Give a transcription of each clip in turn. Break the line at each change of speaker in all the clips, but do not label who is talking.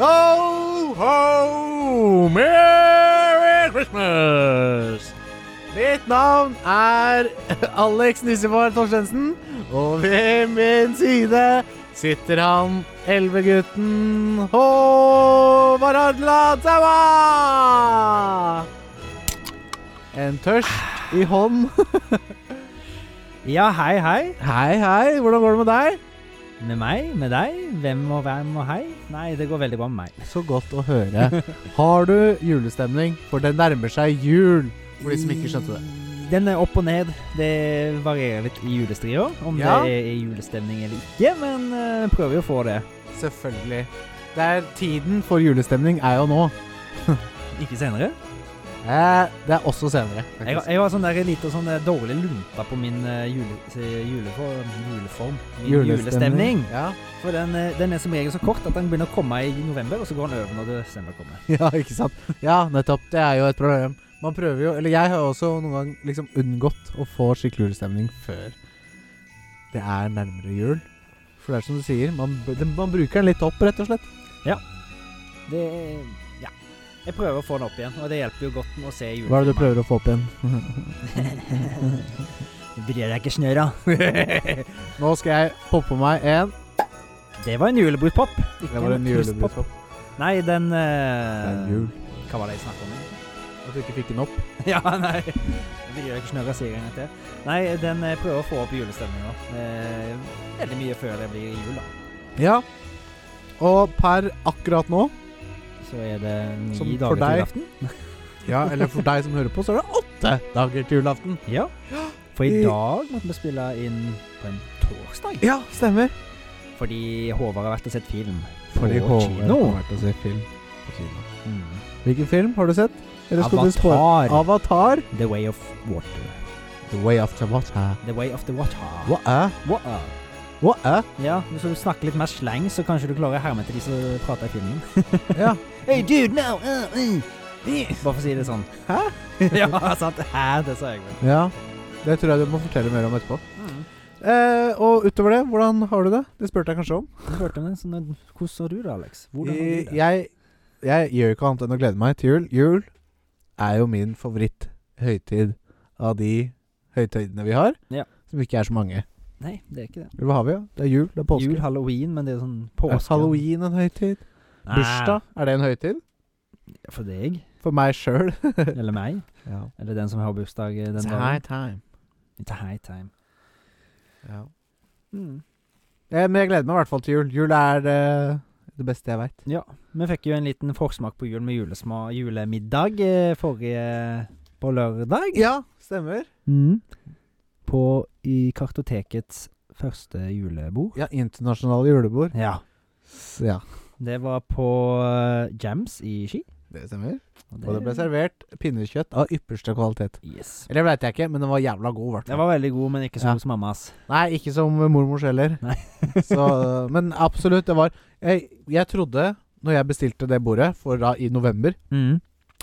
Ho, ho, merry Christmas! Mitt navn er Alex Nissefar Torstensen, og ved min side sitter han elvegutten Håvard Ardeland Saua! En tørst i hånd.
Ja, hei, hei.
Hei, hei, hvordan går det med deg?
Med meg, med deg. Hvem og hvem og hei. Nei, det går veldig bra med meg.
Så godt å høre. Har du julestemning? For det nærmer seg jul, for de som ikke skjønte det.
Den er opp og ned. Det varierer litt i julestria, om
Ja.
det er julestemning eller ikke, men eh, prøver jo å få det.
Selvfølgelig. Det er Tiden for julestemning er jo nå.
Ikke senere.
Eh, det er også senere.
Jeg, har-
faktisk.
jeg har sånn der lite sånn der dårlig lunta på min eh, jule, eh, juleform, juleform. Min julestemning.
Ja.
For den, eh, den er som regel så kort at den begynner å komme i november, og så går den over når desember kommer.
ja, ikke sant. Ja, nettopp. Det er jo et problem. Man prøver jo Eller jeg har jo også noen gang liksom unngått å få skikkelig julestemning før det er nærmere jul. For det er som du sier, man, b- det- man bruker den litt opp, rett og slett.
Det Ja. Jeg prøver å få den opp igjen, og det hjelper jo godt med å se julefilmer.
Hva er det du prøver å få opp igjen?
Bryr deg ikke snøra.
Nå skal jeg poppe meg en.
Det var en julebruspop. Ikke
Det var en
krustpop.
julebruspop.
Nei, den
Det
eh,
er en jul.
Hva var det jeg snakket om?
At du ikke fikk den opp.
ja, nei. Jeg bryr deg ikke snøra, sier jeg en gang til. Nei, den eh, prøver å få opp julestemninga. Eh, veldig mye før det blir jul, da.
Ja. Og per akkurat nå
Så er det ni
Som for
dager til
deg.
julaften.
Ja, eller for deg som hører på, så er det åtte dager til julaften.
Ja. For i
I-
dag måtte vi spille inn på en torsdag.
Ja, stemmer.
Fordi Håvard har vært og sett film på
Fordi Håvard
kino.
har vært og sett film på kino.
Mm.
Hvilken film har du sett? Eller skal du spå-
Avatar.
Avatar.
The Way of Water.
The Way After Water.
The Way of the Water.
Hva er?
Water.
Hva er?
Ja, hvis du snakker litt mer sleng, så kanskje du klarer å herme til de som prater i filmen.
Ja.
Hey dude, no! Uh, uh. Bare for å si det sånn. Hæ? ja, sant. Hæ, det sa jeg vel.
ja. Det tror jeg du må fortelle mer om etterpå. Eh, og utover det, hvordan har du det? Det spurte jeg kanskje om.
Du hørte om det, sånn, eh, hvordan har du det, Alex? Hvordan har
Eh, Jeg,
du det?
jeg, jeg gjør ikke annet enn å glede meg til jul. Jul er jo min favoritthøytid av de høytidene vi har,
Ja.
som ikke er så mange.
Nei, det er ikke det.
Eller Hva har vi? da? Det er jul, det er påske.
Jul, halloween, men det er sånn
er
påske. Ah.
halloween en høytid?
Nei,
Bursdag, er det en høytid?
For deg,
For meg sjøl.
eller meg,
ja.
eller den som har bursdag eh, den dagen.
time.
It's a high time.
Ja.
Mm.
Eh, men jeg gleder meg i hvert fall til jul. Jul er eh, det beste jeg veit.
Ja, vi fikk jo en liten forsmak på jul med julesma, julemiddag eh, forrige på lørdag.
Ja, stemmer.
Mm. På i kartotekets første julebord.
Ja, internasjonale julebord.
Ja.
S- Ja,
Det var på eh, Jams i Ski.
det stemmer. Og det ble servert pinnekjøtt av ypperste kvalitet.
Yes.
Eller veit jeg ikke, men den var jævla god, i hvert fall.
Den var veldig god, men ikke så
Ja.
god som mammas.
Nei, ikke som mormors heller.
Nei.
så, men absolutt, det var jeg, jeg trodde, når jeg bestilte det bordet for da i november,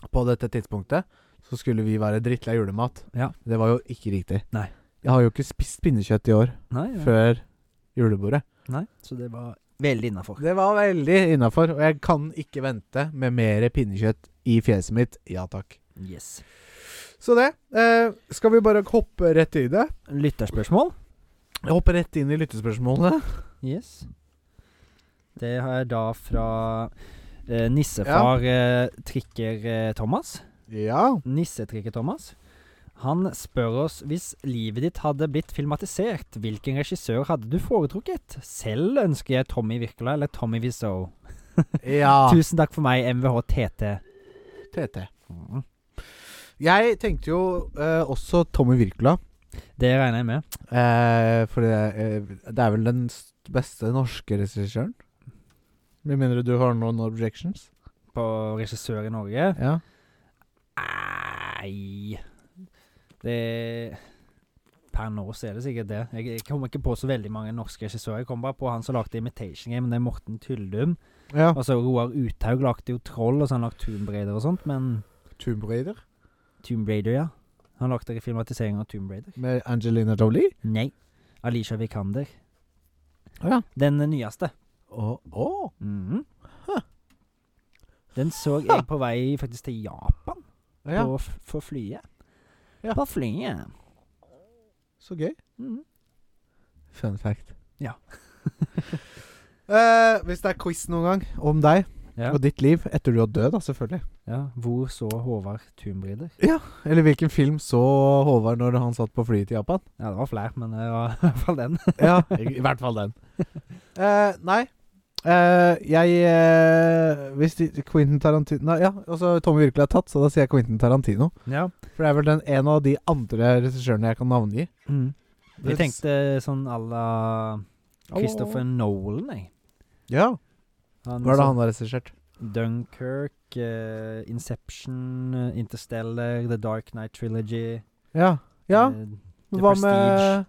på dette tidspunktet, så skulle vi være drittlei julemat.
Ja.
Det var jo ikke riktig.
Nei.
Jeg har jo ikke spist pinnekjøtt i år
Nei, ja.
før julebordet.
Nei, så det var veldig innafor.
Det var veldig innafor, og jeg kan ikke vente med mer pinnekjøtt i fjeset mitt. Ja takk.
Yes.
Så det. Eh, skal vi bare hoppe rett i det?
Lytterspørsmål?
Hoppe rett inn i lyttespørsmålene?
Yes. Det har jeg da fra eh, nissefar eh, Trikker eh, Thomas.
Ja.
Nissetrikker Thomas. Han spør oss hvis livet ditt hadde blitt filmatisert, hvilken regissør hadde du foretrukket? Selv ønsker jeg Tommy Wirkola eller Tommy Wiseau.
ja.
Tusen takk for meg, MVH TT.
TT. Jeg tenkte jo eh, også Tommy Wirkola.
Det regner jeg med.
eh, for det, eh, det er vel den s- beste norske regissøren? Med mindre du har noen objections?
På regissør i Norge.
Ja.
Nei Det Per nå så er det sikkert det. Jeg, jeg kommer ikke på så veldig mange norske regissører. Jeg kom bare på han som lagde Imitation Game, det er Morten Tyldum.
ja.
Og så Roar Uthaug lagde jo Troll, og så har han lagd Tomb Raider og sånt, men
Tomb Raider
Tomb Raider, ja. Han lagde filmatisering av Tomb Raider.
med Angelina Jolie.
Nei. Alisha Vikander.
Å ja.
Den nyeste.
Å, å.
Mhm. Den så jeg på vei faktisk til Japan,
Ja,
på f for flyet.
Ja.
På flyet.
så gøy.
Mm.
Fun fact.
Ja.
Eh, hvis det er quiz noen gang om deg
Ja.
og ditt liv etter du har dødd, da, selvfølgelig.
ja. Hvor så Håvard Thunbrider?
Eller hvilken film så Håvard når han satt på flyet til Japan?
Ja, det var flere, men det var i hvert fall den.
Ja, i hvert fall den. Eh, nei. Eh, jeg eh, Hvis de, Quentin Tarantino nei, Ja, altså Tommy virkelig er tatt, så da sier jeg Quentin Tarantino.
Ja.
For det er vel den en av de andre regissørene jeg kan navngi.
Mm. Jeg
Det-
tenkte sånn à la Christopher Nolan, jeg.
Ja.
Han,
Hva er det han
som-
har regissert?
Dunkirk, eh, Inception, eh, Interstellar, The Dark Knight Trilogy
Ja. ja.
eh, The
Hva
Prestige.
med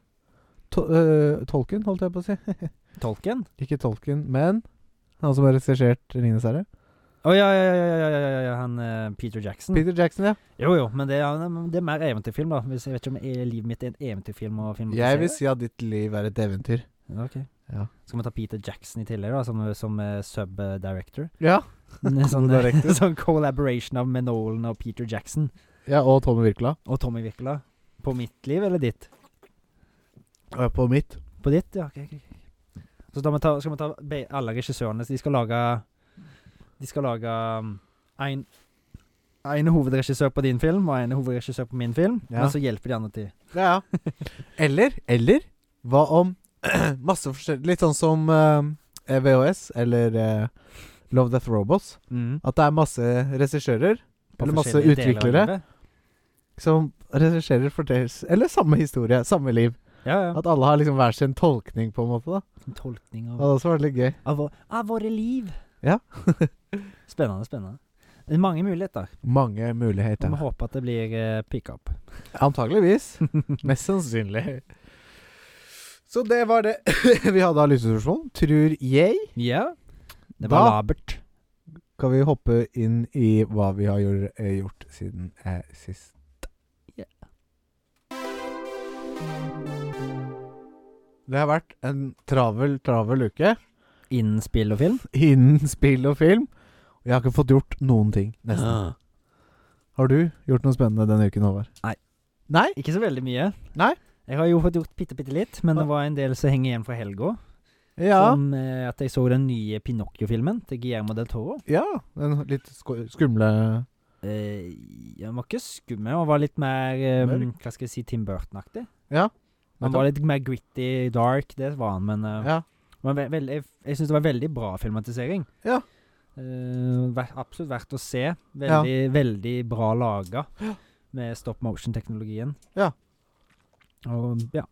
to, eh, Tolkien, holdt jeg på å si.
Tolkien?
Ikke Tolkien, men han som har regissert 'Ringenes herre'.
Å ja, ja, ja, ja, ja, ja, ja, han eh, Peter Jackson.
Peter Jackson, ja.
jo, jo, men det er, det er mer eventyrfilm, da. Hvis jeg vet ikke om eh, livet mitt er en eventyrfilm og film.
Jeg vil si at ditt liv er et eventyr. Ja.
Skal vi ta Peter Jackson i tillegg, da, som, som eh, sub-director?
Ja,
En sånn, eh,
Co-director.
sånn collaboration av med Nolan og Peter Jackson
ja og Tommy Virkla.
og Tommy Wirkola. På mitt liv eller ditt?
Og jeg er på mitt.
På ditt, ja. ok, ok, ok. Så da må vi ta, skal vi ta be- alle regissørene så De skal lage De skal lage um, en, en hovedregissør på din film og en hovedregissør på min film.
Ja.
Men så hjelper de andre til.
Ja, ja. Eller, eller Hva om masse forskjellig Litt sånn som eh, VHS eller eh, Love Death Robots. At det er masse regissører
På
Mm. Eller masse
forskjellige deler av
utviklere.
livet.
som regisserer for deres Eller samme historie, samme liv.
Ja, ja.
At alle har liksom hver sin tolkning, på en måte. da
En tolkning
Det
av,
hadde også vært litt gøy.
av, vår- av våre liv.
Ja.
spennende, spennende. Det er mange muligheter.
Mange
Og
muligheter.
vi håper at det blir eh, pickup.
Antageligvis. Mest sannsynlig. Så det var det vi hadde av lysespørsmål. Tror jeg.
Ja. Det
Da-
var labert.
Kan vi hoppe inn i hva vi har gjort, eh, gjort siden eh, sist?
Ja.
Det har vært en travel, travel uke
Innen spill og film.
innen spill og film. Og jeg har ikke fått gjort noen ting, nesten.
Ah.
Har du gjort noe spennende denne uken, Håvard?
Nei.
Nei?
Ikke så veldig mye.
Nei.
Jeg har jo fått gjort bitte, bitte litt, men det var en del som henger igjen fra helga.
Ja.
Som eh, at jeg så den nye Pinocchio-filmen til Guillermo del Toro.
ja. Den litt sko- skumle
Eh, den var ikke skummel, den var litt mer eh,
Mørk.
Hva skal jeg si Tim Burton-aktig.
Ja.
Han var litt mer gritty, dark, det var han, men eh,
Ja.
men ve veldig- jeg, jeg syns det var en veldig bra filmatisering.
Ja.
Eh, ver absolutt verdt å se. Veldig, veldig bra laga med stop motion-teknologien.
Ja.
Og ja.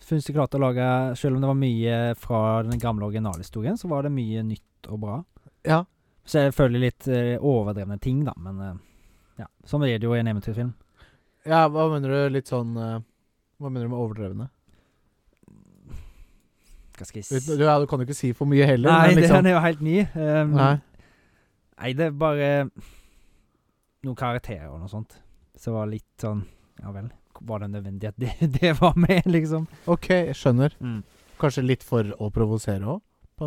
Syns de klarte å lage Selv om det var mye fra den gamle originalhistorien, så var det mye nytt og bra.
Ja.
Selvfølgelig litt eh, overdrevne ting, da, men eh, ja. Sånn er det jo i en eventyrfilm.
Ja, hva mener du litt sånn eh, Hva mener du med overdrevne?
Hva skal jeg
Uten-
si
Du, ja, du kan jo ikke si for mye heller.
Nei,
men
det,
liksom,
den er jo helt ny. eh,
nei.
Nei, det er bare noen karakterer og noe sånt. Så det var litt sånn Ja vel, var det nødvendig at det, det var med, liksom?
Ok, jeg skjønner. Kanskje litt for å provosere òg?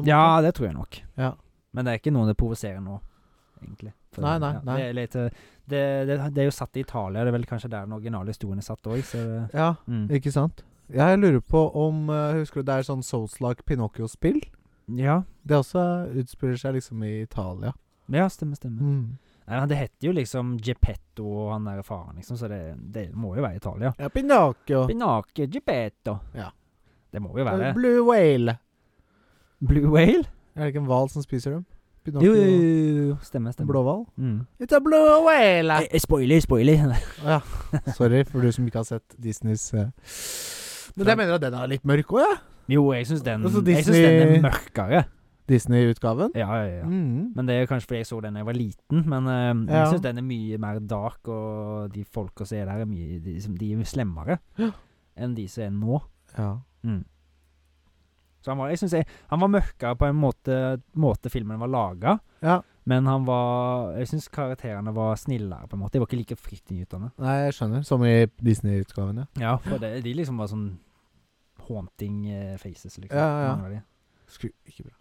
Ja, det tror jeg nok.
Ja.
Men det er ikke noen det provoserer nå, egentlig. For-
Nei, nei,
ja,
nei.
Det, er litt, eh, det, det, det er jo satt i Italia, det er vel kanskje der den originale historien er satt òg, så
ja,
mm.
ikke sant? Ja, jeg lurer på om eh, Husker du det er sånn Souls-like Pinocchio-spill?
Ja.
Det også utspiller seg liksom i Italia.
Ja, stemmer, stemmer.
Mm.
Nei, men det heter jo liksom Geppetto og han der faren, liksom, så det, det må jo være Italia.
Ja, Pinocchio.
Pinocchio Geppetto.
Ja. Eh,
Det må jo være
Blue whale.
Blue Whale.
Er det ikke en hval som spiser dem?
Jo, jo,
Pinocchio.
jo, jo. Stemmer,
En
stemmer.
blåhval?
Mm.
It's a blue whale!
Eh, eh, Spoiler, spoiler.
Ja. Sorry for du som ikke har sett Disneys eh. Men jeg mener at den er litt mørk òg, ja.
Jo, jeg syns den,
Altså,
jeg synes
Disney-
den er mørkere.
Disney-utgaven.
Ja, ja, ja.
Mm.
Men det er jo kanskje fordi jeg så den da jeg var liten, men eh,
Ja.
jeg syns den er mye mer dark, og de folka som er der, er mye de, som- de er jo slemmere
Ja.
enn de som er nå. Mm.
Ja.
Så han var, jeg synes jeg, han var mørkere på en måte, måte filmen var laga,
Ja.
men han var Jeg syns karakterene var snillere, på en måte. De var ikke like fryktinngytende.
Nei, jeg skjønner. Som i Disney-utgaven, ja.
Ja, for det, de liksom var sånn haunting eh, faces, liksom.
Ja, ja, ja.
mange av de.
Skru, ikke bra.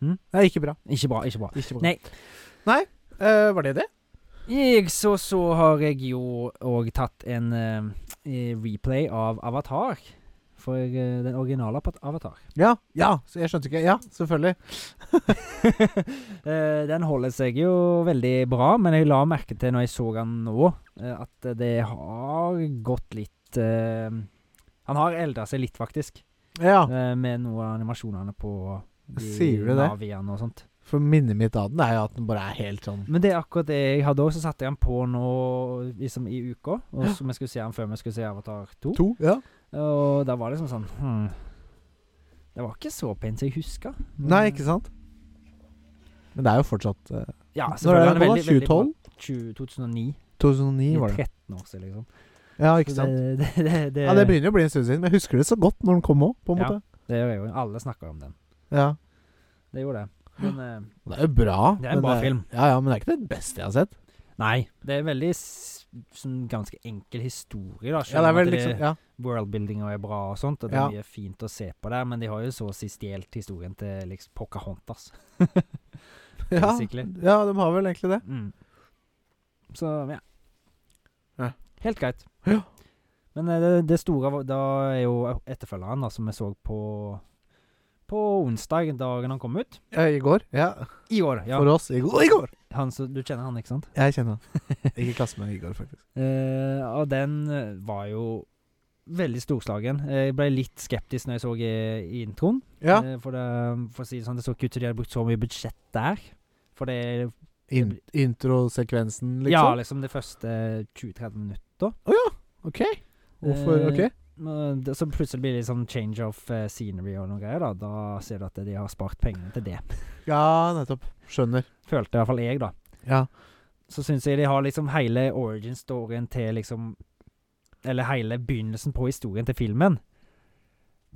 Mm?
Nei, Hm? ikke bra.
Ikke bra, ikke bra.
Ikke bra.
Nei.
Nei. Eh, var det det?
Jeg så så har jeg jo òg tatt en eh, replay av Avatar. For eh, den originale Apat- Avatar.
Ja. ja, så Jeg skjønte ikke Ja, selvfølgelig.
Eh, den holder seg jo veldig bra, men jeg la merke til når jeg så han nå, eh, at det har gått litt eh, Han har elda seg litt, faktisk,
Ja,
eh, med noen av animasjonene på de
Sier du det?
naviene og sånt.
For minnet mitt av den er jo at den bare er helt sånn
Men det er akkurat det jeg hadde òg, så satte jeg den på nå liksom i uka. Og så vi skulle se den før vi skulle se Avatar 2.
To? Ja.
Og da var det liksom sånn hmm, Det var ikke så pent som jeg huska.
Nei, ikke sant? Men det er jo fortsatt eh,
Ja,
Når er det på, da?
selvfølgelig, veldig- veldig bra.
2012?
20- 2009.
2009
I
var det.
13 år siden, liksom.
Ja, ikke
Så
sant?
Det, det, det, det,
Ja, Det begynner jo å bli en stund siden, men jeg husker det så godt når den kom òg, på en
Ja.
måte.
det gjør jeg jo. Alle snakker om den.
Ja.
Det gjorde det. Men eh,
Det er jo bra.
Det er en
men
bra
det-
film.
Ja, ja, men det er ikke det beste jeg har sett.
nei, det er veldig s- sånn ganske enkel historie, da.
Ja, det er vel
at det-
liksom Ja,
Worldbuildinga er bra og sånt, og det
Ja.
er mye fint å se på der, men de har jo så å si stjålet historien til liksom Pocahontas.
ja,
basically.
ja de har vel egentlig det.
Mm. Så ja.
Ja.
Helt greit.
Ja.
Men eh, det, det store var- da er jo etterfølgeren, da, som vi så på på onsdag, dagen han kom ut.
Ja, Eh, I går. Ja.
I år, ja.
For oss. I går. I går.
Han, som- du kjenner han, ikke sant?
Jeg kjenner han. Ikke i klasse med Igor, faktisk.
Eh, og den eh, var jo veldig storslagen. Eh, Jeg ble litt skeptisk når jeg så i, i introen.
Ja.
Eh, for, det, for å si det sånn, det så ikke ut som de hadde brukt så mye budsjett der. For det
Eh, In Introsekvensen,
Ja,
liksom?
liksom det første 20-30 minutter.
OK. Hvorfor
Eh,
OK?
Men det- Så plutselig blir det litt sånn change of eh, scenery og noe greier. Da Da ser du at de har spart pengene til det.
Ja, nettopp. Skjønner.
Følte i hvert fall jeg, da.
Ja.
så syns jeg de har liksom hele origin-storyen til liksom Eller hele begynnelsen på historien til filmen.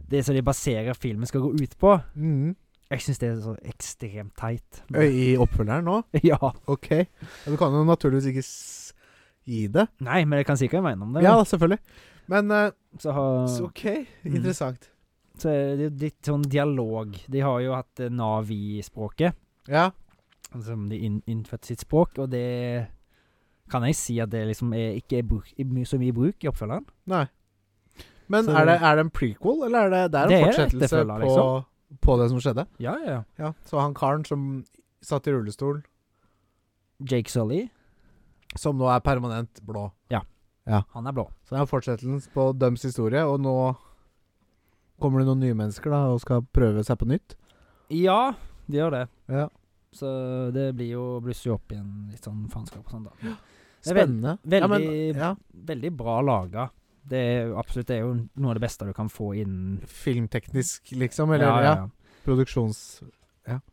Det som de baserer filmen skal gå ut på.
Mm.
Jeg syns det er så ekstremt teit.
Øy, I oppfølgeren nå?
ja.
OK. Ja, du kan jo naturligvis ikke s gi det.
Nei, men jeg kan si hva jeg mener om det.
Ja, selvfølgelig. Men eh,
Så, har,
så
så,
OK. Interessant.
er det litt sånn dialog. De har jo hatt eh, Navi-språket,
Ja.
som de inn, innførte sitt språk, og det kan jeg si at det liksom er ikke er bruk, i my- så mye i bruk i oppfølgeren.
Nei. Men
Så-
er det, er det en prequel, eller er det, det er en
Det er
fortsettelse
etterfølger,
på,
liksom.
på det som skjedde?
Ja, ja, ja.
Ja, Så han karen som satt i rullestol,
Jake Sully,
som nå er permanent blå.
han er blå.
Så det er en fortsettelse på døms historie, og nå kommer det noen nye mennesker da, og skal prøve seg på nytt.
Ja, det gjør det.
Ja.
Så det blir jo blusser jo opp igjen litt sånn faenskap og sånn, da. Det er veld-
Spennende.
veldig-
ja,
Veldig bra laga. Det er jo absolutt det er jo noe av det beste du kan få innen
Filmteknisk, liksom. Eller ja, produksjons...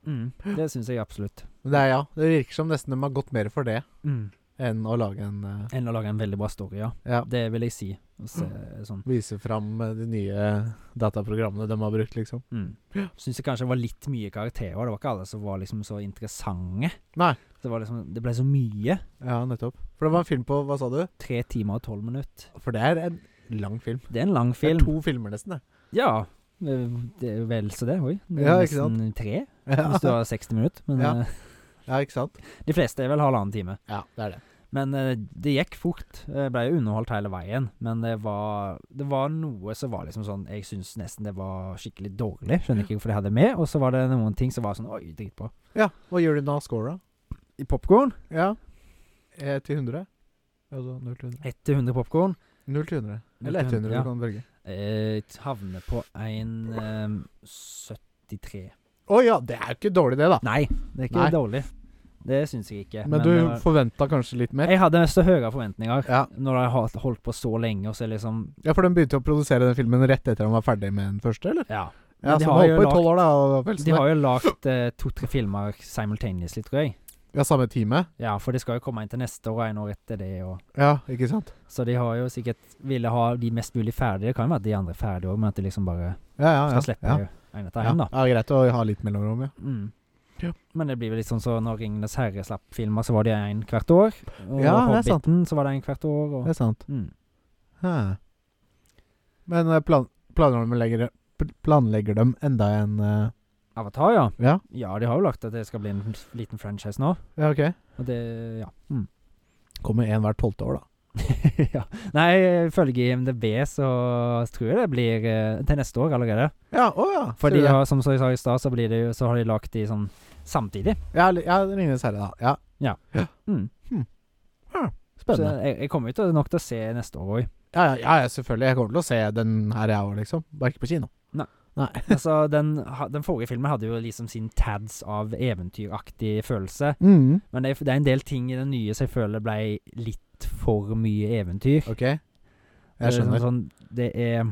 Mm, det syns jeg absolutt.
Men det er ja. Det virker som nesten de har gått mer for det
Mm.
enn å lage en eh,
Enn å lage en veldig bra story, ja.
Ja.
Det vil jeg si. Å se, sånn.
Vise fram eh, de nye dataprogrammene de har brukt, liksom.
mm. Syns jeg kanskje det var litt mye karakterer. Det var ikke alle som var liksom så interessante.
Nei.
Det, var liksom, det ble så mye.
Ja, nettopp. For det var en film på Hva sa du?
Tre timer og tolv minutter.
For det er en lang film.
Det er en lang
Det er
film.
to filmer, nesten. Det.
Ja. Det er vel så det, oi. Det er
Ja, ikke sant?
nesten Tre. Hvis du
Ja.
har 60 minutter. Men
Ja.
eh,
ja, ikke sant?
de fleste er vel halvannen time.
Ja, det er det.
Men eh, det gikk fort. Jeg ble jo underholdt hele veien. Men det var, det var noe som var liksom sånn Jeg syns nesten det var skikkelig dårlig. Skjønner ikke hvorfor de hadde med. Og så var det noen ting som var sånn Oi, dritbra.
Ja, Hva gjør du nå? Score, da?
I popkorn
Ja. Eh, til 100? Altså 0 til 100.
1 til 100 popkorn
0 til 100.
Null
Eller 1
til
til 100,
hundre, ja.
du kan velge.
eh, havner på en eh, 73.
Å ja, det er jo ikke dårlig, det, da.
Nei, det er ikke
Nei.
dårlig. Det syns jeg ikke.
Men, eh, du
det var-
forventa kanskje litt mer?
jeg hadde så høye forventninger.
Ja.
Når jeg har holdt på så lenge, og så er det liksom
ja, for de begynte å produsere den filmen rett etter han var ferdig med den første, eller?
Ja.
Ja,
de
så
har
de
jo
holdt på i
lagt-
tolv år, da. Og vel,
De har jo lagd eh, to-tre filmer simultaneously, tror jeg.
Ja, samme time?
Ja, for det skal jo komme en til neste år og en år etter det. Og.
Ja, ikke sant?
Så de har jo sikkert ville ha de mest mulig ferdige. Det kan jo være at de andre er ferdige òg, men at de liksom bare
Ja, ja, ja.
skal slippe
ja.
en etter
Ja.
en,
ja,
da.
greit å ha litt mellomrom, ja.
Mm.
Ja.
Men det blir vel litt sånn så når 'Ringenes herre' slapp filmer, så var det en hvert år. Og
Ja, det er sant.
'Hobbiten' så var det en hvert år. Og,
Det er sant.
mm.
Hæ. Men eh, plan planlegger, planlegger dem enda en eh,
Avatar, ja.
Ja,
Ja, de har jo lagt at det skal bli en liten franchise nå.
ja ok.
Og det ja. Mm.
Kommer én hvert tolvte år, da.
ja. Nei, ifølge IMDb så tror jeg det blir eh, til neste år allerede.
Ja, å ja.
For
ser du
de
det?
har, som jeg sa i stad, så, blir det jo- så har de lagt de sånn samtidig.
Ja, li- ja Ringenes herre, da. Ja. Hm.
Mm. Så
Spennende.
jeg, jeg kommer jo til, nok til å se neste år òg.
Ja, ja, ja, ja, selvfølgelig. Jeg kommer til å se den her, jeg òg, liksom. Bare ikke på kino.
Altså, den, ha- den forrige filmen hadde jo liksom sin tads av eventyraktig følelse.
Mm.
Men det, er- det er en del ting i den nye som jeg føler ble litt for mye eventyr.
Ok. Jeg
Det er
skjønner.
Sånn, sånn, det er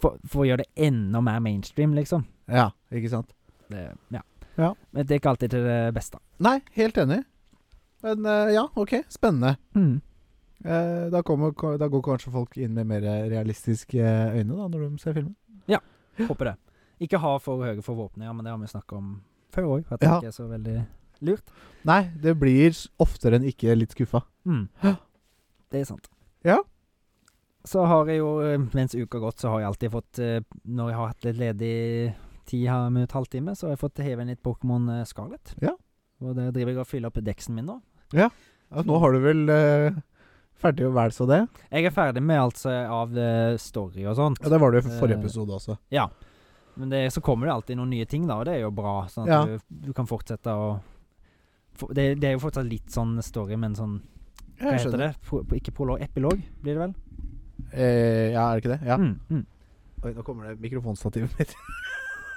for, for å gjøre det enda mer mainstream, liksom.
Ja, ikke sant.
Det, ja.
Ja.
Men det er ikke alltid til det beste.
Nei, helt enig. Men eh, ja, ok. Spennende.
Mm.
Eh, da, kommer, ko- da går kanskje folk inn med mer eh, realistiske eh, øyne da når de ser filmen.
Håper det. Ikke ha for høye forhåpninger, men det har vi snakka om før òg. At det
Ja.
ikke er så veldig lurt.
Nei, det blir s- oftere enn ikke litt skuffa.
Mm.
Ja.
Det er sant.
Ja.
Så har jeg jo, eh, mens uka har gått, så har jeg alltid fått eh, Når jeg har hatt litt ledig tid her med et halvtime, så har jeg fått heve inn litt Pokémon eh, Scarlet.
Ja.
Og der driver jeg og fyller opp deksen min nå.
Ja, nå har du vel eh, ferdig å være så det.
Jeg er ferdig med alt som er av eh, story og sånt.
Ja, Det var du i f-
Eh,
forrige episode også.
Men det, så kommer det alltid noen nye ting, da, og det er jo bra. Sånn at
Ja.
du, du kan fortsette å for, det, det er jo fortsatt litt sånn story, men sånn Hva
Jeg
heter
skjønner.
det? Pro, pro- ikke prolog, epilog, blir det vel?
Eh, ja, er det ikke det? Ja.
Mm, mm.
Oi, nå kommer det mikrofonstativet mitt.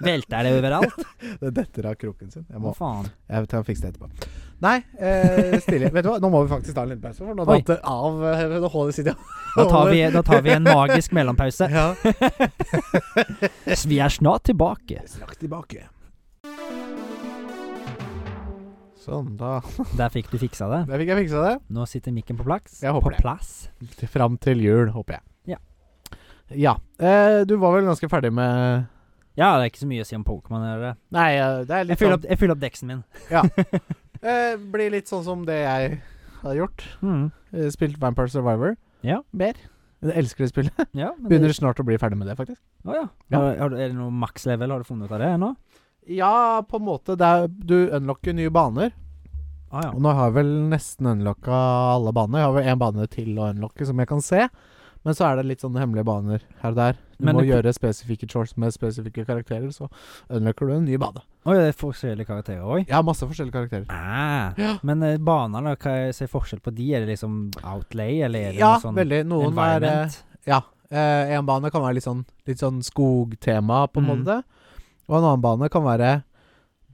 Velter det overalt?
Det detter av kroken sin. Jeg
Hva
må
faen?
Jeg tar og fikser det etterpå. Nei, eh, stille. Vet du hva, nå må vi faktisk ta en liten pause, for nå
Oi.
datt det av eh, Nå holder Cynthia
Da tar, vi, da tar vi en magisk mellompause.
ja.
Vi er snart tilbake.
Straks tilbake. Sånn, da
Der fikk du fiksa det.
Der fikk jeg fiksa det.
Nå sitter mikken på plass.
Jeg håper
på
det.
plass.
Til- Fram til jul, håper jeg.
Ja.
Ja. Eh, du var vel ganske ferdig med
Ja, det er ikke så mye å si om Pokémon. er det?
Nei, eh, det er
Jeg
litt
fyller
sånn
opp, jeg fyller opp deksen min.
eh, Blir litt sånn som det jeg har gjort.
Mm.
Eh, Spilt Vampire Survivor.
Ja.
Mer. Jeg elsker det spillet.
Ja, men det-
Begynner snart å bli ferdig med det, faktisk.
Å ja.
Ja.
Har, har, du- er det noe max level? Har du funnet ut av det ennå?
Ja, på en måte. Det er, du unlocker nye baner.
Ah, ja.
Og nå har jeg vel nesten unlocka alle banene. Jeg har vel én bane til å unlocke, som jeg kan se. Men så er det litt sånne hemmelige baner her og der. Du
Men
må
det-
gjøre spesifikke chores med spesifikke karakterer, så unlocker du en ny bane.
Oi, det er forskjellige karakterer òg.
Jeg har masse forskjellige karakterer.
Ah.
Ja.
Men eh, banene, hva er ser forskjell på de? Er det liksom outlay, eller er det
Ja,
noe sånn
veldig. Noen er eh,
environment?
Ja. eh, en bane kan være litt sånn, litt sånn skogtema, på en
Mm.
måte. Og en annen bane kan være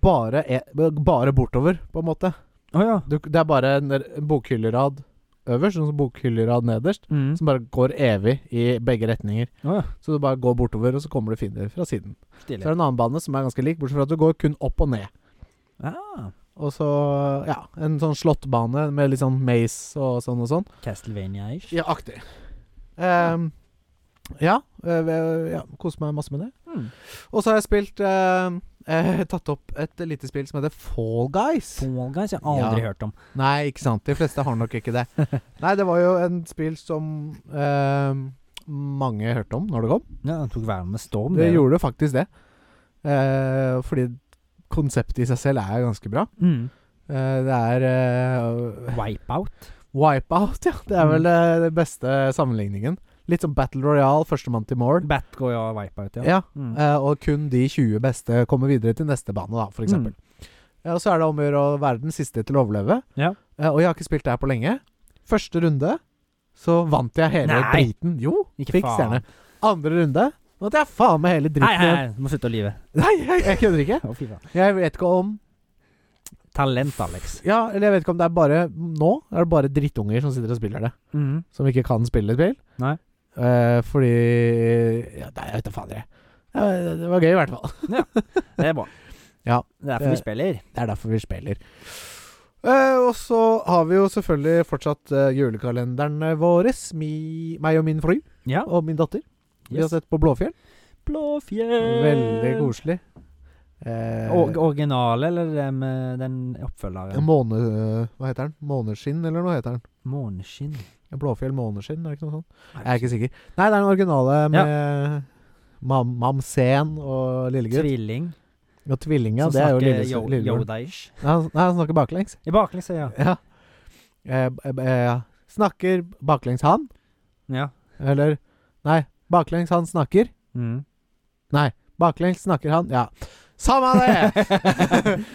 bare, e bare bortover, på en måte.
Å ja.
Du, det er bare en en bokhyllerad øverst og en bokhyllerad nederst,
Mm.
som bare går evig i begge retninger.
Å ja.
Så du bare går bortover, og så kommer du fiender fra siden. Så
Stilig.
er det en annen bane som er ganske lik, bortsett fra at du går kun opp og ned.
Ah,
Og så, ja, en sånn slåttbane med litt sånn maze og sånn og sånn.
Castlevania-ish.
Ja, aktig. Ehm, ja, øh, ja koser meg masse med det.
Mm.
Og så har jeg spilt ehm, eh, Tatt opp et lite spill som heter Fall Guys.
Fall Guys jeg har aldri hørt om.
Nei, ikke sant. De fleste har nok ikke det. Nei, det var jo en spill som ehm, mange hørte om når det kom.
Ja, han tok verden med storm.
Det
da.
gjorde faktisk det. Eh, fordi konseptet i seg selv er ganske bra.
mm.
Eh, det er eh,
Wipeout.
Wipeout, ja. Det er
Mm.
vel eh, den beste sammenligningen. Litt som Battle Royale, førstemann til mål.
Batgoy og Wipeout, ja.
Ja.
Mm.
Eh, og kun de 20 beste kommer videre til neste bane, da, for eksempel. Ja, og så er det om å gjøre å være den siste til å overleve.
Ja.
Eh, og jeg har ikke spilt det her på lenge. Første runde så vant jeg hele
Nei.
driten. Jo,
Ikke
fikk
faen.
stjerne. Andre runde vant jeg faen meg hele
Nei,
dritten.
nei,
igjen.
nei, du må slutte å lyve.
Nei, jeg, jeg kødder ikke.
Å, fy faen.
Jeg vet ikke om
Talent, Alex.
Ja, eller jeg vet ikke om det er bare Nå er det bare drittunger som sitter og spiller det.
Mm.
Som ikke kan spille spill.
Nei.
Eh, fordi ja, Nei, jeg vet da fader, jeg. Ja, det var gøy, i hvert fall.
Det er bra.
Ja.
Det er derfor vi spiller.
Det er derfor vi spiller. Eh, og så har vi jo selvfølgelig fortsatt eh, julekalenderen vår. Mi, meg og min fru
Ja.
og min datter. Vi har
Yes.
sett på Blåfjell.
Blåfjell.
Veldig koselig. Eh,
Or originale, eller det med den oppfølgeren?
måne... eh, Hva heter den? Måneskinn, eller noe heter den?
Måneskinn.
Blåfjell Måneskinn, er det ikke noe sånt? Jeg er ikke sikker. Nei, det er den originale med Mam Mamsen og Lillegud.
Tvilling.
Ja, tvillinga,
som
det er jo
snakker
lille-
yo-
lillebror.
Yoda-ish.
Nei, han- nei, han snakker baklengs.
I baklengs, ja.
Ja. Eh, b- b- eh, snakker baklengs han?
ja.
Eller Nei, baklengs han snakker.
Mm.
Baklengs snakker han. Ja. Samme det!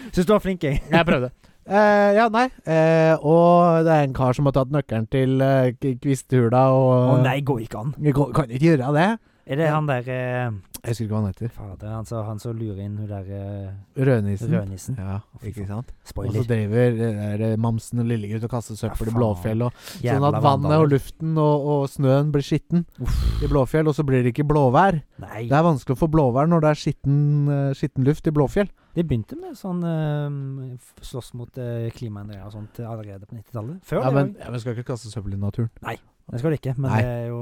Syns du var flink, jeg.
Jeg prøvde. Eh, ja, nei. Eh, og det er en kar som har tatt nøkkelen til eh, k- kvisthula
Å
og
nei, går ikke an.
Vi kan, kan ikke gjøre det.
Er det han der eh,
Jeg husker ikke hva han heter.
Fader, han som han som lurer inn hun der eh,
Rødnissen.
rødnissen?
Ja, ikke sant? Og så
Spoiler.
driver eh, der, eh, Mamsen og Lillegutt og kaster søppel
Ja,
i
faen.
Blåfjell. Og, sånn
Jævla
at vannet og
vandaler.
luften og, og snøen blir skitten
Uff.
i Blåfjell, og så blir det ikke blåvær.
Nei.
Det er vanskelig å få blåvær når det er skitten, eh, skitten luft i Blåfjell.
De begynte med sånn eh, f- slåss mot eh, klimaendringer og sånt allerede på 90-tallet. Før
Ja,
det.
men,
også.
ja, men skal ikke kaste søppel i naturen.
Det skal du ikke, men
Nei.
det er jo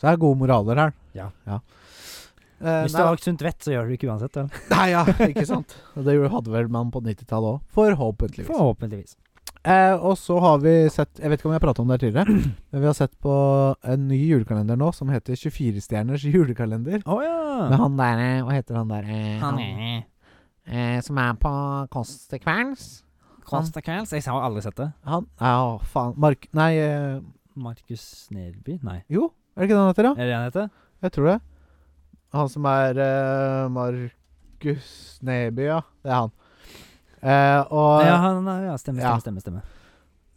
Så det er gode moraler her.
Ja.
Eh,
Hvis du
nei,
har et sunt vett, så gjør du det ikke uansett. Vel?
nei, ja, ikke sant. Og Det hadde vel man på 90-tallet òg. Forhåpentligvis.
Forhåpentligvis.
Eh, og så har vi sett Jeg vet ikke om jeg har prata om det her tidligere, men vi har sett på en ny julekalender nå som heter 24-stjerners julekalender.
Å
Med
ja.
han derre Hva heter han derre
Han er
eh, Som er på Konsekvens.
Konstakvels. Jeg har aldri sett det.
Han Ja, å, faen. Mark... Nei, eh,
Markus Neby? Nei.
jo. Er det ikke det han heter, da?
Er det det han heter?
Jeg tror det. Han som er eh, Markus Neby, ja. Det er han. Eh, og
Ja, han, ja stemme,
Ja.
stemme, stemme. stemme.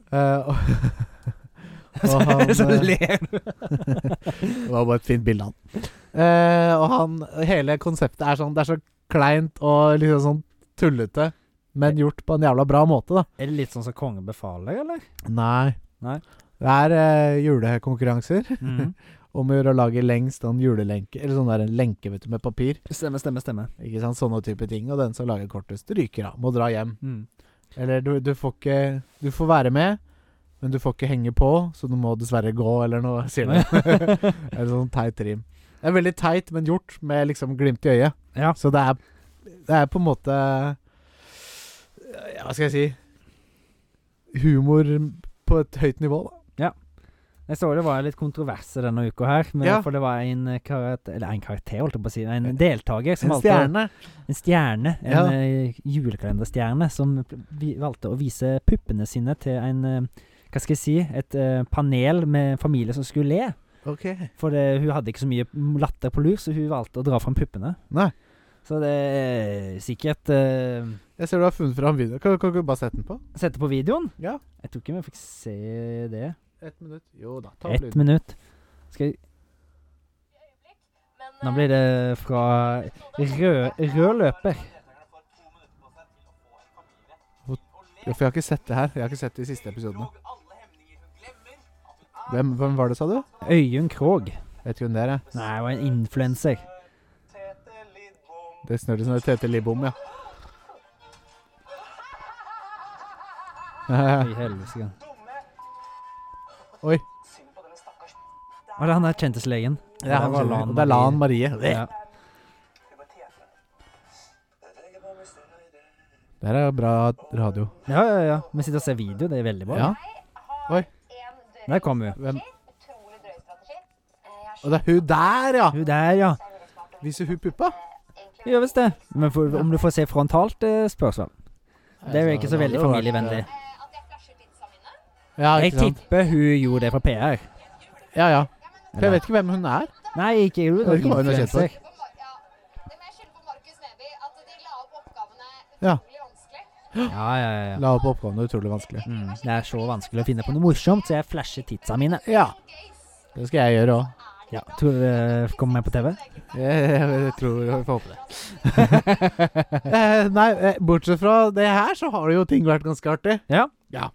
eh, og, og han,
så
eh,
ler du.
Det var bare et fint bilde av han. Eh, og han Hele konseptet er sånn Det er så kleint og liksom sånn tullete, men gjort på en jævla bra måte, da.
Er det litt sånn som kongen befaler, eller?
Nei.
Nei.
Det er eh, julekonkurranser
Mhm.
om å gjøre å lage lengst en julelenke, eller sånn der en lenke vet du, med papir.
Stemme, stemme, stemme.
Ikke sant, Sånne type ting. Og den som lager kortest, ryker av. Må dra hjem.
Mm.
Eller du, du får ikke Du får være med, men du får ikke henge på, så du må dessverre gå, eller noe, sier de. Eller sånn teit rim. Det er veldig teit, men gjort med liksom glimt i øyet.
Ja.
Så det er, det er på en måte ja, Hva skal jeg si Humor på et høyt nivå, da.
Jeg så det var litt kontroverser denne uka her, men
Ja.
for det var en karakter Eller en karakter, holdt jeg på å si. En deltaker som
En
valgte å-
stjerne.
En stjerne. En
Ja.
eh, julekalenderstjerne som pl- vi valgte å vise puppene sine til en eh, Hva skal jeg si Et eh, panel med familie som skulle le.
Ok.
For det, hun hadde ikke så mye latter på lur, så hun valgte å dra fram puppene.
Nei.
Så det er sikkert eh,
Jeg ser du har funnet fram videoen. Kan, kan du ikke bare sette den på?
Sette på videoen?
Ja.
Jeg tror ikke vi fikk se det.
Ett minutt. Jo da. Ta opp
Ett
lyden.
minutt. Skal jeg Nå blir det fra rød, rød løper.
Ja, for jeg har ikke sett det her. Jeg har ikke sett de siste episodene. Hvem, hvem var det, sa du?
Øyunn Krogh.
Vet ikke hvem det er. jeg.
Nei, hun er en influenser.
Det snør det som er Tete Libom, ja.
I helvete.
Oi.
Var det han der kjenteslegen?
Det er, han,
var
skjønner. det er Lan Marie.
Ja.
Det her er bra radio.
ja, ja, ja. Vi sitter og ser video, det er veldig bra.
Ja. Oi.
Der kom hun.
Hvem?
Utrolig drøy strategi. Eh,
Og det er hun der, ja!
Hun der, ja.
Viser hun puppa?
Hun gjør visst det. Men for, om du får se frontalt, eh, spørs vel. Det er jo ikke så veldig familievennlig.
eh, At jeg flasher tidsa mine.
Ja,
Jeg
ikke sant?
tipper hun gjorde det for PR.
Ja, ja. For jeg vet ikke hvem hun er.
Nei, ikke hun.
Jeg vet ikke hva hun er kjent for.
influencer.
For Mar- Ja, det må jeg skylde på Markus Neby, at de la opp oppgavene
Ja.
utrolig vanskelig.
Ja, ja, ja. ja.
La opp oppgavene utrolig vanskelig.
Mm. Det er så vanskelig å finne på noe morsomt, så jeg flasher tidsa mine.
Ja. Det skal jeg gjøre òg.
Ja, Tror du det kommer med på TV?
Jeg, jeg, jeg tror jeg får håpe det. eh, nei, eh, bortsett fra det her, så har jo ting vært ganske artig.
Ja.
Ja.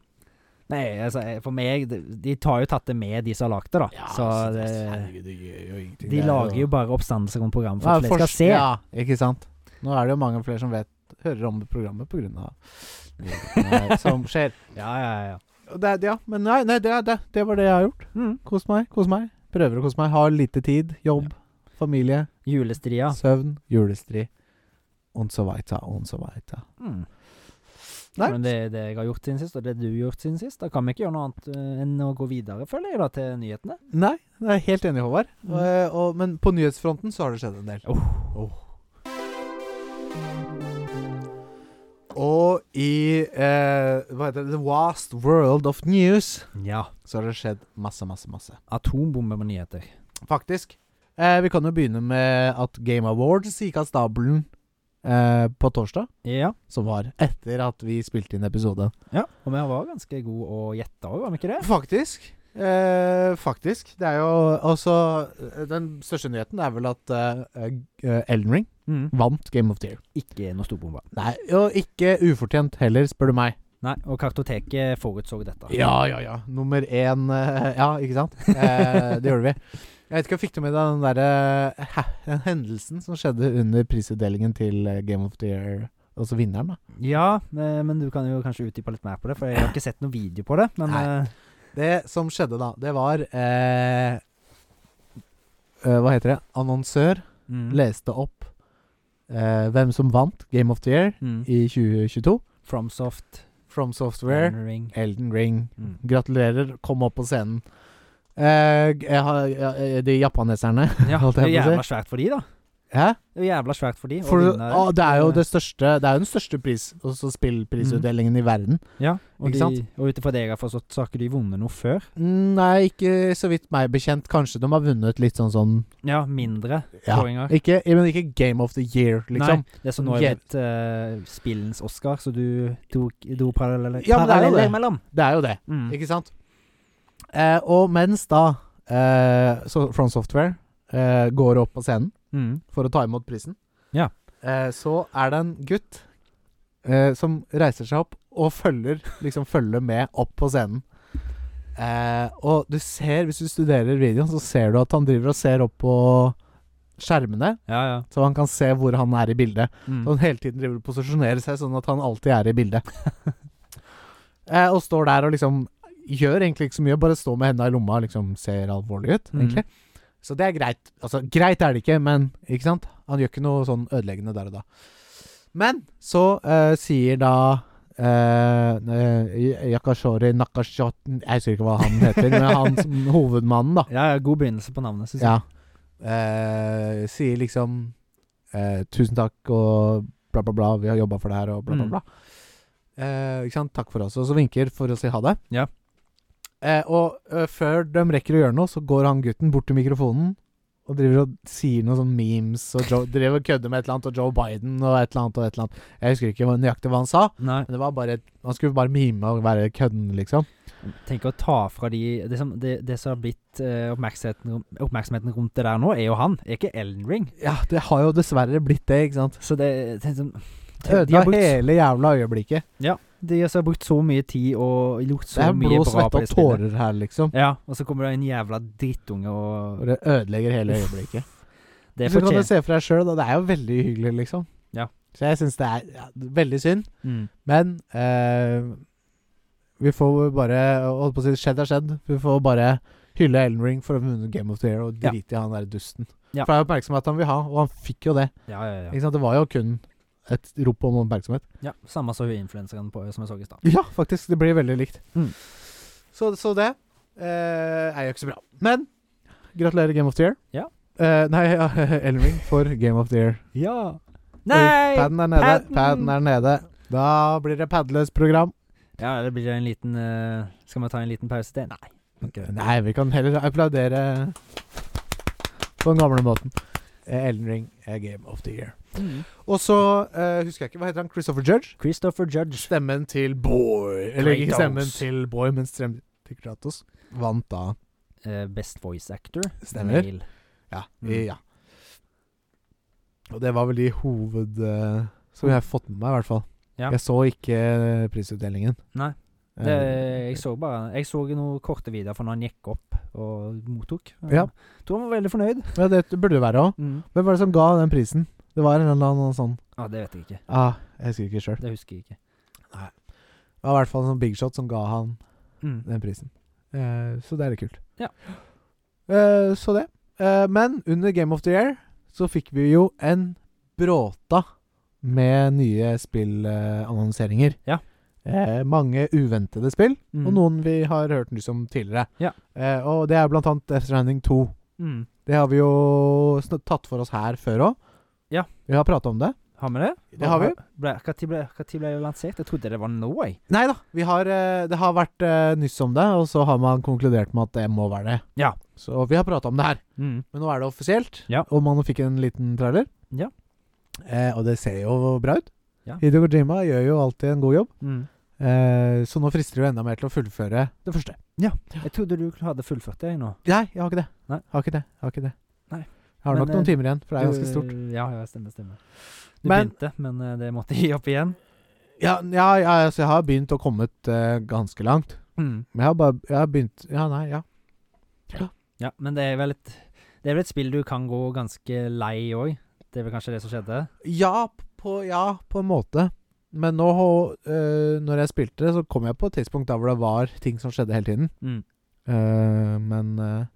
Nei, altså, jeg- for meg De de tar jo tatt det med, de som har lagd det, da. så det,
herregud, altså, det gjør jo ingenting.
de
Det er
lager jo bare oppstandelser om programmet for
Ja,
at flere skal
forst-
se.
Ja, ikke sant. Nå er det jo mange flere som vet, hører om programmet på grunn av det som skjer.
Ja, ja, ja.
Og Det, er- ja, men nei, nei det, er det, det var det jeg har gjort.
Mm.
Kos meg, kos meg. Prøver å kose meg. Har lite tid. Jobb, familie,
Julestria.
søvn, julestri. Und so weiter, und so weiter.
Mm.
Nei.
Men det, det jeg har gjort siden sist, og det du har gjort siden sist, da kan vi ikke gjøre noe annet eh, enn å gå videre, føler jeg, da, til nyhetene.
Nei, jeg er helt enig, Håvard.
Mm.
Og, og, men på nyhetsfronten så har det skjedd en del.
Oh.
Oh. Og i eh, hva heter det, The Vast World of News
Ja.
så har det skjedd masse, masse, masse.
Atombomber med nyheter.
Faktisk. Eh, vi kan jo begynne med at Game Awards gikk av stabelen eh, på torsdag.
Ja.
Som var etter at vi spilte inn episode.
ja. Og vi var ganske gode å gjette òg, var vi ikke det?
Faktisk. Eh, faktisk. Det er jo også eh, Den største nyheten er vel at eh, eh, Elden Ring
Mm.
vant Game of the Year.
Ikke noe storbombe.
Nei, og ikke ufortjent heller, spør du meg.
Nei, og kartoteket forutså dette.
Ja, ja, ja. Nummer én eh, Ja, ikke sant? Eh, det gjorde vi. Jeg vet ikke om fikk du med deg den derre eh, den hendelsen som skjedde under prisutdelingen til eh, Game of the Year, altså vinneren, da.
Ja, eh, men du kan jo kanskje utdype litt mer på det, for jeg har ikke sett noen video på det. Men
Nei.
eh,
Det som skjedde da, det var eh, eh, Hva heter det? Annonsør
mm.
leste opp eh, hvem som vant Game of the Year
Mm.
i 2022.
Fromsoft,
From Software,
Elden Ring
Elden Ring.
mm.
Gratulerer, kom opp på scenen. Eh, jeg har, jeg- de japaneserne
Ja,
holdt
det er
jeg på å
jævla svært for de, da.
Hæ?
Det er jævla svært for de. å
For
vinne-
å, det er jo det største Det er jo den største pris også spillprisutdelingen i verden.
Ja, og,
Ikke
de-
sant?
og ut ifra det jeg har forstått, så har ikke de vunnet noe før.
Mm, Nei, ikke så vidt meg bekjent. Kanskje de har vunnet litt sånn sånn
Ja, mindre
Ja.
skåringer.
Ikke, men ikke Game of the Year, liksom.
Nei, det som nå er blitt eh, spillens Oscar, så du tok dro parallelle-
Ja, men det er jo
paralleller
det.
imellom.
Det er jo det,
Mm.
ikke sant? Eh, og mens da eh, så Front Software eh, går opp på scenen
Mm.
for å ta imot prisen,
Ja.
eh, så er det en gutt eh, som reiser seg opp og følger, liksom følger med opp på scenen. Eh, og du ser, hvis du studerer videoen, så ser du at han driver og ser opp på skjermene,
Ja, ja.
så han kan se hvor han er i bildet. Så han
Mm.
Sånn hele tiden driver og posisjonerer seg sånn at han alltid er i bildet. eh, og står der og liksom gjør egentlig ikke så mye, bare står med hendene i lomma og liksom ser alvorlig ut,
Mm.
egentlig. Så det er greit. Altså, greit er det ikke, men ikke sant? Han gjør ikke noe sånn ødeleggende der og da. Men så eh, sier da eh, eh, Yakashori Nakashot Jeg husker ikke hva han heter, men han som hovedmannen, da.
ja, ja, god begynnelse på navnet, syns jeg.
Ja. Eh, sier liksom eh, 'Tusen takk og bla, bla, bla. Vi har jobba for det her, og bla, bla,
Mm.
bla'. Eh, ikke sant? Takk for oss. Og så vinker for å si ha det.
Ja.
Eh, og eh, før de rekker å gjøre noe, så går han gutten bort til mikrofonen og driver og sier noen sånn memes og Joe, driver og kødder med et eller annet, og Joe Biden og et eller annet og et eller annet. Jeg husker ikke hva- nøyaktig hva han sa,
Nei,
men det var bare han skulle bare mime og være kødden, liksom.
tenk å ta fra de Det som, det, det som har blitt eh, oppmerksomheten, oppmerksomheten rundt det der nå, er jo han, er ikke Ellen Ring.
Ja, det har jo dessverre blitt det, ikke sant.
Så det, det er sånn- de
Ødela
har brukt,
hele jævla øyeblikket.
de som har brukt så mye tid og gjort
Det
så
er
mye
blod,
bra
svette
på
og
det spillet.
tårer her, liksom.
Ja, og så kommer det en jævla drittunge og
Og det ødelegger hele
Uff,
øyeblikket.
Det
så kan du
fortjener
se for deg sjøl, da. Det er jo veldig hyggelig, liksom.
Ja.
Så jeg syns det er ja, veldig synd.
mm.
Men eh, vi får bare Holdt på å si skjedd er skjedd. Vi får bare hylle Ellen Ring for å ha vunnet Game of the Year og
Ja.
drite i han der dusten.
Ja.
For det er jo oppmerksomhet han vil ha, og han fikk jo det.
Ja, ja, ja.
Ikke sant? Det var jo kun et rop om oppmerksomhet.
ja samme som hun influenseren på- som jeg så i stad.
Ja, faktisk. Det blir veldig likt.
Mm.
Så, så det eh, er jo ikke så bra. Men gratulerer Game of the Year.
Ja.
Eh, nei, ja, Elden Ring for Game of the Year.
Ja.
Oi,
Nei!
Padden er nede.
padden!
Padden er nede. Da blir det padløst program.
Ja, det blir en liten eh, Skal vi ta en liten pause til? Nei. Ok.
Nei, vi kan heller applaudere på den gamle måten. Eh, Elden Ring er Game of the Year. Og så eh, husker jeg ikke Hva heter han? Christopher Judge?
Christopher Judge.
Stemmen til Boy Eller ikke
Kratos.
stemmen til Boy, men stemmen til Kratos. Vant da
eh, best voice actor.
Stemmer.
Male.
Ja.
Mm.
i- ja. Og det var vel de hoved... eh, som jeg har fått med meg, i hvert fall.
Ja.
Jeg så ikke eh, prisutdelingen. Eh,
Nei. Det, jeg så bare Jeg så noen korte videoer fra når han gikk opp og mottok.
Ja. Mm.
Jeg tror han var veldig fornøyd.
Eh, ja, det burde det være òg. Hvem var det som ga den prisen? Det var en eller annen sånn
Ja, det vet jeg ikke.
ah, Jeg husker ikke sjøl.
Det husker jeg ikke.
Det var i hvert fall en sånn big shot som ga han
Mm.
den prisen. Eh, så det er litt kult.
Ja.
Eh, så det. Eh, men under Game of the Year så fikk vi jo en bråta med nye spillannonseringer.
Ja.
Eh, mange uventede spill,
Mm.
og noen vi har hørt nyss om tidligere.
Ja.
Eh, og det er blant annet Death Stranding 2.
mm.
Det har vi jo sn- tatt for oss her før òg.
Ja.
Vi har prata om det.
Har vi det?
Det har vi.
Ble, hva tid ble, hva tid ble det lansert? Jeg trodde det var nå, jeg.
Nei da, vi har, eh, det har vært eh, nyss om det, og så har man konkludert med at det må være det.
Ja.
Så vi har prata om det her,
Mm.
men nå er det offisielt.
Ja.
Og man fikk en liten trailer.
Ja.
Eh, og det ser jo bra ut.
Ja.
Hideo Kojima gjør jo alltid en god jobb,
Mm.
eh, så nå frister det jo enda mer til å fullføre det første.
Jeg trodde du hadde fullført det jeg, nå.
Nei, jeg har ikke det.
Nei.
Har ikke det. Har ikke det.
Nei.
Jeg har
Men,
nok
eh,
noen timer igjen, for det er ganske
Du-
stort.
Ja, ja, stemmer, stemmer. Du
Men-
begynte, men eh, det måtte jeg gi opp igjen.
Ja, ja, ja altså, jeg har begynt og kommet eh, ganske langt.
Mm.
Men jeg har bare jeg har begynt Ja, nei, ja.
Ja, men det er vel et Det er vel et spill du kan gå ganske lei òg. Det er vel kanskje det som skjedde?
Ja på, ja, på en måte. Men nå, eh, når jeg spilte det, så kom jeg på et tidspunkt der hvor det var ting som skjedde hele tiden.
Mm.
Eh, men eh,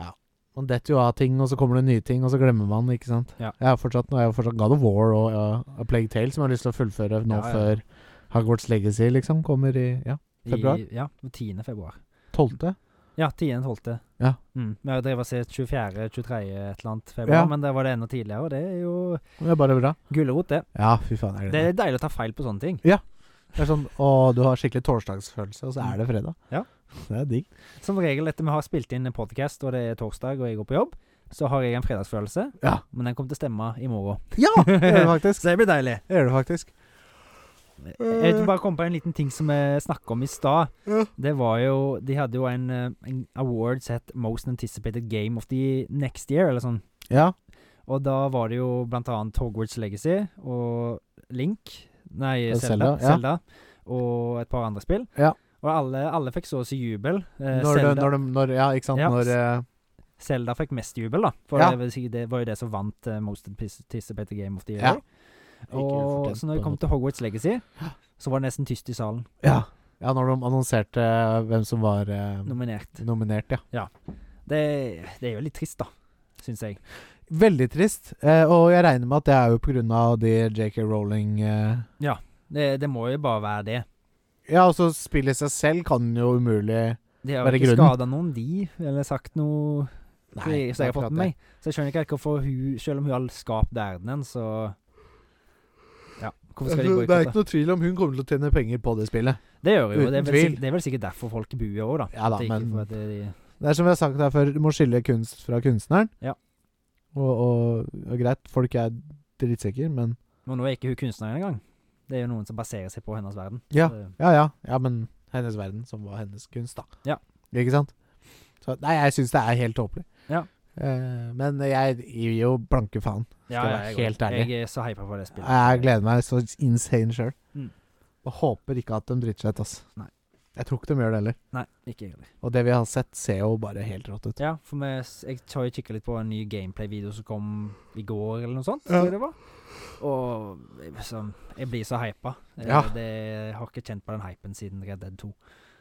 ja. Man detter jo av ting, og så kommer det nye ting, og så glemmer man, ikke sant.
Ja.
Jeg har fortsatt, nå er jeg jo fortsatt God of War og ja, A Plague Tale, som jeg har lyst til å fullføre nå
Ja, ja.
før Hogwarts Legacy liksom kommer i ja, Februar?
I, ja, 10. februar.
12.
Ja, 10.12.
Ja.
Mm. Vi har drevet og sett 24., 23. et eller annet februar,
Ja.
men der var det enda tidligere, og det er jo
Det er bare bra.
gulrot, det.
Ja, fy faen, jeg
Det
gleder meg.
er deilig å ta feil på sånne ting.
Det er sånn Å, du har skikkelig torsdagsfølelse, og så er det fredag.
Ja.
Det er digg.
Som regel etter vi har spilt inn en podkast, og det er torsdag, og jeg går på jobb, så har jeg en fredagsfølelse,
Ja.
men den kommer til å stemme i morgen.
Ja! Det gjør det faktisk.
Så det blir deilig.
Det gjør det faktisk.
Eh, Jeg vil bare komme på en liten ting som vi snakka om i stad.
Ja.
Det var jo De hadde jo en, eh, en award som het Most Anticipated Game of the Next Year, eller sånn.
Ja.
Og da var det jo blant annet Hogwarts Legacy og Link Nei,
Og
Zelda.
Eh, Zelda, ja.
Zelda og et par andre spill.
Ja.
Og alle, alle fikk så å si jubel. Eh,
Når,
Zelda,
det, når, de, når Ja, ikke sant.
Ja.
Når eh,
Zelda fikk mest jubel, da. For
Ja.
det, vil si, det var jo det som vant eh, Most Anticipated Game of the
Ja.
Year.
Ikke
Og
ufortjent,
så når
på en
vi kom
måte.
til Hogwarts Legacy, så var det nesten tyst i salen.
ja. ja, når de annonserte eh, hvem som var eh,
Nominert.
nominert, ja.
Det, det er jo litt trist, da. Syns jeg.
Veldig trist. eh, og jeg regner med at det er jo på grunn av de JK Rowling eh,
Det, det må jo bare være det.
Ja, altså spillet i seg selv kan jo umulig
De har
Var
jo
det
ikke
grunnen?
skada noen, de, eller sagt noe Så jeg, så jeg har fått med meg. Så jeg skjønner ikke helt hvorfor hun, selv om hun har skapt verdenen, så Ja, hvorfor skal de
Altså, det er ikke
boikotte?
noe tvil om hun kommer til å tjene penger på det spillet.
Det gjør hun jo. Det er,
Uten
vel
tvil.
sikkert, det er vel sikkert derfor folk buer òg, da.
Ja da,
At det ikke
men
får at det-
Det er som vi har sagt her før, du må skille kunst fra kunstneren.
Ja.
Og, og, og greit, folk er drittsekker, men
Og nå er ikke hun kunstner engang. Det er jo noen som baserer seg på hennes verden.
Ja.
Så-
Ja, ja. Ja, men hennes verden, som var hennes kunst, da.
Ja.
Ikke sant? Så, nei, jeg syns det er helt tåpelig.
Ja.
Eh, men jeg gir jo blanke faen.
ja,
jeg
ja,
være
jeg,
helt
går.
ærlig?
Jeg er så hypa på det spillet.
Jeg gleder meg så insane sjøl.
Mm.
Og håper ikke at de driter seg ut, ass.
Nei.
Jeg tror ikke de gjør det heller.
Nei, ikke jeg heller.
Og det vi har sett, ser jo bare helt rått ut.
Ja, for vi, s- jeg har jo kikka litt på en ny gameplay-video som kom i går, eller noe sånt.
Ja.
Tror jeg det var. Og jeg- liksom, jeg blir så hypa. Eh,
Ja.
Det, jeg har ikke kjent på den hypen siden Red Dead 2.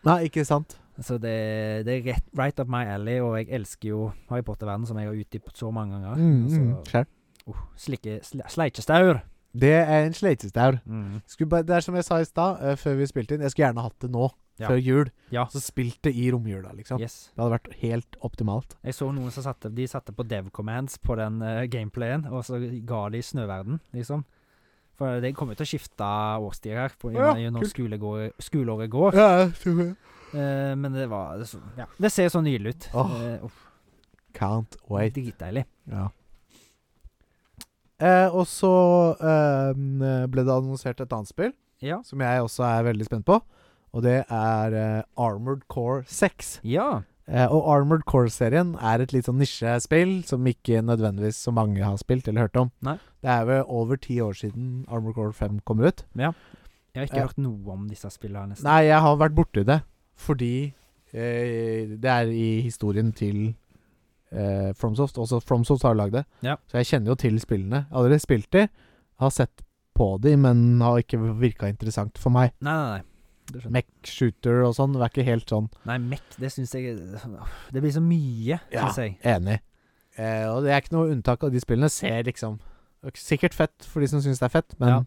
Nei, ikke sant?
Så det, det er rett, right up my alley, og jeg elsker jo Harry Potter-verden, som jeg har utdypet så mange ganger.
Mm, mm,
Altså,
skjær.
uh, slikke sl Mm, Sleikjestaur!
Det er en sleitestaur. Skulle bare- Det er som jeg sa i stad, eh, før vi spilte inn, jeg skulle gjerne hatt det nå,
Ja.
før jul.
Ja.
Så spilt det i romjula, liksom.
Yes.
Det hadde vært helt optimalt.
Jeg så noen som satte De satte på dev commands på den eh, gameplayen, og så ga de snøverden, liksom. For det kommer jo til å skifte årstider her, på,
Ja,
gjennom
kult.
skolegår, skoleåret går.
Ja, jeg tror det.
Eh, men det var det, så, ja. det ser så nydelig ut.
Åh,
Eh, uff,
Can't wait.
Dritdeilig.
Ja. Eh, og så eh, ble det annonsert et annet spill
Ja.
som jeg også er veldig spent på. Og det er eh, Armored Core 6.
ja.
Eh, og Armored Core-serien er et litt sånn nisjespill som ikke nødvendigvis så mange har spilt eller hørt om.
Nei.
Det er vel over ti år siden Armored Core 5 kommer ut.
Jeg har ikke
Eh.
hørt noe om disse spillene, nesten.
Nei, jeg har vært borti det fordi eh, det er i historien til eh, FromSoft. Også FromSoft har lagd det.
Ja.
Så jeg kjenner jo til spillene. Jeg har Allerede spilt de, har sett på de, men har ikke virka interessant for meg.
Nei, nei, nei. Du skjønner.
Mech Shooter og sånn, det er ikke helt sånn
Nei, Mac, det syns jeg Det blir så mye,
Ja.
syns jeg.
enig. Eh, og det er ikke noe unntak av de spillene. Ser liksom Sikkert fett for de som syns det er fett, men
Ja.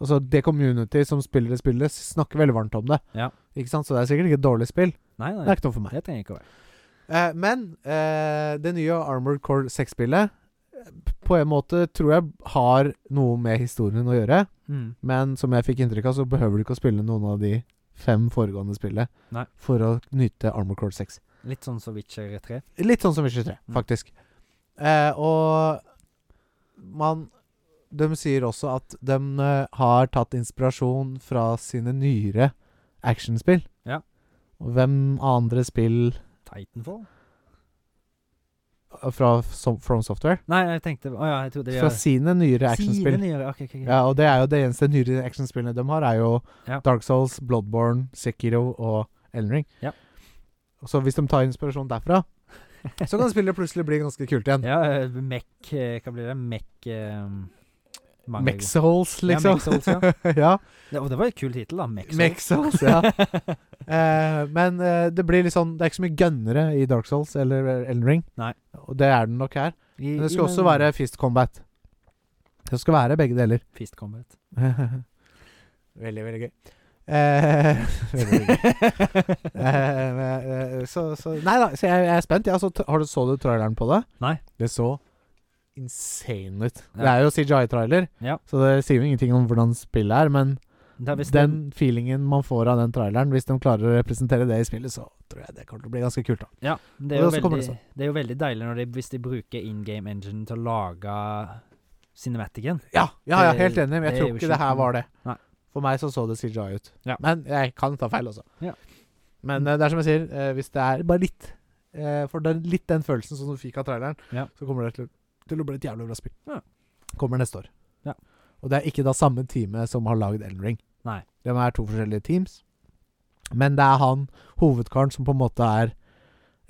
altså, det community som spiller det spillet, snakker veldig varmt om det.
Ja.
Ikke sant? Så det er sikkert ikke et dårlig spill.
Nei,
Det
nei,
er ikke noe for meg.
det trenger ikke å være.
Eh, men eh, det nye Armored Core 6-spillet på en måte tror jeg har noe med historien å gjøre.
Mm.
Men som jeg fikk inntrykk av, så behøver du ikke å spille noen av de fem foregående spillene
Nei.
for å nyte Armor Core 6.
Litt sånn som Witcher 3.
Litt sånn som Witcher 3,
Mm.
faktisk. Eh, og man De sier også at de eh, har tatt inspirasjon fra sine nyere actionspill.
Ja.
Og hvem andre spill
Titanfall?
eh, fra som, From Software?
Nei, jeg tenkte Å ja, jeg trodde de
Fra sine nyere
Sine
actionspill.
nyere, ok, ok, ok.
Ja, og det er jo det eneste nyere actionspillene de har, er jo
Ja.
Dark Souls, Bloodborne, Sekiro og Elden Ring.
Ja.
Så hvis de tar inspirasjon derfra, så kan spillet plutselig bli ganske kult igjen.
Ja, eh, Mech eh, Hva blir det? Mech eh, mangler jeg.
Mexholes,
Ja,
liksom.
Mech-Souls, ja.
ja.
Det, og det var et kult tittel, da. Mech-Souls.
Mexholes, ja. Eh, men eh, det blir litt sånn Det er ikke så mye gunnere i Dark Souls eller eh, Elden Ring.
Nei.
Og det er det nok her.
I-
Men det
i-
skal også være fist combat. Det skal være begge deler.
Fist Combat.
veldig, veldig gøy. Eh, veldig, veldig gøy. Eh, men, eh, så, så Nei da, så jeg, jeg er spent. Ja, så, t- har du, så du traileren på det?
Nei.
Det så insane ut.
Ja.
Det er jo CJI-trailer,
Ja.
så det sier jo ingenting om hvordan spillet er, men
Det er visst
den feelingen man får av den traileren, hvis de klarer å representere det i spillet, så tror jeg det kommer til å bli ganske kult. da
Ja, det er,
Og
jo
så kommer
veldig,
det
det, er jo veldig deilig når de, hvis de bruker in game engine til å lage cinematicen.
Ja, ja, ja
Det-
helt enig, men jeg
det er
tror
jo
ikke det her
sjukt.
var det.
Nei.
For meg så så det CJI ut.
Ja.
Men jeg kan ta feil, altså.
Ja.
Men eh, det er som jeg sier, eh, hvis det er bare litt eh, For den, litt den følelsen sånn som du fikk av traileren,
Ja.
så kommer det til, til å bli et jævlig bra spill.
Ja.
Kommer neste år.
Ja.
Og det er ikke da samme teamet som har lagd Elden Ring.
Nei.
De er to forskjellige teams. Men det er han hovedkaren som på en måte er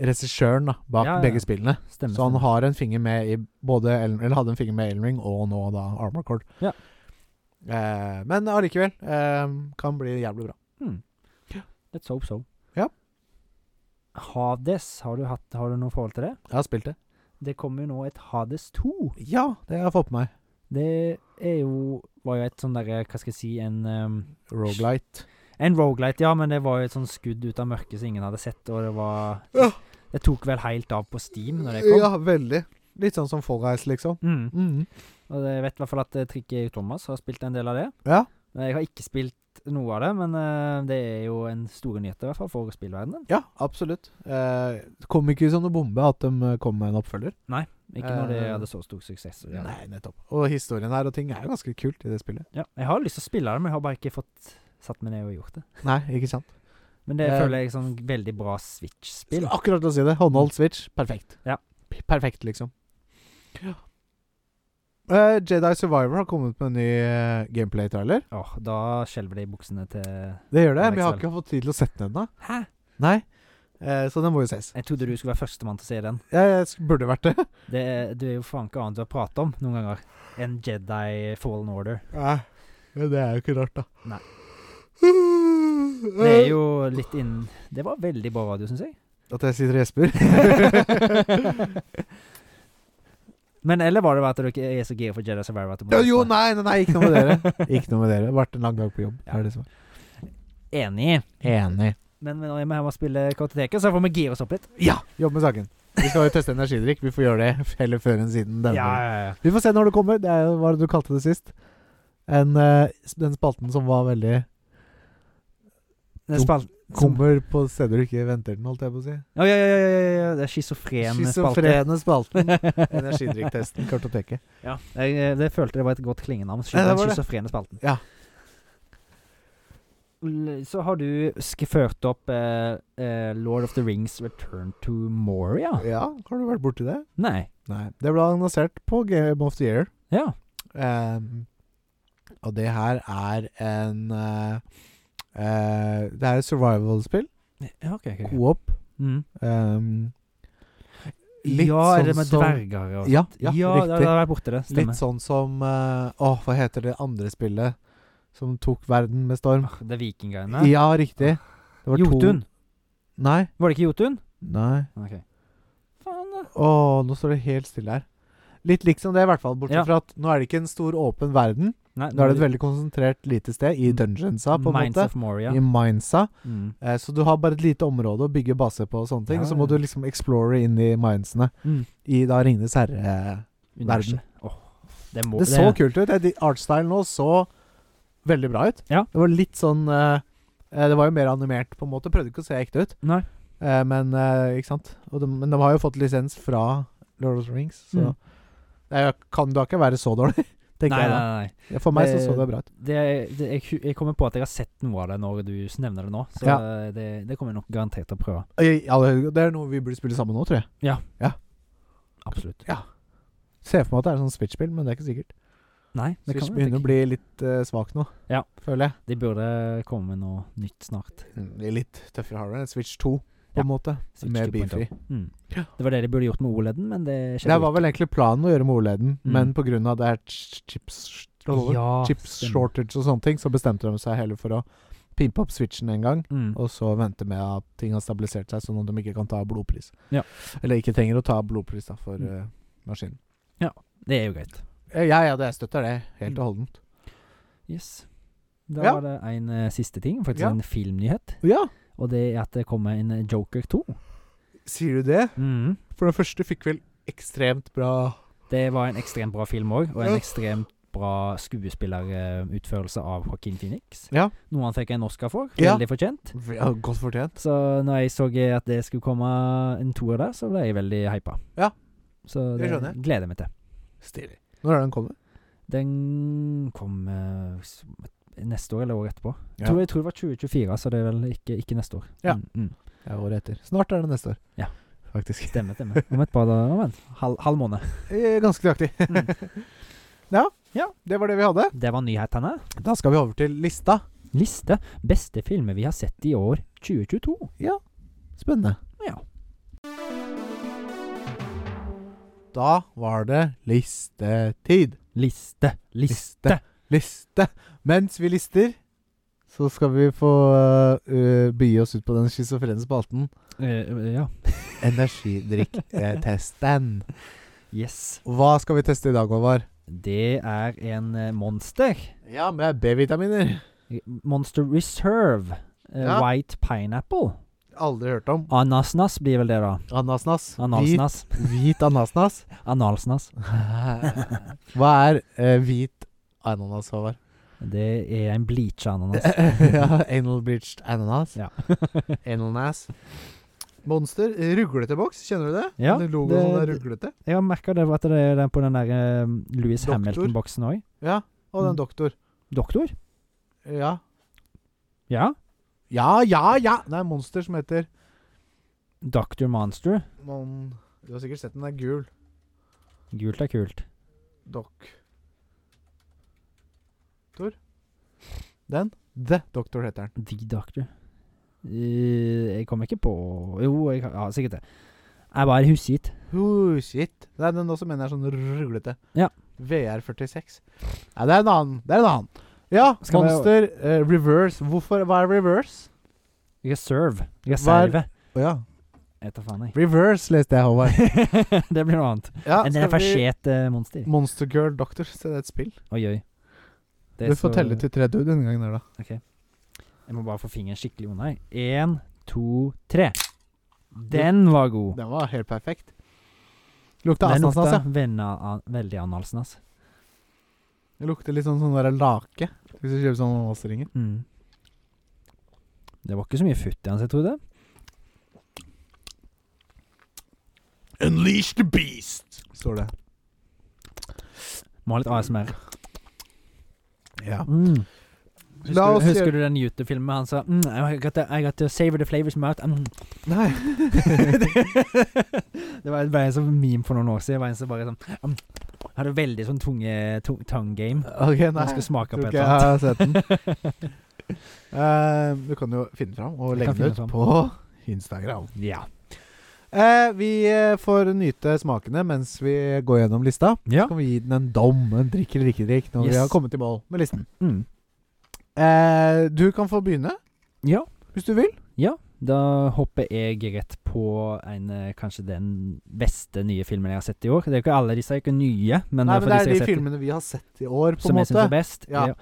regissøren da, bak
Ja, ja, ja.
begge spillene.
Stemmer. sånn.
Så han
stemmer.
har en finger med i både Ellen, Eller hadde en finger med i Elden Ring og nå da Armor Cord.
Ja.
Eh, men allikevel eh, kan bli jævlig bra.
Hmm. Let's hope so.
Ja.
Hades, har du, hatt, har du noe forhold til det?
Jeg har spilt det.
Det kommer jo nå et Hades 2.
Ja, det har jeg fått med meg.
Det er jo Var jo et sånn derre Hva skal jeg si En, um,
Roguelite.
en roguelite, ja, men det var jo et sånn skudd ut av mørket som ingen hadde sett, og det var
Ja.
Det tok vel helt av på Steam når det kom.
Ja, veldig. Litt sånn som Fall Guys, liksom.
Mm.
Mhm.
Og jeg vet i hvert fall at eh, Tricky Thomas har spilt en del av det.
Ja.
Men Jeg har ikke spilt noe av det, men eh, det er jo en store nyhet i hvert fall for spillverdenen.
ja, absolutt. Eh, det kom ikke som noe bombe at de eh, kom med en oppfølger.
Ikke når det
Eh,
hadde så stor suksess. som det hadde.
Nei, nettopp. Og historien her og ting er jo ganske kult i det spillet.
Ja, jeg har lyst til å spille det, men jeg har bare ikke fått satt meg ned og gjort det.
Nei, ikke sant?
Men det
Eh,
føler jeg er sånn veldig bra Switch-spill.
Skulle akkurat til å si det. Håndholdt switch. Perfekt.
Ja.
P- Perfekt, liksom. Eh, Jedi Survivor har kommet med en ny eh, gameplay-trailer.
Åh, da skjelver det i buksene til
Det gjør det.
Ja,
men jeg har
ikke
ikke fått tid til å sette den ennå.
Hæ?
Nei. Eh, så den må jo ses.
Jeg trodde du skulle være førstemann til å se den.
Jeg, jeg sk- burde vært det.
Det er, du er jo faen ikke annet du har pratet om noen ganger enn Jedi Fallen Order.
Nei. Men det er jo ikke rart, da.
Nei. Det
Det
er jo litt innen Det var veldig bra radio, syns jeg.
At jeg sitter og gjesper?
Men eller var det bare at du ikke er så gira for Jedi Survivor? At du må
Ja, jo,
teste?
nei, nei, nei, ikke noe med dere. Ikke noe med dere. Vært en lang dag på jobb.
Ja.
Er det som.
Enig.
Enig.
Men når jeg må hjem og spille kartoteket, så får vi gire oss opp litt.
Ja! Jobb med saken. Vi skal jo teste energidrikk. Vi får gjøre det heller før enn siden denne gangen.
ja,
Vi får se når det kommer. Det er jo hva var det du kalte det sist. En, eh, s- den spalten som var veldig
Det er spalt... Som,
Kommer på steder du ikke venter den, holdt jeg på å si.
Å, ja, ja, ja, ja, ja, ja, det er schizofren spalte.
Schizofrene spalten. Energidrikktesten, kartoteket.
Ja, jeg, eh, det følte det var et godt klingenavn.
Ja, det
Den
var det.
schizofrene spalten.
Ja.
L- Så har du sk- ført opp eh, eh, Lord of the Rings Return to Moria?
Ja, har du vært borti det?
Nei.
Nei. Det ble annonsert på Game of the Year.
Ja.
Ehm, og det her er en eh, eh, Det er et survival-spill.
ja ok, ok, ok.
Coop.
Mm.
Um,
ja, er
sånn
det med dverger og
Ja, ja,
Ja, ja da,
riktig.
da har jeg borte det. Stemmer.
Litt sånn som eh, Åh, hva heter det andre spillet som tok verden med storm?
Ah, Det er vikinggreiene.
sånn- Ja, riktig. Det var
Jotun.
to Nei.
Var det ikke Jotun?
Nei.
Ok. Faen, eh. da.
Åh, nå står det helt stille her. Litt liksom det, i hvert fall. Bortsett
Ja.
fra at nå er det ikke en stor, åpen verden.
Nei,
Nå er det et veldig konsentrert lite sted, i Dungeonsa, på en
Minds
måte.
of Moria.
I Mindsa.
Mm.
Eh, så du har bare et lite område å bygge base på og sånne ting.
Ja,
Så
ja.
må du liksom explore inn i Mindsene.
Mm.
I da Ringenes herre-universet.
universet. Åh, det, må,
Det så kult ut. Jeg- Artstylen nå så veldig bra ut.
Ja.
Det var litt sånn eh, eh, Det var jo mer animert, på en måte. Prøvde ikke å se ekte ut.
Nei.
Eh, men eh, ikke sant? Og de, men de har jo fått lisens fra Lord of the Rings, så
Mm.
det er jo- kan da ikke være så dårlig, tenker
Nei,
jeg
nei,
da.
nei.
Ja, For meg så
Det-
så det bra ut.
Det, det, jeg, hu- jeg kommer på at jeg har sett noe av det når du nevner det nå, så
Ja.
det, det kommer jeg nok garantert til å prøve.
I all høyde- Det er noe vi burde spille sammen nå, tror jeg.
Absolutt.
Ser for meg at det er sånn Switch-spill, men det er ikke sikkert.
Nei, det
Switch
kan vi
begynner å
ikke.
bli litt eh, svak nå,
Ja.
føler jeg. Mm,
De burde komme med noe nytt snart.
Det er litt tøffere hardware enn Switch 2, på
Ja.
en måte.
Switch
Mer
2.0.
bilfri.
Mm.
Ja.
Det var det de burde gjort med OLED-en, men det
Det
skjedde
var vel egentlig planen å gjøre med OLED-en,
Mm.
men pga. det her ch- chips,
ikke. Ja,
chips
stemmer.
shortage og sånne ting, så bestemte de seg heller for å pimpe opp switchen en gang,
Mm.
og så vente med at ting har stabilisert seg, sånn at de ikke kan ta blodpris.
Ja.
Eller ikke trenger å ta blodpris da, for
Mm.
eh, maskinen.
Det er jo greit.
Eh, Ja, ja, det, jeg støtter det
Mm.
helt og holdent.
Yes. Da
Ja.
var det en eh, siste ting, faktisk
Ja.
en filmnyhet.
Ja,
Og det er at det kommer en eh, Joker 2.
sier du det? For den første fikk vel ekstremt bra
Det var en ekstremt bra film òg, og en
Ja.
ekstremt bra skuespillerutførelse av Joaquin Phoenix.
Ja.
Noe han fikk en Oscar for.
Ja.
Veldig fortjent.
ja, Godt fortjent.
Så når jeg så at det skulle komme en toer der, så ble jeg veldig hypa.
Ja.
Så
Det
det,
skjønner jeg.
gleder jeg meg til.
Stilig. Når er det den kommer?
Den kom eh, s- neste år eller året etterpå.
Ja.
Jeg, tror, jeg tror det var 2024, så det er vel ikke, ikke neste år.
Ja.
Mm, mm.
Ja, året etter. Snart er det neste år.
Ja.
Faktisk.
Stemmer, stemmer. Om et par dager, om en halv, halv måned.
Eh, Ganske nøyaktig. ja,
Ja.
det var det vi hadde.
Det var nyhetene.
Da skal vi over til lista.
Liste beste filmer vi har sett i år 2022.
Spennende.
Ja.
Da var det listetid.
Liste, liste.
Liste. Mens vi lister, så skal vi få eh, begi oss ut på den schizofrene spalten
Eh, ja.
Energidrikk-testen.
Yes.
Hva skal vi teste i dag, Håvard?
Det er en eh, monster.
Ja, med B-vitaminer.
Monster Reserve. Eh,
Ja.
White Pineapple.
Aldri hørt om.
Anasnas blir vel det, da.
Anasnas. Hvit,
Analsnas.
hvit anasnas.
Analsnas.
Hva er eh, hvit ananas, Håvard?
Det er en bleacha ananas.
ja, anal bleached ananas.
Ja.
Analnas. Monster. eh, Ruglete boks, kjenner du det?
Ja,
Den
det-
Logoen er ruglete.
Jeg har merka det var at det er den på den der eh, Louis
Doktor.
Hamilton-boksen òg.
Ja, og
Mm.
den doktor.
Doktor?
Ja.
Ja.
Ja, ja, ja! Det er monster som heter
Doctor Monster.
Mon... Du har sikkert sett den, den er gul.
Gult er kult.
Dok... Tor. Den. The Doctor heter den.
The Doctor. Eh, jeg kommer ikke på Jo, jeg, ja, sikkert det. Jeg bare husker ikke.
Oh, shit. Nei, den også mener jeg er sånn ruglete.
Ja.
VR46. Nei, det er en annen. Det er en annen. Ja,
Skal vi-
Monster eh, Reverse. Hvorfor, hva er reverse?
Reserve. Reserve.
Å ja.
Etter faen, jeg.
Reverse leste jeg, Håvard.
det blir noe annet.
Ja,
En
skal vi-
reversert eh, monster.
Monster Girl Doctor. Se, det er et spill.
Oi, oi. Det er
Du får
så-
telle til tre du denne gangen. her, da.
Jeg må bare få fingeren skikkelig unna. jeg. En, to, tre. Den var god.
Den var helt perfekt. Lukta
Den
asnas,
lukta
ja.
venna, an, veldig analsen, altså.
Det lukter litt sånn, sånn der lake. Hvis du kjøper sånn ananasringer.
Mm. Det var ikke så mye futt i den, så jeg tror det.
Unleash the beast, står det.
Må ha litt ASMR.
Ja.
Mm.
La
Husker,
oss
du- husker
gjøre-
du den YouTube-filmen med han sa mm, I, got to, I got to savor the flavors in my mouth mm.
Nei.
Det var bare en sånn meme for noen år siden. Det var en som bare sånn mm, Hadde veldig sånn tunge, tung, tongue game.
Ok, nei.
Han skulle smake på
Tror
et
ikke
eller
jeg
annet.
har sett den. Eh, du kan jo finne fram og
Jeg
legge
kan
den ut
finne fram.
på Instagram.
Ja.
Eh, vi eh, får nyte smakene mens vi går gjennom lista.
ja.
Så kan vi gi den en dom, en drikk eller ikke drikk, når
Yes.
vi har kommet i mål med listen.
Mm.
Eh, du kan få begynne,
ja.
hvis du vil.
Da hopper jeg rett på en, eh, kanskje den beste nye filmen jeg har sett i år. Det er jo ikke alle disse er ikke nye, men, eh,
Nei,
for
men Det er
disse jeg
de
har sett i-
filmene vi har sett i år, på
som
en
jeg syns er
måte.
best.
Ja.
Ja.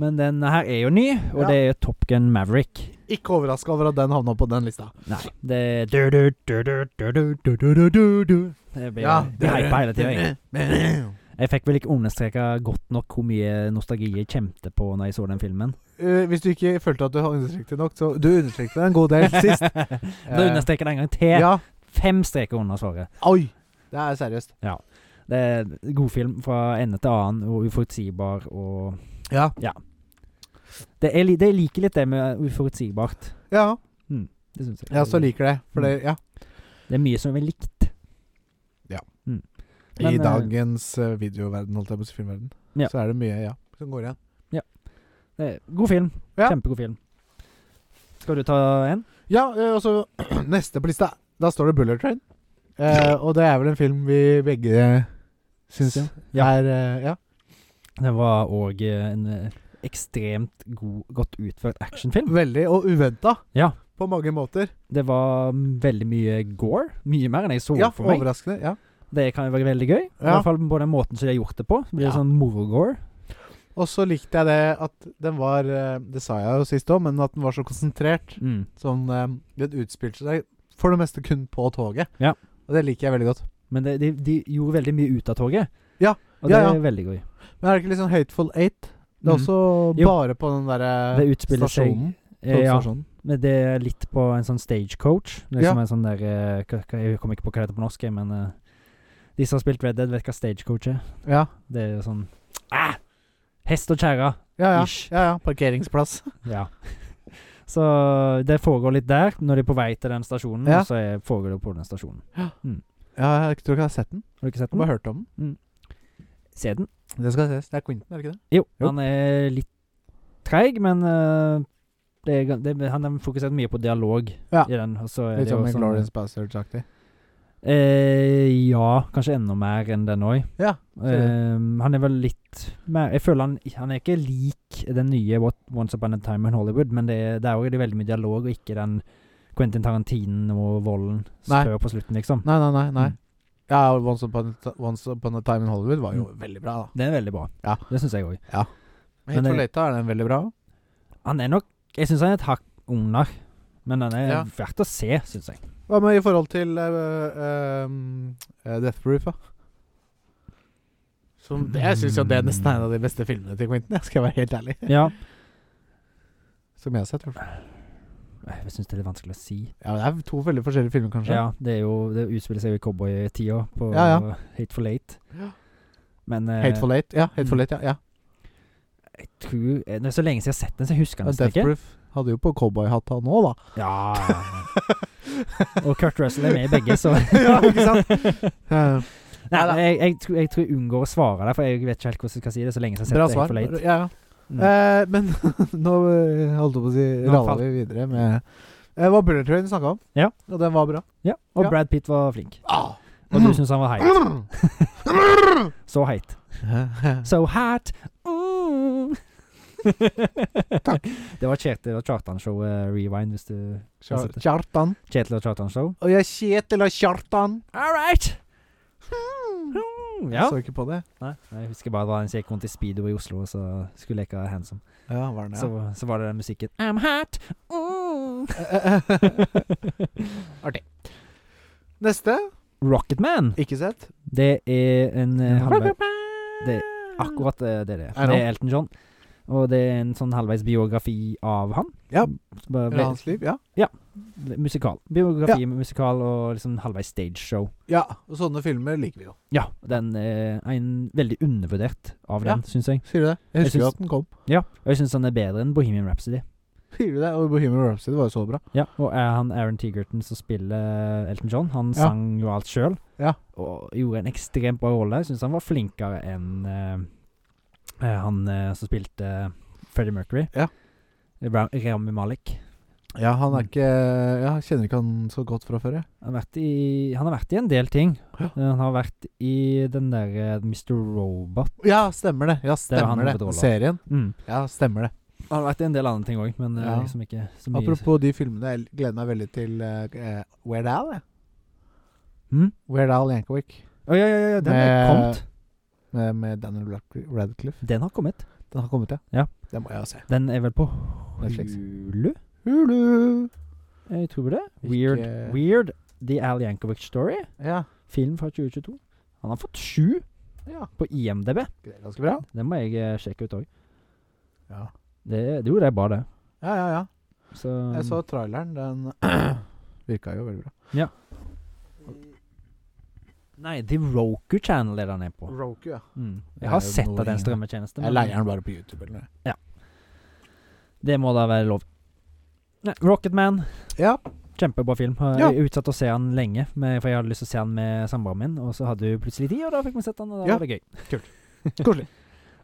Men denne her er jo ny, og
Ja.
det er Top Gun Maverick.
Ikke overraska over at den havna på den lista.
Nei. Det er du, du, du, du, du, du, du, du, du, du, du. Det blir blir hypa hele tida, jeg. Jeg fikk vel ikke understreka godt nok hvor mye nostalgi jeg kjente på når jeg så den filmen.
Eh, hvis du ikke følte at du har understreket det nok, så Du understreket det en god del sist.
Da understreker jeg det en gang til.
Ja.
Fem streker under svaret.
Oi! Det er seriøst.
Det er en god film fra ende til annen, og uforutsigbar og
Ja.
Det er, li- det liker litt det med uforutsigbart.
Ja,
Det synes jeg.
jeg også liker det. For det, ja.
Det er mye som er likt. Men,
I
eh,
dagens eh, videoverden, holdt jeg på å si, filmverden,
Ja.
så er det mye ja som går igjen.
Det er god film.
Ja.
Kjempegod film. Skal du ta en?
Ja, eh, og så neste på lista. Da står det Bullet Train. Eh, og det er vel en film vi begge syns
Syns, ja.
er eh, Ja.
Det var òg en eh, ekstremt god, godt utført actionfilm.
Veldig. Og uventa.
Ja.
På mange måter.
Det var mm, veldig mye gore. Mye mer enn jeg så
Ja,
for meg.
overraskende. Ja.
Det kan jo være veldig gøy. I
Ja.
hvert fall på den måten som de har gjort det på. Så blir det
Ja.
sånn moro-gore.
Og så likte jeg det at den var eh, Det sa jeg jo sist òg, men at den var så konsentrert.
Mm.
Sånn eh, Den utspilte seg for det meste kun på toget.
Ja.
Og det liker jeg veldig godt.
Men det, de, de gjorde veldig mye ut av toget.
Ja,
Og det
ja, ja.
er veldig gøy.
Men er det ikke litt sånn Hateful Eight? Det er
Mm.
også
Jo.
bare på den derre
Det utspiller seg-
stasjonen.
Eh, ja,
togstasjonen.
men det er litt på en sånn stagecoach. Liksom
sånn. Ja.
en sånn der eh, hva- hva- Jeg kommer ikke på hva det heter på norsk, jeg, men eh, de som har spilt Red Dead, vet hva stagecoach er.
Ja.
Det er jo sånn ah! Hest og kjerre.
Ja, ja.
Ish.
ja, ja. Parkeringsplass.
Ja. Så det foregår litt der, når de er på vei til den stasjonen.
Ja.
Så er- foregår det på den stasjonen.
Ja, jeg tror ikke jeg har sett den.
Har du ikke sett
Jeg har
den?
bare hørt om den.
Se den.
Det skal ses. Det er Quentin, er det ikke det?
Jo,
Jo.
han er litt treig, men eh, det er, gan- det, han har fokusert mye på dialog
Ja.
i den. Og så er
Litt
det jo
som en
sånn-
Glorious Bastards-aktig.
Eh, ja, kanskje enda mer enn den òg.
Ja.
han er vel litt mer Jeg føler han, han er ikke lik den nye What Once Upon a Time in Hollywood, men det, er- der òg er det veldig mye dialog, og ikke den Quentin Tarantinen og volden
Nei.
før på slutten, liksom.
Nei, nei, nei. nei.
Mm.
Ja, Once upon, a, Ti- Once upon a Time in Hollywood var jo
Mm.
veldig bra, da.
Det er veldig bra.
Ja.
Det syns jeg òg. Men
Helt for
det-
late er den veldig bra.
Han er nok Jeg syns han er et hakk under, men han er
Ja.
verdt å se, syns jeg.
Hva med i forhold til eh, ehm, eh, Death Proof, da? Som, det- jeg syns jo det er nesten en av de beste filmene til Quentin, jeg skal være helt ærlig.
Ja.
Som jeg har sett. i hvert fall.
Jeg syns det er litt vanskelig å si.
Ja, det er to veldig forskjellige filmer, kanskje.
Ja, det, er jo, det utspiller seg jo i cowboytida, på
Ja, ja.
Hateful Eight.
Ja.
Men eh,
Hateful Eight. Ja, Hateful
Mm.
Eight, ja. ja.
jeg tror eh, Det er så lenge siden jeg har sett den, så jeg husker den nesten
Death
ikke.
Proof hadde jo på cowboyhatta nå, da.
Ja. Og Kurt Russell er med i begge, så
ja, ikke sant? Eh,
Nei,
Neida.
jeg, jeg, tror, jeg tror jeg unngår å svare der, for jeg vet ikke helt hvordan jeg skal si det. Så lenge siden jeg
bra
har sett
svar.
Hateful Eight.
Ja, ja.
Mm.
Eh, men nå eh, holdt jeg på å si
Nå
Ralla
falt-
vi videre med eh, Hva Bullet Train snakka om,
Ja.
og den var bra.
Ja, og
ja.
Brad Pitt var flink.
Ah.
Og du syns han var heit. Så heit. So hot. Mm. Takk. Det var Kjetil og Kjartan-show eh, Rewind, hvis du
Kjar- Kjartan.
Kjetil og Kjartan-show.
Og jeg er Kjetil og Kjartan.
All right! Ja.
Hmm. Jeg så ikke på det.
Nei, Hmm, jeg husker bare det var en som gikk rundt i speedo i Oslo, og så skulle leke handsome.
Ja, var den, ja.
Så, så var det den musikken I'm hot! Mm.
Artig. Neste.
Rocketman!
Ikke sett.
Det er en eh, halvvei,
Det
det- Akkurat eh, det det er.
Er det
Det er Elton John. Og det er en sånn halvveis biografi av han.
Ja.
Så bare
Eller hans liv, ja.
ve- Musikal. Biografi, musikal og liksom halvveis stageshow.
Ja, og sånne filmer liker vi jo.
Ja, den eh, er en veldig undervurdert av
Ja.
den, syns jeg.
Sier du det? Jeg husker jo
syns-
at den kom.
Ja, og jeg syns den er bedre enn Bohemian Rhapsody.
Sier du det? Og Bohemian Rhapsody var jo så bra.
Ja, og er han Aaron Tigerton som spiller eh, Elton John? Han
Ja.
sang jo alt sjøl,
Ja.
og gjorde en ekstremt bra rolle. Jeg syns han var flinkere enn eh, eh, han eh, som spilte Freddie Mercury.
Ja.
Ra- Rami Malik.
Ja, han er
Mm.
ikke Ja, jeg kjenner ikke han så godt fra før, jeg.
Han har vært i, han har vært i en del ting.
Ja.
Eh, Han har vært i den der eh, Mr. Robot.
Ja, stemmer det. Ja,
er han
stemmer det.
hovedrollen.
Serien.
Mm.
Ja, stemmer det.
Han har vært i en del andre ting òg, men eh,
Ja.
liksom ikke så mye.
Apropos de filmene, jeg gleder meg veldig til uh, Weird Al. jeg.
Hm?
Weird Al Yankovic
Å, ja, ja, ja, ja, den er
Med-
kommet.
med, med Daniel Radcl- Radcliffe.
Den har kommet.
Den har kommet,
Ja.
Den må jeg jo se.
Den er vel på
Netflix.
Hulu?
Hulu.
Eh, Jeg tror det. Weird,
Ikke-
Weird The Al Yankovic Story.
Ja.
Film fra 2022. Han har fått sju
ja.
på IMDb.
Det er ganske bra.
Den må jeg eh, sjekke ut òg.
Ja.
Det, det- jo, det er bare det.
Ja, ja, ja.
Så
Jeg så traileren. Den virka jo veldig bra.
Nei, The Roku Channel er det han er på.
Roku, ja.
Mm.
Det
Jeg
er
har
jo
sett
noe
at det er en
ingen-
strømmetjeneste.
Jeg
men-
leier den bare på YouTube eller noe.
Det må da være lov. Nei, Rocketman.
Ja.
Kjempebra film. Har
Ja.
Jeg utsatt å se han lenge, med, for jeg hadde lyst til å se han med samboeren min. Og så hadde hun plutselig tid, og da fikk vi sett han, og da
Ja.
var det gøy.
Koselig.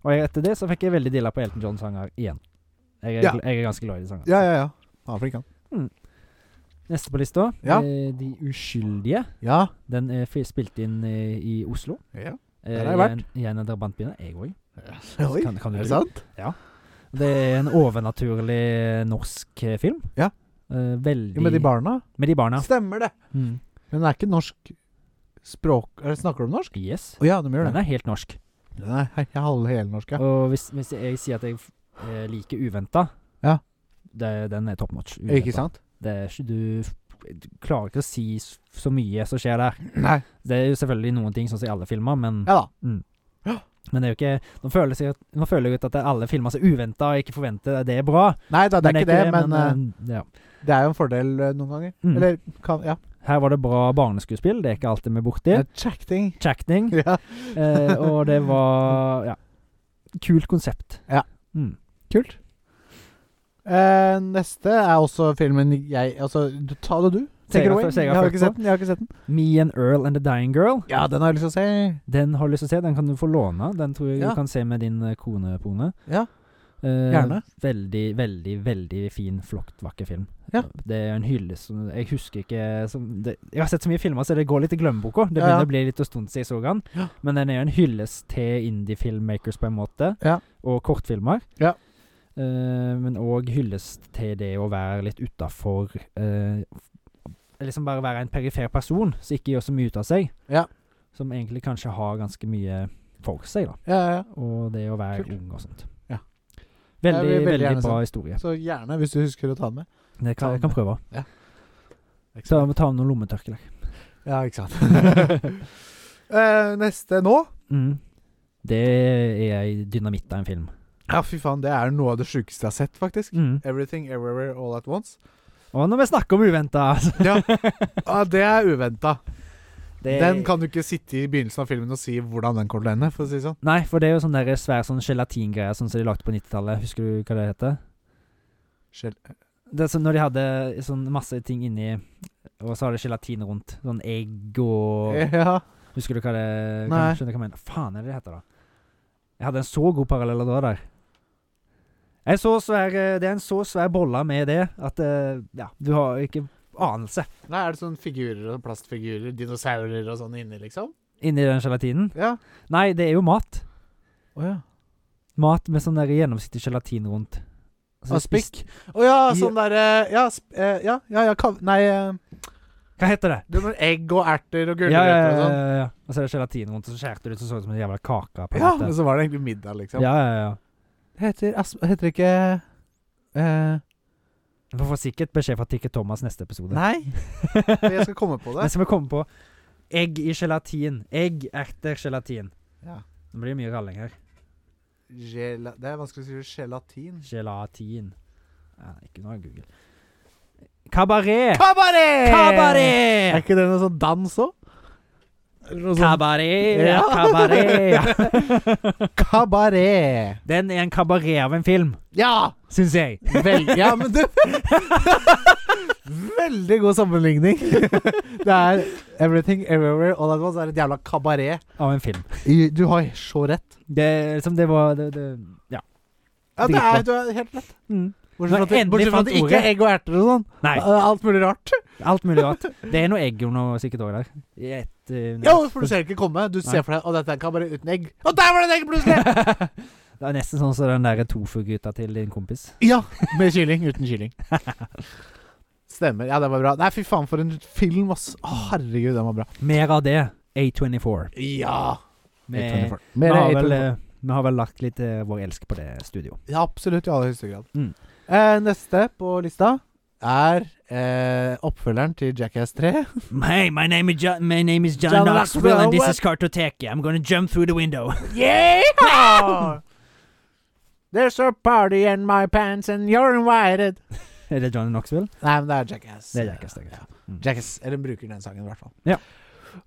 Og jeg- etter det så fikk jeg veldig dilla på Elton John-sanger igjen. Jeg er,
Ja.
gl- jeg er ganske glad i de sangene.
Ja, ja, ja. Han er flink, han.
Neste på lista,
Ja.
eh, De uskyldige.
Ja.
Den er fi- spilt inn eh, i Oslo.
ja. Der
Eh,
har jeg vært.
I en, i en av drabantbyene. Jeg òg.
Oi.
Kan- kan du
er det
tro?
sant?
Det er en overnaturlig norsk eh, film.
Ja.
Eh, veldig
Jo, med de barna?
Med de barna.
Stemmer det.
Mm.
Men den er ikke norsk språk... Eller snakker du om norsk?
Yes.
Å ja, de gjør
Den
det.
er helt norsk.
Den er he- halv helnorsk, ja.
Og hvis, hvis jeg sier at jeg eh, liker Uventa,
Ja.
det, den er top notch.
Ikke sant?
Det er ikke du f- Du klarer ikke å si s- så mye som skjer der.
Nei.
Det er jo selvfølgelig noen ting, sånn som i alle filmer, men,
Ja da.
men det er jo ikke Nå føler jeg, at- nå føler jeg ut at det er alle filmer som er uventa, og jeg ikke forventer det er bra.
Nei da, det er
Men
ikke det, men,
eh, ja.
eh, det er jo en fordel eh, noen ganger.
Mm.
Eller kan Ja.
Her var det bra barneskuespill, det er ikke alltid vi er
Det
borti.
er Check-ting.
Chacting.
Ja.
Eh, og det var Ja. Kult konsept.
Ja.
Mm.
Kult. Eh, neste er også filmen jeg Altså, du, ta det du.
Så jeg
Take it
har-
away.
så jeg
Jeg
har
har
følt
ikke
på.
sett den. Jeg har ikke sett den.
Me and Earl and the Dying Girl.
Ja, den har jeg lyst til å se.
Den har jeg lyst til å se. Den kan du få låne. Den tror jeg
Ja.
du kan se med din eh, kone, Pone.
Ja.
Eh,
Gjerne.
Veldig, veldig, veldig fin, flott, vakker film.
Ja.
Det er en hyllest som Jeg husker ikke som det, Jeg har sett så mye filmer, så det går litt i glemmeboka. Det
Ja, ja.
begynner å bli litt en stund siden jeg så den.
Ja.
Men den er en hyllest til indie-filmmakers, på en måte,
Ja.
og kortfilmer.
Ja.
Eh, men òg hyllest til det å være litt utafor eh, Liksom bare være en perifer person som ikke gjør så mye ut av seg som egentlig kanskje har ganske mye for seg, da.
Ja, ja, ja.
Og det å være
Kult.
ung og sånt.
Ja. Jeg
Veldig,
vil veldig
veldig
gjerne
bra historie.
Så gjerne, hvis du husker å ta den med. ta
Det kan, jeg kan prøve.
Ikke
Så
sant?
jeg må ta med noen lommetørklær.
Ja, ikke sant. Eh, neste nå
Mm. Det er ei dynamitt av en film.
Ja, fy faen, det er noe av det sjukeste jeg har sett, faktisk.
Mm.
Everything, Everywhere, All at Once.
Og når vi snakker om uventa altså.
Ja, ah, Det er uventa.
det,
Den kan du ikke sitte i begynnelsen av filmen og si hvordan den kommer til å ende. for å si det sånn.
Nei, for det er jo sånn der svær sånn gelatingreie sånn som de lagde på 90-tallet. Husker du hva det heter?
Skjell.
Det er sånn når de hadde sånn masse ting inni, og så har det gelatin rundt. Sånn egg og
Ja.
Husker du hva det
Nei.
kan, Skjønner du hva jeg mener? Faen er det det heter, da? Jeg hadde en så god parallell å dra der. En så svær, eh, det er en så svær bolle med det at eh, Ja, du har ikke anelse
Nei, Er det sånn figurer og plastfigurer, dinosaurer og sånn inni, liksom?
inni den gelatinen.
Ja.
Nei, det er jo mat.
Å ja.
Mat med sånn der gjennomsiktig gelatin rundt.
Og
du spis-
Å ja, sånn derre ja, sp- eh, ja, ja, ja, kav... Nei, eh,
Hva heter det?
det er noen egg og erter og
Ja,
gulrøtter
ja, ja,
og sånn.
ja, ja. Og så er det gelatin rundt, og så skjærte du ut, så så det ut som en jævla kake. på en
Ja,
måte.
men så var det egentlig middag, liksom.
ja, ja, ja.
Heter, as- heter ikke eh,
Du får sikkert beskjed fra Tikke Thomas neste episode.
Nei, men jeg skal komme på det.
Men skal vi komme på egg i gelatin. Egg, erter, gelatin.
Ja.
Det blir mye ralling her.
Gela, det er vanskelig å si gelatin.
Gelatin. Ja, ikke noe Google. Kabaret!
Kabaret! Er
Kabaret!
ikke det noe sånn dans òg? sånn
Kabaret! sånn- Ja,
Ja.
kabaret!
Kabaret.
Den er en kabaret av en film,
Ja!
syns jeg.
Vel, ja, men du Veldig god sammenligning. det er Everything Everywhere All At Once er et jævla kabaret.
Av en film.
I- Du har så rett.
Det er liksom Det var det, det, Ja.
Ja, det er, du har helt rett.
Mm.
Bortsett fra at det,
endelig
bortsett fra at det
fant
ikke er
ordet.
egg og erter og sånn.
Nei.
Alt mulig rart.
Alt mulig rart. Det er noe egg og noe sikkert òg der. I et, eh,
Ja, for du ser ikke komme. Du
Nei.
ser for deg Å, dette er en kabaret uten egg. Og der var det et egg plutselig!
Det er nesten sånn som den der tofu-gryta til din kompis.
Ja, med kylling. Uten kylling. Stemmer. Ja, det var bra. Nei, fy faen, for en film, ass. Å, herregud, den var bra.
Mer av det. A24.
Ja!
Med, vi,
Mer
har
824.
vel, eh, vi har vel lagt litt eh, vår elsk på det studio.
Ja, absolutt. I aller høyeste grad.
Mm.
Eh, neste på lista er eh, oppfølgeren til Jackass 3.
Hey, my name is John, my name is John,
John
Knoxville,
Knoxville,
and this
what-
is Kartoteket. I'm gonna jump through the window.
Yeah! There's a party in my pants and you're invited.
er det John Knoxville?
Nei, men det er Jackass.
Det er Jackass, det er
Ja.
Jackass. Mm.
Jackass, eller bruker den sangen i hvert fall.
Ja.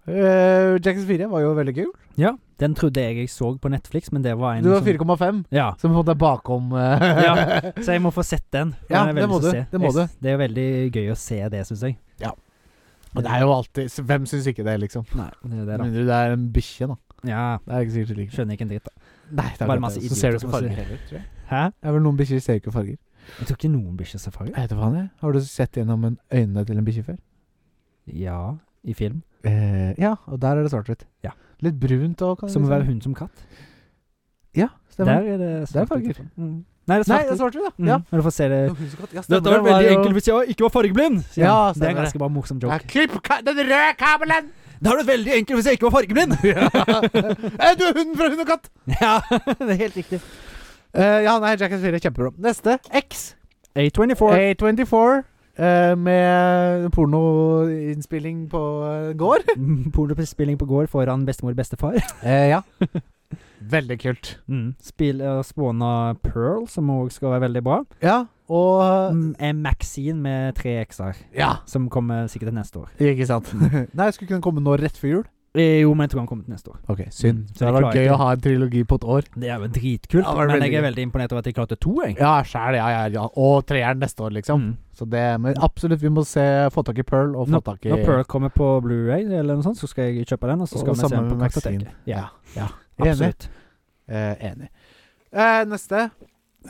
Eh, Jackass 4 var jo veldig kul.
Ja, den trodde jeg jeg så på Netflix, men det var en
Du var
som-
4,5,
Ja,
som på en måte er bakom eh,
Ja. så jeg må få sett den. Den
Ja,
har jeg veldig
det må
lyst til å
du,
se.
det må
Jeg- Det er jo veldig gøy å se det, syns jeg.
Og det er jo alltid så Hvem syns ikke det, liksom?
Nei, det er
Med
det da.
mindre det er en bikkje, da.
Ja,
Det er ikke sikkert du liker.
skjønner ikke en dritt, da.
Nei, det er
Bare
akkurat
masse
det.
idioter
Så ser du
som
ikke
også-
farger heller, tror jeg.
Hæ?
Det er vel noen bikkjer ser jo ikke farger.
Jeg tror ikke noen bikkjesafari.
Jeg vet da faen, jeg. Har du sett gjennom en øynene til en bikkje før?
Ja, i film.
Eh, ja, og der er det svart-hvitt.
Ja.
Litt brunt òg, kan
Som å
du si.
være hund som katt.
Ja,
Der
stemmer.
er det
Det er
svart-hvitt.
farger.
Mm. Nei, det er
Nei, det
svart.
er svart-hvitt, da.
Mm.
Ja.
Men du får se det
Ja,
Dette hadde vært veldig enkelt hvis jeg ikke var fargeblind! sier
Ja,
han. det er en
stemmer
ganske bare morsom joke.
Klipp ka- den røde kabelen!
Det hadde vært veldig enkelt hvis jeg ikke var fargeblind!
Eh, du er hunden fra Hund og katt!
ja, det er helt riktig.
Eh, ja, nei, Jackass 4 er kjempebra. Neste, X.
A24.
A24. eh, med pornoinnspilling på eh, gård.
Pornospilling på gård foran bestemor og bestefar.
Eh, ja. Veldig kult.
Mm. Spill og spåna Pearl, som òg skal være veldig bra.
Ja, og
Mm, en Maxine med tre x-er,
Ja,
som kommer sikkert til neste år.
ikke sant. nei, skulle ikke den komme nå rett før jul? Mm,
Eh, Jo, men jeg tror han kommer til neste år.
Ok, synd. Det
Så vi
hadde vært
klarer
gøy
ikke-
å ha en trilogi på et år.
Det er jo dritkult,
Ja, det var
men
veldig
jeg er
gøy.
veldig imponert over at de klarte to, jeg.
Ja, sjæl, ja, ja, ja. Og treeren neste år, liksom.
Mm.
Så det, men absolutt, vi må se, få tak i Pearl og få tak i
Når Pearl kommer på Blu-ray eller noe sånt, så skal jeg kjøpe den, og så skal
Og
vi se
sammen
den på
med Maxine.
kartoteket. Ja,
Enig.
absolutt.
Eh, enig. Eh, neste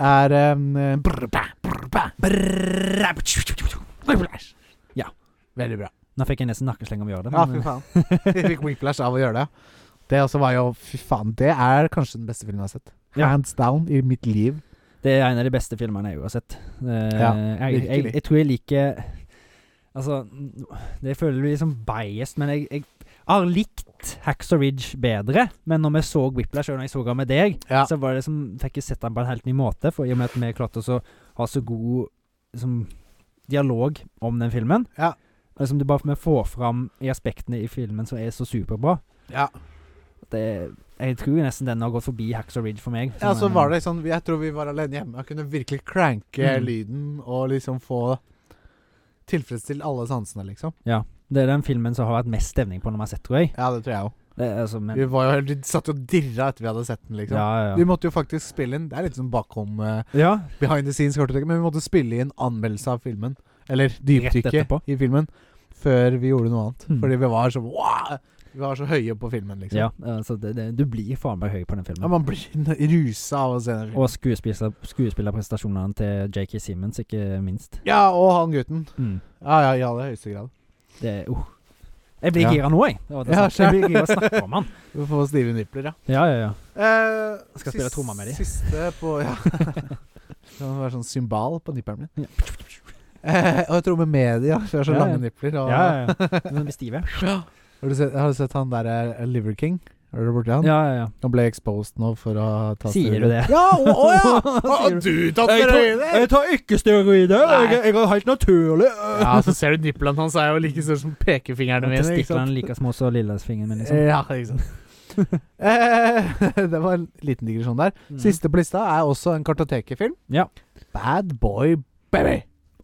er eh, brr, bæ, brr, bæ, Whiplash.
Ja.
Veldig bra.
Nå fikk jeg nesten nakkeslenger om å gjøre det.
Ja, fy
men- eh,
faen. Jeg fikk whiplash av å gjøre det. Det også var jo Fy faen, det er kanskje den beste filmen jeg har sett.
Ja.
Hands down i mitt liv.
Det er en av de beste filmene jeg har sett. Eh,
Ja,
jeg, jeg,
virkelig.
jeg tror jeg liker Altså, det føler jeg blir liksom biased, men jeg, jeg har likt Hacks og Ridge bedre. Men når vi så Whiplash, og når jeg så den med deg,
Ja.
så var det liksom, fikk jeg sett den på en helt ny måte. For i og med at vi klarte også å ha så god liksom, dialog om den filmen.
Ja.
Og Liksom det bare Vi får fram i aspektene i filmen som er så superbra.
Ja.
Det, eh, jeg tror nesten den har gått forbi Hacks og Ridge for meg.
ja, så var det sånn Jeg tror vi var alene hjemme. Jeg kunne virkelig cranke
Mm.
lyden og liksom få tilfredsstilt alle sansene, liksom.
Det er den filmen som har vært mest stemning på når man har sett, tror jeg.
Ja, det tror jeg òg.
Det er, altså, men,
Vi var jo helt, vi satt jo og dirra etter vi hadde sett den, liksom.
ja,
Vi
ja.
måtte jo faktisk spille inn Det er litt sånn bakom eh,
ja.
behind the scenes, kartoteket, men vi måtte spille inn anmeldelse av filmen. Eller dypdykket
etterpå.
i filmen. Før vi gjorde noe annet.
Mm.
Fordi vi var så wow, Vi var så høye på filmen, liksom.
ja altså, det, det, du blir faen meg høy på den
Ja,
filmen.
Man blir rusa av å se den. filmen.
Og skuespiller, skuespillerprestasjonene til JK Simmons, ikke minst.
Ja, og han gutten.
Mm.
Ja, ja, i aller høyeste grad.
Det er uh. Jeg blir
Ja.
gira nå, jeg. Det var det
Ja,
jeg sa. jeg blir gira å snakke om han.
Vi får stive nipler, ja.
Ja, ja, ja.
Eh,
Skal spille tromma med de.
Siste på Ja. det må være sånn symbal på nippelen min.
Ja.
Eh, og jeg tror med media, for jeg har så
Ja, ja.
lange nipler. Og,
ja, ja, ja. Men blir stive.
Har, du sett, har du sett han der eh, Liver King? Har du borti han?
Ja, ja, ja.
Han ble exposed nå for å ta
Sier
steroider.
du det?
Ja! Å, å ja! Har
Sier
du tatt
Jeg tar,
steroider?
jeg tar ikke steroider.
Nei.
Jeg, jeg er helt naturlig.
Ja, så ser du nipplene hans er jo like store som pekefingrene mine. Ikke
Testiklene
sant?
like små som lillesfingeren min, liksom.
Ja, ikke sant. Eh, det var en liten digresjon der.
Mm.
Siste på lista er også en kartotekefilm.
Ja.
Bad Boy Baby.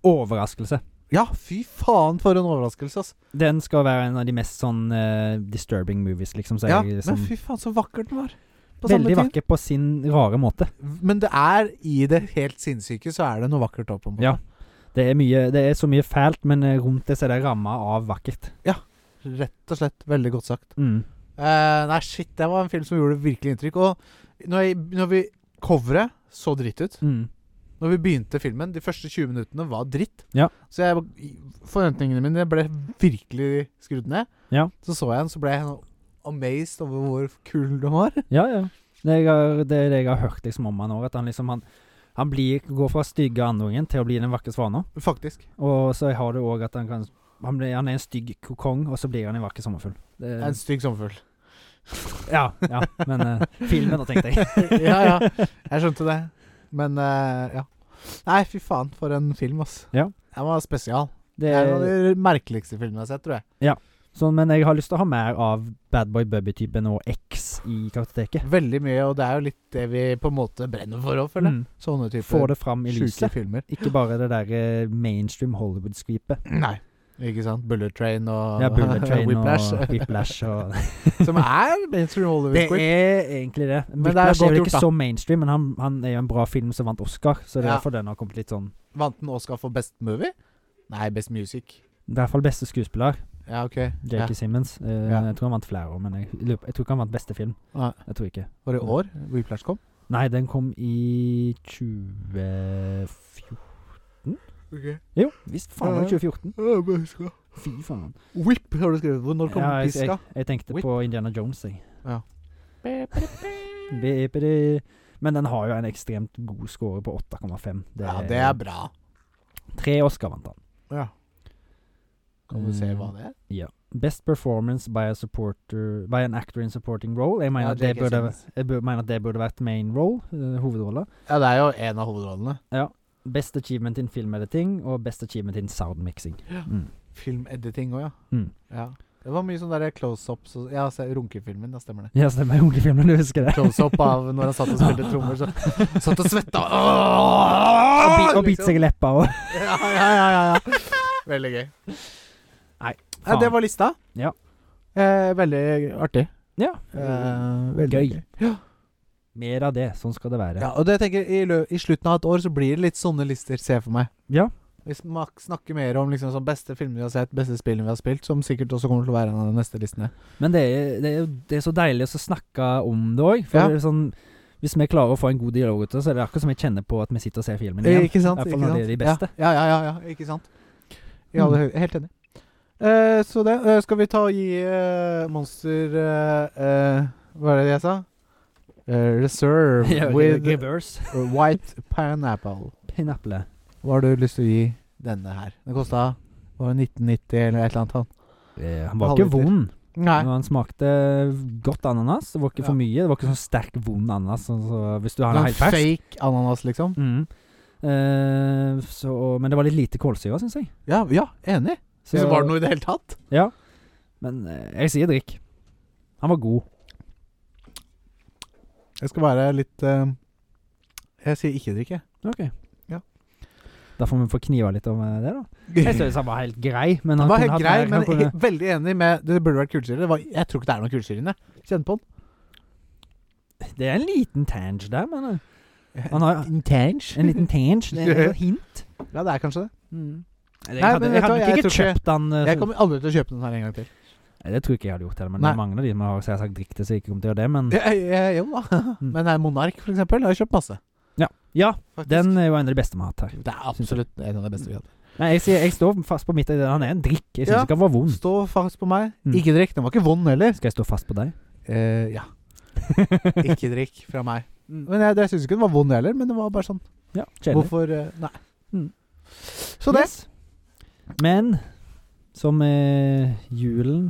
Overraskelse.
Ja, fy faen for en overraskelse, ass.
Den skal være en av de mest sånn eh, disturbing movies, liksom. Så
Ja, men
jeg, liksom
fy faen så vakker den var. På samme
veldig
tid.
vakker på sin rare måte.
Men det er i det helt sinnssyke, så er det noe vakkert òg, på en måte.
Ja. Det er, mye, det er så mye fælt, men eh, rundt det så er det ramma av vakkert.
Rett og slett. Veldig godt sagt.
Mm.
Eh, nei, shit, det var en film som gjorde virkelig inntrykk. Og når, jeg, når vi Coveret så dritt ut.
Mm.
Når vi begynte filmen, de første 20 minuttene var dritt.
Ja.
Så jeg, forventningene mine ble virkelig skrudd ned.
Ja.
Så så jeg den, så ble jeg sånn amazed over hvor kul den var.
Ja, ja. Det, jeg har, det er det jeg har hørt liksom om han òg, at han liksom han, han blir, går fra stygge andungen til å bli den vakre svana.
Faktisk.
Og så har du òg at han kan han, blir, han er en stygg kokong, og så blir han en vakker sommerfugl. Det-
En stygg sommerfugl.
Ja, ja, men eh, filmen, da, tenkte jeg.
ja, ja. Jeg skjønte det. Men eh, ja. Nei, fy faen, for en film, ass.
Ja.
Den var spesial. Det
Det
er en av
er,
de merkeligste filmene jeg har sett, tror jeg.
sånn, men jeg har lyst til å ha mer av Badboy Bubby-typen og X i kartoteket.
Veldig mye, og det er jo litt det vi på en måte brenner for òg, føler jeg.
Mm.
Sånne
Få
typer
det fram i
sjuke
lyset.
filmer.
Ikke bare det der eh, mainstream Hollywood-skvipet.
Nei. Ikke sant? Bullet Train og
Ja, Bullet Train
Ah. Whiplash.
og Whiplash og
som er mainstream
Det
Hollywood Squid.
er egentlig det.
det er
Whiplash er,
godt
jo
gjort,
ikke
da.
så mainstream, men han, han er jo en bra film som vant Oscar, så det er
Ja.
derfor den har kommet litt sånn
Vant den Oscar for Best Movie? Nei, Best Music.
I hvert fall beste skuespiller,
Ja, OK. Ja.
J.K. Simmons. Eh,
Ja.
Jeg tror han vant flere år, men jeg, lurer på- jeg tror ikke han vant beste film.
Nei.
Jeg tror ikke.
Var det i år Whiplash kom?
Nei, den kom i 2014
Okay.
Jo, visst faen var det 2014.
Whip
Fy faen.
har du skrevet på. Når kom
Ja, jeg, jeg,
Piska?
jeg tenkte
Whip.
på Indiana Jones, jeg.
Ja.
Bipidi. Men den har jo en ekstremt god score på 8,5.
Ja, det er bra.
Tre Oscar vant han.
Ja. Kan du se
Mm.
hva det er?
Best performance by a supporter By an actor in supporting role. Jeg mener,
Ja,
at, det
J.K.
burde,
Simmons.
jeg bur- mener at det burde vært main role, eh, hovedrolle.
Ja, det er jo en av hovedrollene.
Best achievement in film editing og best achievement in sound mixing. Mm.
Filmediting òg, ja.
Mm.
ja. Det var mye sånn der close-ups og Ja, se runkefilmen, da stemmer det.
Ja, stemmer. Ungefilmen, du husker det?
Close-up av når han satt og spilte trommer, så satt og svetta.
Og,
Åh,
bi og bite seg i leppa òg.
Ja, ja, ja, ja, ja. Veldig gøy.
Nei,
Ja, det var lista.
Ja.
Eh, veldig artig.
Ja.
Eh, veldig
Gøy.
gøy. Ja.
Mer av det. Sånn skal det være.
ja, og det jeg tenker i, lø I slutten av et år så blir det litt sånne lister, ser jeg for meg.
Ja.
Vi smak, snakker mer om liksom sånn beste filmer vi har sett, beste spillene vi har spilt, som sikkert også kommer til å være en av de neste listene.
Men det er, det er, jo- det er så deilig å snakke om det òg. For
Ja.
det er sånn, hvis vi klarer å få en god dialog ut av det, så er det akkurat som jeg kjenner på at vi sitter og ser filmen igjen.
Eh, Ikke sant?
I hvert
Ikke
fall når
sant?
det er de beste. Mm.
Ja, ja, ja. ja, ja ikke sant. I alle høy- Helt enig. Eh, så det eh, Skal vi ta og gi eh, Monster eh, eh, Hva er det jeg sa? Eh, reserve
Ja,
with
reverse.
white pineapple.
Pineapple.
Hva har du lyst til å gi denne her? Den kosta var det 1990 eller et eller annet. Han.
Eh, Han var ikke
Halvliter.
vond.
Nei.
Men han smakte godt ananas. Det var ikke for
Ja.
mye. Det var ikke sånn sterk, vond ananas sånn så hvis du har den
Sånn
helt fersk.
fake ananas, liksom.
Mm. Eh, så, men det var litt lite kålsyre, syns jeg.
Ja, ja enig.
Så,
noe i det hele tatt?
Ja. Men eh, jeg sier drikk. Han var god.
Jeg skal være litt eh, Jeg sier ikke drikke.
Ok.
Ja.
Da får vi få kniva litt om eh, det, da. Jeg syns han var helt grei, men han
Den var helt
kunne hatt
grei,
mer-
men
han kunne,
he- veldig enig med Det burde vært kullsyre. Det var- Jeg tror ikke det er noe kullsyre inne. Kjenn på
Det er en liten tange der, men eh,
den.
han har
Intense?
en liten tange. Det er et hint.
Ja, det er kanskje det.
Mm. Jeg
Nei,
hadde,
men
jeg
vet du
hadde
hva,
nok
jeg
ikke
tror ikke-
kjøpt han eh,
Jeg
så-
kommer aldri til å kjøpe den her en gang til.
Nei, det tror ikke jeg hadde gjort heller, men
Nei.
det er mange av de som har, som jeg har sagt riktig, så jeg ikke kommer til å gjøre det, men
Ja, ja, ja, jo da. Men eh, Monark, for eksempel, har jeg kjøpt masse.
Ja,
faktisk.
den er jo en av de beste vi har hatt her.
Det er absolutt en av de beste vi har hatt.
Nei, jeg, sier, jeg står fast på mitt i det. Han er en drikk. Jeg syns
Ja.
ikke han var vond.
Stå fast på meg.
Mm.
Ikke drikk. Den var ikke vond heller.
Skal jeg stå fast på deg?
Eh, ja. ikke drikk fra meg. Men jeg, jeg syns ikke den var vond heller, men det var bare sånn.
Ja, kjedelig.
Mm. Hvorfor eh, Nei.
Mm.
Så det.
Yes. Men som eh, julen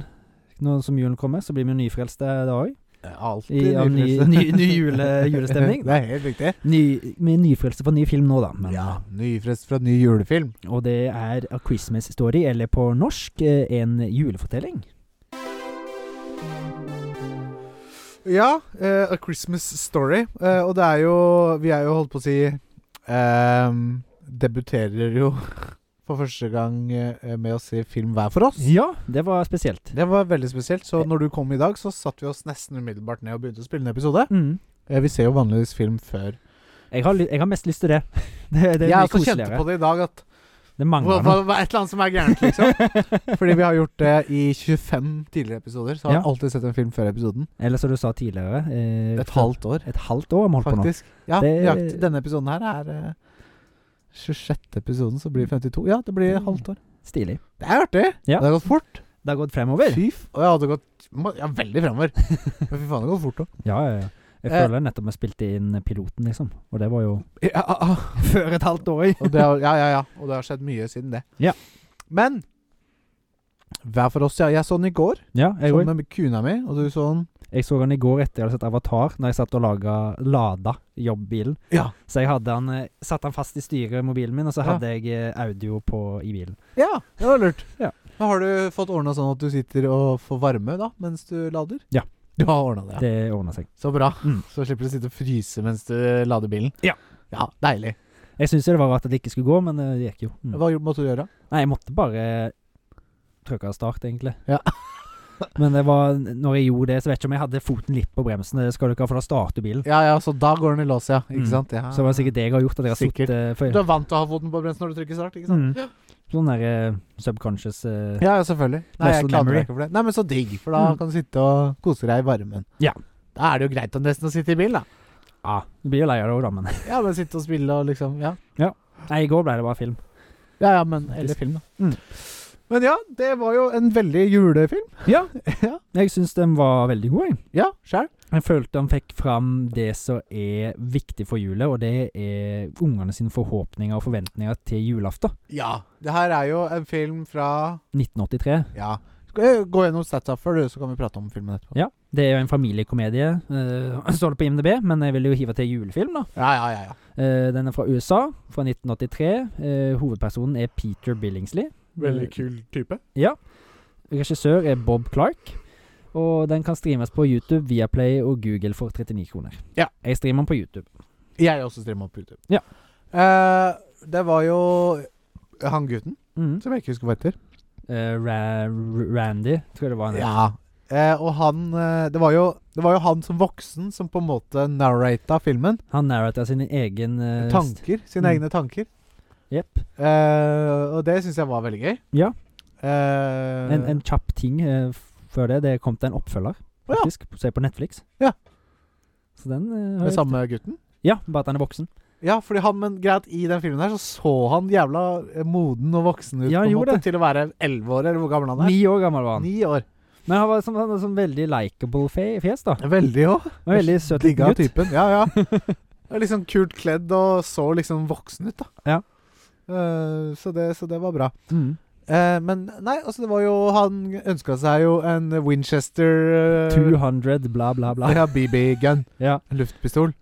Nå som julen kommer, så blir vi jo nyfrelste da òg.
Alltid
I av ny, ny, ny jule, julestemning.
Det er helt riktig.
Ny, vi er nyfrelste på ny film nå, da. Men, eh,
Ja, Nyfrest fra ny julefilm.
Og det er A Christmas Story, eller på norsk eh, En julefortelling.
Ja, eh, A Christmas Story. Eh, og det er jo Vi er jo holdt på å si ehm, Debuterer jo for første gang eh, med å se film hver for oss.
Ja, det var spesielt.
Det var veldig spesielt. Så når du kom i dag, så satt vi oss nesten umiddelbart ned og begynte å spille en episode.
Mm.
Eh, vi ser jo vanligvis film før.
Jeg har, ly- jeg har mest lyst til det. Det, det er
Jeg
mye
også kjente
koseligere.
på det i dag, at
Det
det
mangler noe.
var var et eller annet som er gærent, liksom. Fordi vi har gjort det i 25 tidligere episoder, så har
Ja.
jeg alltid sett en film før episoden.
Eller som du sa tidligere eh,
Et halvt år.
Et halvt år har vi holdt på nå.
Faktisk. Ja,
Det-
nøyaktig. Denne episoden her er eh, 26. episoden, så blir det 52. Ja, det blir
Mm.
halvt år.
Stilig.
Det er artig!
Ja.
Det har gått fort.
Det har gått fremover.
Fy f... Og jeg hadde gått må- ja, veldig fremover. Men fy faen, det har gått fort òg.
Ja, ja, ja. Jeg
Eh.
føler nettopp vi spilte inn piloten, liksom. Og det var jo
Ja, ah, ah.
Før et halvt år,
Og det har- ja, ja, ja. Og det har skjedd mye siden det.
Ja.
Men Hver for oss, ja. Jeg så den i går.
Ja, jeg òg.
Sammen med kuna mi, og du så den
Jeg så den i går etter jeg hadde sett Avatar, når jeg satt og laga lada jobbbilen.
Ja.
Så jeg hadde han, eh, satte han fast i styret i mobilen min, og så
Ja.
hadde jeg eh, audio på i bilen.
Ja, det var lurt.
Ja.
Men har du fått ordna sånn at du sitter og får varme da, mens du lader?
Ja.
Du har ordna det, ja.
Det ordna seg.
Så bra.
Mm.
Så slipper du å sitte og fryse mens du lader bilen.
Ja.
Ja, Deilig.
Jeg syntes jo det var rart at det ikke skulle gå, men eh, det gikk jo. Mm.
Hva måtte du gjøre?
Nei, jeg måtte bare eh, trykke start, egentlig.
Ja.
men det var Når jeg gjorde det, så vet jeg ikke om jeg hadde foten litt på bremsen. Det skal du ikke ha, for da starter bilen.
Ja, ja, så da går den i lås, ja. Ikke
Mm.
sant? Ja.
Så det var sikkert det jeg har gjort. At jeg har
Sikkert.
sittet for,
Du er vant til å ha foten på bremsen når du trykker start, ikke sant?
Mm. Sånn der eh, subconscious eh,
Mm. Ja, ja, selvfølgelig. Nei, jeg
Muscle
klager
memory.
meg ikke for det. Nei, men så digg, for da
Mm.
kan du sitte og kose deg i varmen.
Ja.
Da er det jo greit å nesten å sitte i bil, da.
Ja, ah, du blir jo lei av det òg, da, men
Ja, men sitte og spille og liksom Ja,
Nei, i går ble det bare film.
ja, ja men Eller film, da.
Mm.
Men ja, det var jo en veldig julefilm.
Ja.
Ja.
Jeg syns den var veldig god, jeg.
Ja, sjæl.
Jeg følte han fikk fram det som er viktig for julet, og det er ungene sine forhåpninger og forventninger til julaften
Ja. Det her er jo en film fra
1983.
Ja. Skal jeg gå gjennom statsa før, du, så kan vi prate om filmen etterpå.
Ja, det er jo en familiekomedie, eh, står det på IMDb, men jeg vil jo hive til julefilm, da.
Ja, ja, ja. ja.
Eh, den er fra USA, fra 1983. Eh, hovedpersonen er Peter Billingsley. Veldig
kul type.
Regissør er Bob Clark. Og den kan streames på YouTube, Viaplay og Google for 39 kroner.
Ja.
Jeg streamer den på YouTube.
Jeg også streamer på YouTube.
Ja.
Eh, det var jo han gutten,
Mhm.
som jeg ikke husker hva heter.
Eh, Ra Randy, tror jeg det var han het.
Ja. Eh, og han eh, det, var jo, det var jo han som voksen som på en måte narrata filmen.
Han narrata sin egen eh, st-
Tanker. Sine
mm.
egne tanker.
Jepp.
Eh, og det syns jeg var veldig gøy.
Ja.
Eh,
En, en kjapp ting eh, f- før det. Det kom til en
Å
oppfølger,
ja.
faktisk. Se på Netflix.
Ja.
Så den eh, har
med
jeg-
samme gutten?
Ja, bare at han er voksen.
Ja, fordi han, men greit, i den filmen her så så han jævla eh, moden og voksen ut
Ja,
på
han
en
gjorde
måte, til å være elleve år, eller hvor gammel han er.
Ni år gammel var han.
Ni år.
Men han var sånn, sånn, sånn veldig likeable fe- fjes, da.
Veldig òg.
Han var Veldig søt
Digga
liten gutt.
typen. Ja, ja. Og liksom kult kledd og så liksom voksen ut, da.
Ja.
Eh, så, det, så det var bra.
Mm.
Eh, men nei, altså det var jo Han ønska seg jo en Winchester eh,
200, bla, bla, bla.
Ja, BB-gun.
Ja.
En luftpistol.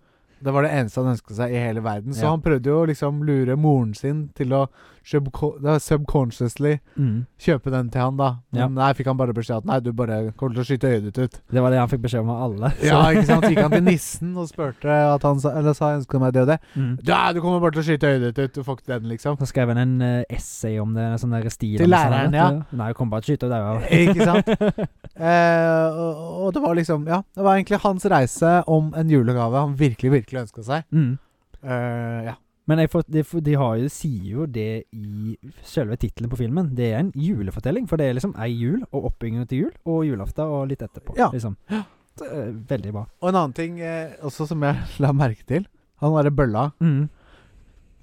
Det var det eneste han ønska seg i hele verden. Så
Ja.
han prøvde jo å liksom lure moren sin til å subco- da, subconsciously
Mm.
kjøpe den til han, da. Men
Ja.
nei, fikk han bare beskjed at nei, du bare kommer til å skyte øyet ditt ut.
Det var det han fikk beskjed om av alle. så-
Ja, ikke sant? Så gikk han til nissen og spurte at han sa, eller sa jeg ønsker meg det og det.
Mm.
Ja, du kommer bare til å skyte øyet ditt ut. Du får ikke den, liksom.
Så skrev han en eh, essay om det, en sånn der stil
Til
om sånn,
læreren,
vet
ja.
du. Nei, jeg kom bare til å skyte og daue av.
Ikke sant? Eh, og, og det var liksom Ja, det var egentlig hans reise om en julegave han virkelig, virkelig ønska seg.
Mm.
Eh, ja.
Men jeg får, de, får- de har jo, sier jo det i selve tittelen på filmen. Det er en julefortelling, for det er liksom ei jul, og oppbyggingen til jul, og julaften, og litt etterpå.
Ja.
Liksom. Det er veldig bra.
Og en annen ting eh, også som jeg la merke til. Han derre bølla.
Mm.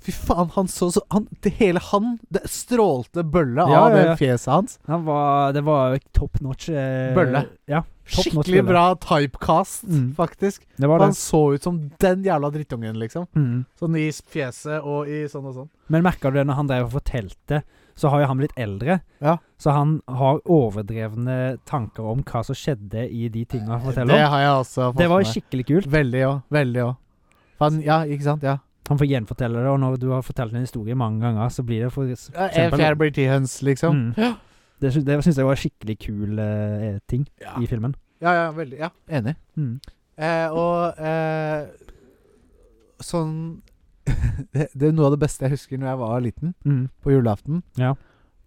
Fy faen, han så så han, det Hele han Det strålte bølle
Ja,
av
ja, ja.
det fjeset hans.
Han var, det var top notch. Eh,
Bølle.
Ja, Top notch
Skikkelig
bølle.
bra typecast,
Mm.
faktisk.
det var
Han
det.
så ut som den jævla drittungen, liksom.
Mm.
Sånn i fjeset og i sånn og sånn.
Men merka du det når han drev og fortalte, så har jo han blitt eldre.
Ja.
Så han har overdrevne tanker om hva som skjedde i de tinga han
det
forteller om.
har jeg også fått
Det var
med
jo
meg.
skikkelig kult.
Veldig òg. Veldig òg. Faen, Ja, ikke sant? Ja.
Han får gjenfortelle det, og når du har fortalt en historie mange ganger, så blir det for
Ja, En fjær blir ti høns, liksom.
Mm. Det, sy- det syns jeg var skikkelig kul eh, ting
Ja.
i filmen.
ja, ja, veldig. Ja, enig. Eh, og eh, sånn det, det er noe av det beste jeg husker når jeg var liten,
Mm.
på julaften.
Ja.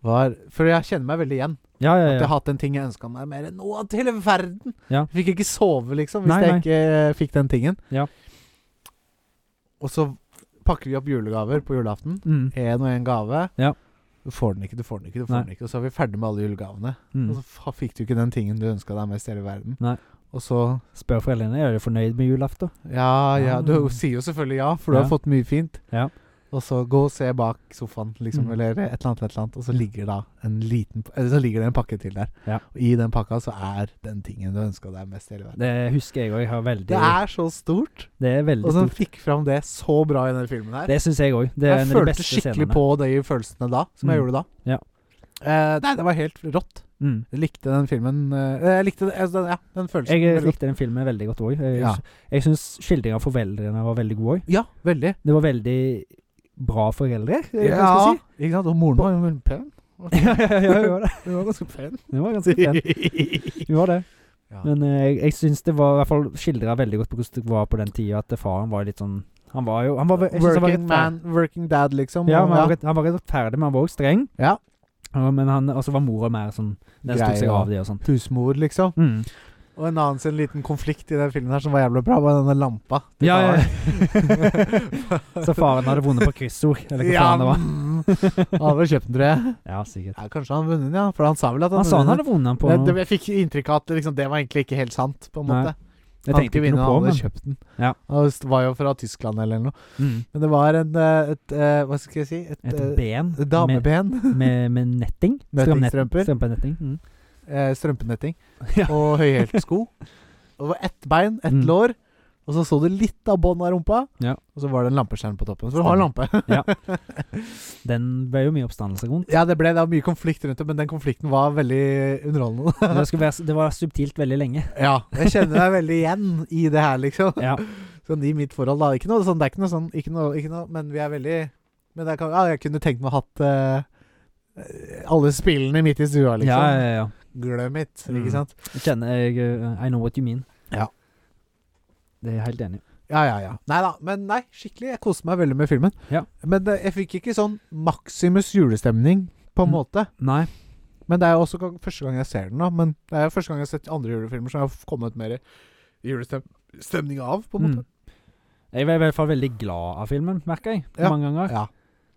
Var, for jeg kjenner meg veldig igjen.
Ja, ja,
At jeg
ja.
har hatt en ting jeg ønska meg mer enn noe annet i hele verden.
Ja.
Jeg fikk ikke sove, liksom, hvis
Nei,
jeg
nei.
ikke eh, fikk den tingen.
Ja.
Og så pakker vi opp julegaver på julaften.
Mm.
Én og én gave.
Ja.
Du får den ikke, du får den ikke, du får
Nei.
den ikke. Og så er vi ferdig med alle julegavene. Og
Mm.
så fa- fikk du ikke den tingen du ønska deg mest i hele verden.
Nei.
Og så
Spør foreldrene er du fornøyd med julaften.
Ja, ja. Du
Ah.
sier jo selvfølgelig ja, for du
Ja.
har fått mye fint.
Ja.
Og så gå og se bak sofaen, liksom,
Mm.
eller et eller annet, et eller annet. Og så ligger, da en liten, eller så ligger det en pakke til der.
Ja.
Og i den pakka så er den tingen du ønska deg mest i hele verden.
Det husker jeg òg. Jeg har veldig
Det er så stort!
det er veldig
Og så
stort.
fikk fram det så bra i den filmen her.
Det syns jeg òg. Det er
jeg
en av de
følte
beste
skikkelig
scenene.
på de følelsene da, som jeg
Mm.
gjorde da.
Ja.
Eh, nei, det var helt rått.
Mm.
Jeg likte den filmen eh, Jeg likte det, altså, den, ja, den følelsen.
Jeg eh,
veldig godt.
likte den filmen veldig godt òg. Jeg,
Ja.
jeg syns skildringen av foreldrene var veldig god òg.
Ja, veldig.
Det var veldig bra foreldre, er det hva jeg
Ja,
skal si.
Ikke sant? Og moren var jo veldig pen.
ja, ja, ja, det var det.
Hun var ganske pen.
Det var ganske pen. Det var det.
Ja.
Men eh, jeg, jeg syns det var i hvert fall skildra veldig godt på hvordan det var på den tida, at faren var litt sånn Han var jo han var, jeg synes han var
Working
rettferd-
man, working dad, liksom.
Ja,
og-
men han, var rett, han var rettferdig, men han var også streng.
Ja.
Ja, men han, og så var mora mer sånn Den
Grei
tok seg
og-
av det og sånn.
Husmor, liksom.
Mm.
Og en annen sin liten konflikt i den filmen her som var jævlig bra, var denne lampa. til
Ja, ja.
faren.
Så faren hadde vunnet på kryssord, eller hva faen det var.
mm. Han hadde vel kjøpt den, tror jeg.
Ja, sikkert.
Ja, kanskje han hadde vunnet den, ja. For han sa vel at han,
Han sa han
vunnet
hadde vunnet den på
den.
noe.
det, det, Jeg fikk inntrykk av at liksom, det var egentlig ikke helt sant, på en
Nei,
måte.
Jeg
han
tenkte ikke noe på,
han hadde
men
kjøpt den.
Ja.
Han s- var jo fra Tyskland eller noe.
mm.
Men det var en eh, et, eh, Hva skal jeg si? Et,
Et
eh,
ben med,
dameben.
med, med netting. Strømnet-
Nettingstrømper.
Strømpenetting. Mm.
eh, strømpenetting
Ja.
og høyhælte sko. Og Det var ett bein, ett
Mm.
lår, og så så du litt av bånn av rumpa.
Ja.
Og så var det en lampeskjerm på toppen. Så du har en lampe.
Den ble jo mye oppstandelse rundt.
Ja, det ble det var mye konflikt rundt det, men den konflikten var veldig underholdende.
Men Det, skulle være, det var subtilt veldig lenge.
ja, jeg kjenner deg veldig igjen i det her, liksom.
Ja.
Sånn i mitt forhold, da. Ikke noe sånn, det er ikke noe sånn, ikke noe, ikke noe men vi er veldig Men jeg, kan, ja, jeg kunne tenkt meg å hatt eh, alle spillene midt i stua,
Ja,
liksom.
ja, ja.
Glem it,
Mm.
ikke sant?
Jeg kjenner jeg, uh, I know what you mean.
Ja.
Det er jeg helt enig i.
Ja, ja, ja. Nei da. Men nei, skikkelig. Jeg koste meg veldig med filmen.
Ja.
Men eh, jeg fikk ikke sånn Maximus julestemning, på en
Mm.
måte.
Nei.
Men det er jo også gang, første gang jeg ser den, da. Men det er jo første gang jeg har sett andre julefilmer som jeg har kommet mer julestemning av, på en måte.
mm. Jeg var i hvert fall veldig glad av filmen, merker jeg.
Ja.
Mange ganger.
Ja.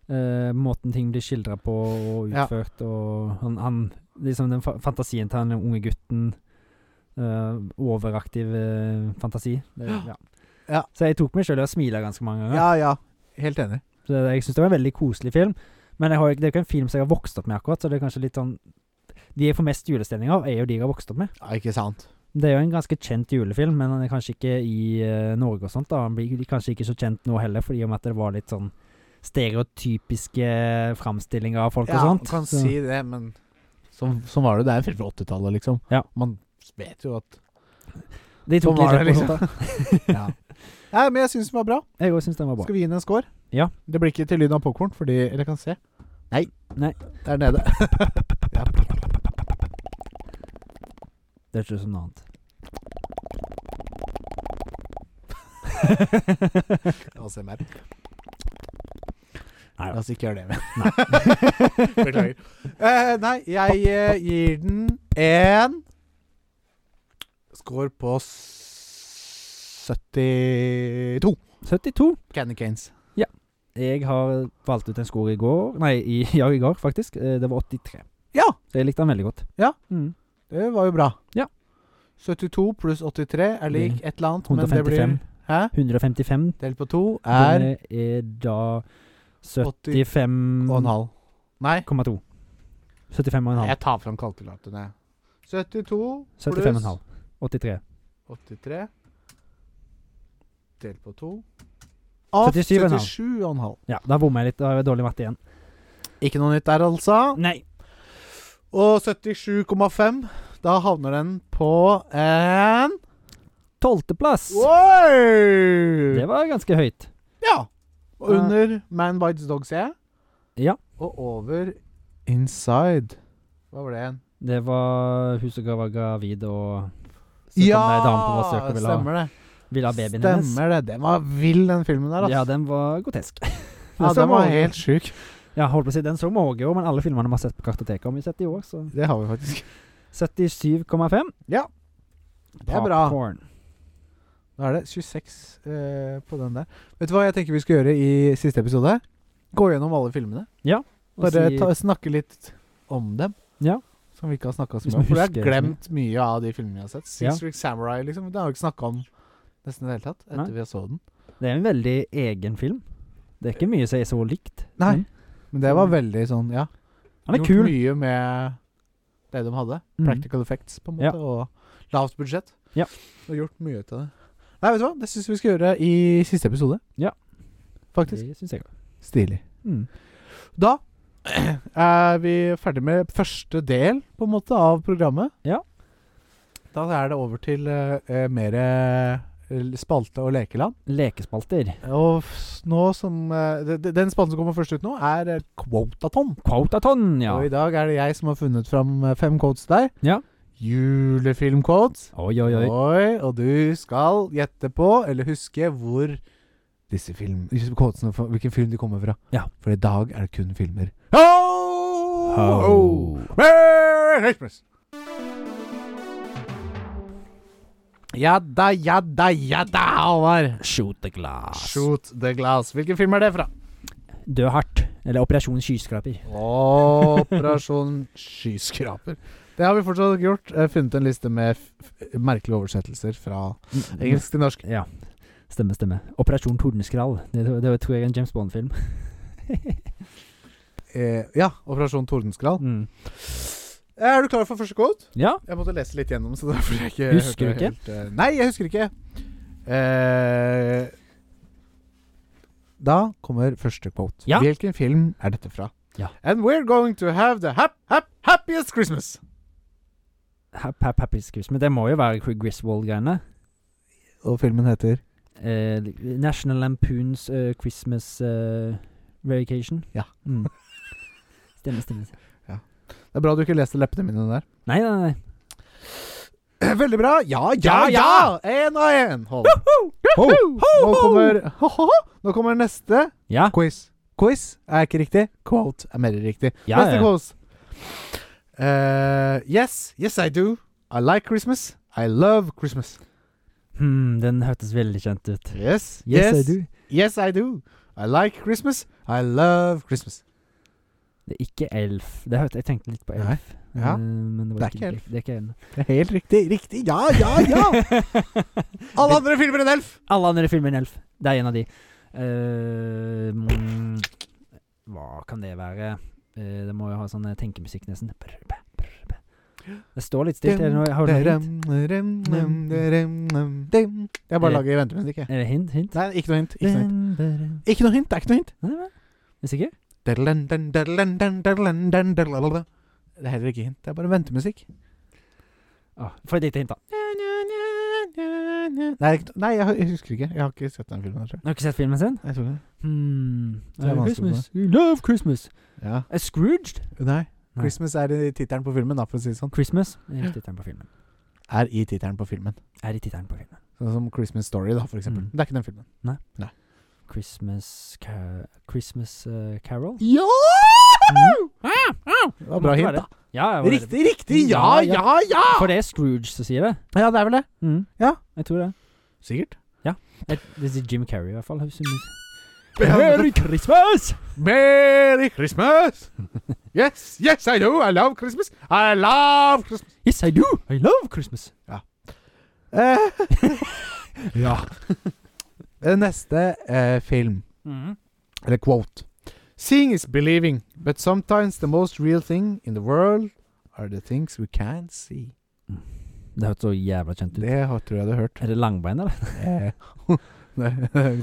Eh, måten ting blir skildra på og
Ja.
utført, og han, han Liksom den fa fantasien til han unge gutten. eh, overaktiv eh, fantasi. Det, ja.
Ja.
Så jeg tok meg sjøl i å smile ganske mange ganger.
Ja, ja. Helt enig.
Så det- jeg syns det var en veldig koselig film. Men jeg har, jo ikke- det er jo ikke en film som jeg har vokst opp med akkurat, så det er kanskje litt sånn De jeg får mest julestemning av, er jo de jeg har vokst opp med.
Ja, ikke sant.
Det er jo en ganske kjent julefilm, men han er kanskje ikke i eh, Norge og sånt. da Han blir kanskje ikke så kjent nå heller, fordi om at det var litt sånn stereotypiske framstillinger av folk
Ja,
og sånt.
kan
Så-
si det, men Sånn sånn var det. Det er en film fra 80-tallet, liksom.
Ja.
Man vet jo at
De
Sånn
tok
var
litt
det,
opp og sånt. da.
Ja. Nei, men jeg syns den var bra.
Jeg òg syns den var bra.
Skal vi gi den en score?
Ja.
Det blir ikke til lyden av popkorn, fordi Eller kan se. Nei.
Nei.
Der nede. Ja.
Det er ikke sånn noe annet.
ASMR.
Nei da.
La oss ikke gjøre det mer. Beklager. Eh, nei, jeg eh, gir den en Score på s- 72.
72.
Candy Canes.
Jeg har valgt ut en score i går Nei, i, ja, i går, faktisk. Eh, Det var 83.
Ja!
Så jeg likte den veldig godt.
Ja.
Mm.
Det var jo bra.
Ja.
72 pluss 83 er lik et eller annet, men det blir
155.
Hæ?
155
Delt på to er
Det er da
80 og en
75,2.
halv. Nei,
75,5.
jeg tar fram kalkulatoren, jeg. 72 pluss
75,5. 83.
83 Delt på 2
77,5.
77,5.
Ja, da bommer jeg litt. Da har jeg dårlig matte igjen.
Ikke noe nytt der, altså.
Nei.
Og 77,5. Da havner den på en
Tolvteplass. Det
Oi!
var ganske høyt.
Ja. Og under Man Bites Dog, ser jeg.
Ja.
Og over Inside. Hva var det igjen?
Det var hun som var gravid og så kom det ei dame på besøk og ville ha,
stemmer det.
ville ha babyen hennes.
Stemmer det. Den var vill, den filmen der.
Ja,
Altså.
den var grotesk.
Ja, den var helt sjuk.
Ja, holdt på å si, den så vi òg i år, men alle filmene vi har sett på Kartoteket, har vi sett i år, så
Det har vi faktisk.
77,5.
Ja. Det er bra.
Popcorn.
Da er det 26 eh, på den der. Vet du hva jeg tenker vi skal gjøre i siste episode? Gå gjennom alle filmene.
Og
Bare
si-
ta, snakke litt om dem.
Ja.
Som vi ikke har snakka så
Hvis
mye om.
man
For jeg
husker
har
så
glemt mye av de filmene vi har sett. Six
Ja.
Week Samurai liksom. Det har vi ikke snakka om nesten i det hele tatt etter
Nei.
vi så den.
Det er en veldig egen film. Det er ikke mye som er så likt.
Nei.
Men
Men det var veldig sånn, ja.
Han Mm. er
Gjort
kul.
mye med det de hadde.
Mhm.
Practical effects, på en
Ja.
måte. Og lavt budsjett.
Ja.
Og gjort mye ut av det. Nei, vet du hva? Det syns vi skal gjøre i siste episode.
Ja.
Faktisk.
Det syns jeg òg.
Stilig.
Mm.
Da er vi ferdig med første del på en måte av programmet.
Ja.
Da er det over til uh, mer eh, spalte og lekeland.
Lekespalter.
Og f- nå som eh, de- de- Den spalten som kommer først ut nå, er eh, Quotaton.
Quotaton, ja.
Og i dag er det jeg som har funnet fram eh, fem quotes til deg.
Ja.
Julefilmquotes.
Oi, oi, oi.
Oi, og du skal gjette på, eller huske, hvor disse film, disse quotesene, fra- hvilken film de kommer fra.
Ja.
For i dag er det kun filmer. Ho!
Ho.
Merry Christmas! Ja da, ja da, ja da, Halvard.
Shoot the glass.
Shoot the glass. Hvilken film er det fra?
Dø hardt. Eller Operasjon skyskraper.
Operasjon Skyskraper. Det har vi fortsatt ikke gjort. Jeg har funnet en liste med f f merkelige oversettelser fra Mm, engelsk til norsk.
Ja. Stemme, stemme. Operasjon Tordenskrall. Det, det tror jeg er en James Bond-film.
Eh, ja, Operasjon Tordenskrall.
Mm.
Er du klar for første quote?
Ja.
Jeg måtte lese litt gjennom. Så derfor jeg ikke
Husker
hørte
du ikke?
Helt, eh, nei, jeg husker ikke. Eh, da kommer første quote.
Ja.
Hvilken film er dette fra?
Ja.
And we're going to have the hap, hap, happiest Christmas.
Hap, hap, happy Christmas. Men det må jo være Griswold-greiene.
Og filmen heter
Eh, National Lampoons eh, Christmas eh, Vacation.
Ja.
Mm. Stemme, stemme.
Det er bra du ikke leste leppene mine der.
Nei, nei, nei.
Eh, Veldig bra. Ja, ja,
Ja,
ja!
ja!
Én og én. Hold. Ho, Nå kommer, ho, ho, ho. Nå kommer neste
Ja.
Quiz. Quiz er ikke riktig. Quote er mer riktig.
Ja,
Neste
ja.
quiz. Eh, yes, yes I do. I like Christmas. I love Christmas.
Hmm, den hørtes veldig kjent ut.
Yes,
Yes, I do.
Yes, I do. I like Christmas. I love Christmas.
Det er ikke Elf. Det hørte, jeg tenkte litt på
Nei.
Elf.
Ja.
Eh, men det, var ikke Elf. Det er ikke Elf.
Det er helt riktig. Riktig. Ja, Ah, ja, ja! Alle andre filmer enn Elf.
Alle andre filmer enn Elf. Det er en av de. Eh, mm, hva kan det være? Eh, det må jo ha sånn eh, tenkemusikk, nesten. Brr, brr, brr, brr. Det står litt stilt. Er det noe, har du noe hint?
Jeg bare lager ventemusikk, jeg.
Er det Eh, hint? hint?
Nei, ikke noe hint. Ikke noe hint.
Den bare-
Ikke noe hint. Det er ikke noe hint.
Nei, nei. Er du sikker?
Det er heller ikke hint. Det er bare ventemusikk.
Åh, for et lite hint, da.
Nei, ikke- nei, jeg jeg husker ikke. Jeg har ikke sett den filmen. tror jeg.
Har du ikke sett filmen sin?
Jeg tror ikke det.
Hmm.
Det er vanskelig
I
for
Christmas. You love Christmas.
Ja.
A Scrooged?
Nei.
Nei.
Christmas er i tittelen på filmen, da, for å si det sånn.
Christmas er tittelen på filmen.
Er i tittelen på filmen.
Er det tittelen på filmen?
Sånn som Christmas Story, da, for eksempel.
Mm.
Det er ikke den filmen.
Christmas ca Christmas eh, Carol?
Ja!
Mm.
Det var Ah, bra
Måtte
hint,
være
da.
det. Ja, ja, var det-
Riktig, riktig! Ja, ja, ja!
For det er Scrooge som sier det. Mm.
Ja, det er vel det. Ja.
Jeg tror det.
Sikkert.
Jeg, det sier Jim Carrey i hvert fall. har sunget.
Merry,
Christmas!
Merry Christmas! Yes, yes, I do. I love Christmas. I love Christmas.
Yes, I do! I love Christmas!
Eh. ja. Neste eh, film,
Mm.
eller quote. Seeing is believing, but sometimes the most real thing in the world are the things we can't see.
Det hørtes så jævla kjent ut.
Det har- tror jeg du har hørt.
Er det langbein, eller?
Eh, nei,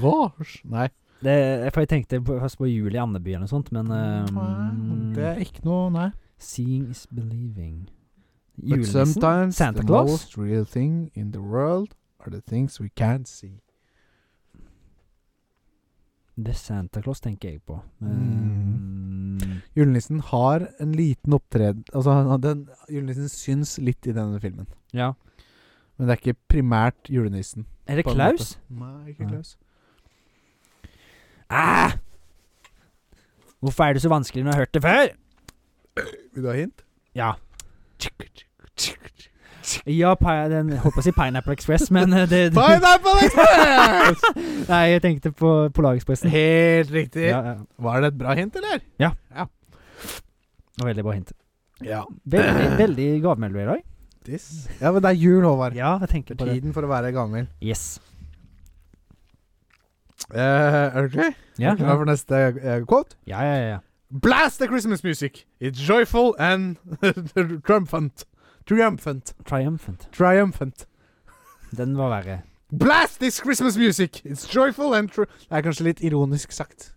Rars? Nei.
Det, er- for jeg tenkte på- først på jul i Andeby eller noe sånt, men um,
Det er ikke noe, nei.
Seeing is believing.
But
Julenissen?
sometimes
Santa
the
Claus?
most real thing in the world are the things we can't see.
Det er Santa Claus tenker jeg på.
Mm.
Um,
Julenissen har en liten opptreden Altså, han- han- den, julenissen syns litt i denne filmen.
ja.
Men det er ikke primært julenissen.
Er det
på en måte.
Klaus?
Nei, ikke
Nei.
Klaus.
Ah! Hvorfor er det så vanskelig når jeg har hørt det før?
Vil du ha hint?
Ja. Ja, pi- den jeg holdt på å si Pineapple Express, men eh, det, det
Pineapple Express!
Nei, jeg tenkte på Polarekspressen.
Helt riktig.
Ja, ja.
Var det et bra hint, eller?
Det var Veldig bra hint.
Ja.
Veldig, veldig gavmild du er i dag.
This. Ja, men det er jul, Håvard.
Ja, jeg tenker
Det
på
er
det.
tiden for å være gammel.
Yes.
Eh, er du klar?
Ja,
Er du klar
ja,
for neste eh, quote?
ja. ja, ja.
Blast the Christmas music! It's joyful and triumphant. Triumphant.
Triumphant.
Triumphant.
Den var verre.
Blast this Christmas music! It's joyful and tru... Det er kanskje litt ironisk sagt.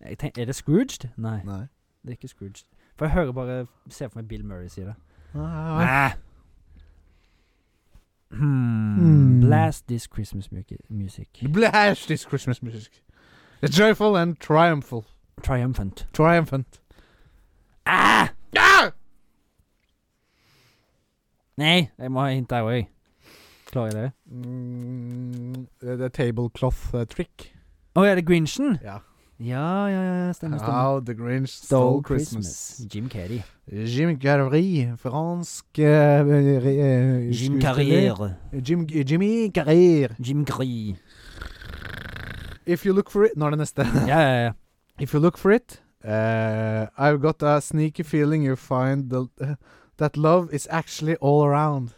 Eh, Jeg tenk, er det Scrooged? Nei,
Nei.
det er ikke Scrooged. For jeg hører bare Ser for meg Bill Murray si det.
Ah, Nei.
Nei. Hmm.
Hmm.
Blast this Christmas mu- music.
Blast this Christmas music. It's joyful and triumphal.
Triumphant.
Triumphant.
Ah!
Ah!
Nei, jeg må ha hint der òg. Klarer jeg det?
Mm, det det er tablecloth eh, trick.
Å, er det Grinchen?
Ja.
Ja, ja, ja, stemmer, stemmer.
How the Grinch Stole Christmas.
Jim Carrey.
Jim Carrey, fransk eh, eh,
Jim
skuespiller.
Carrier.
Jim, Jimmy Carrier.
Jim Carrey.
If you look for it Nå er det neste.
Ja, ja, ja.
If you look for it, uh, I've got a sneaky feeling you find the, that love is actually all around.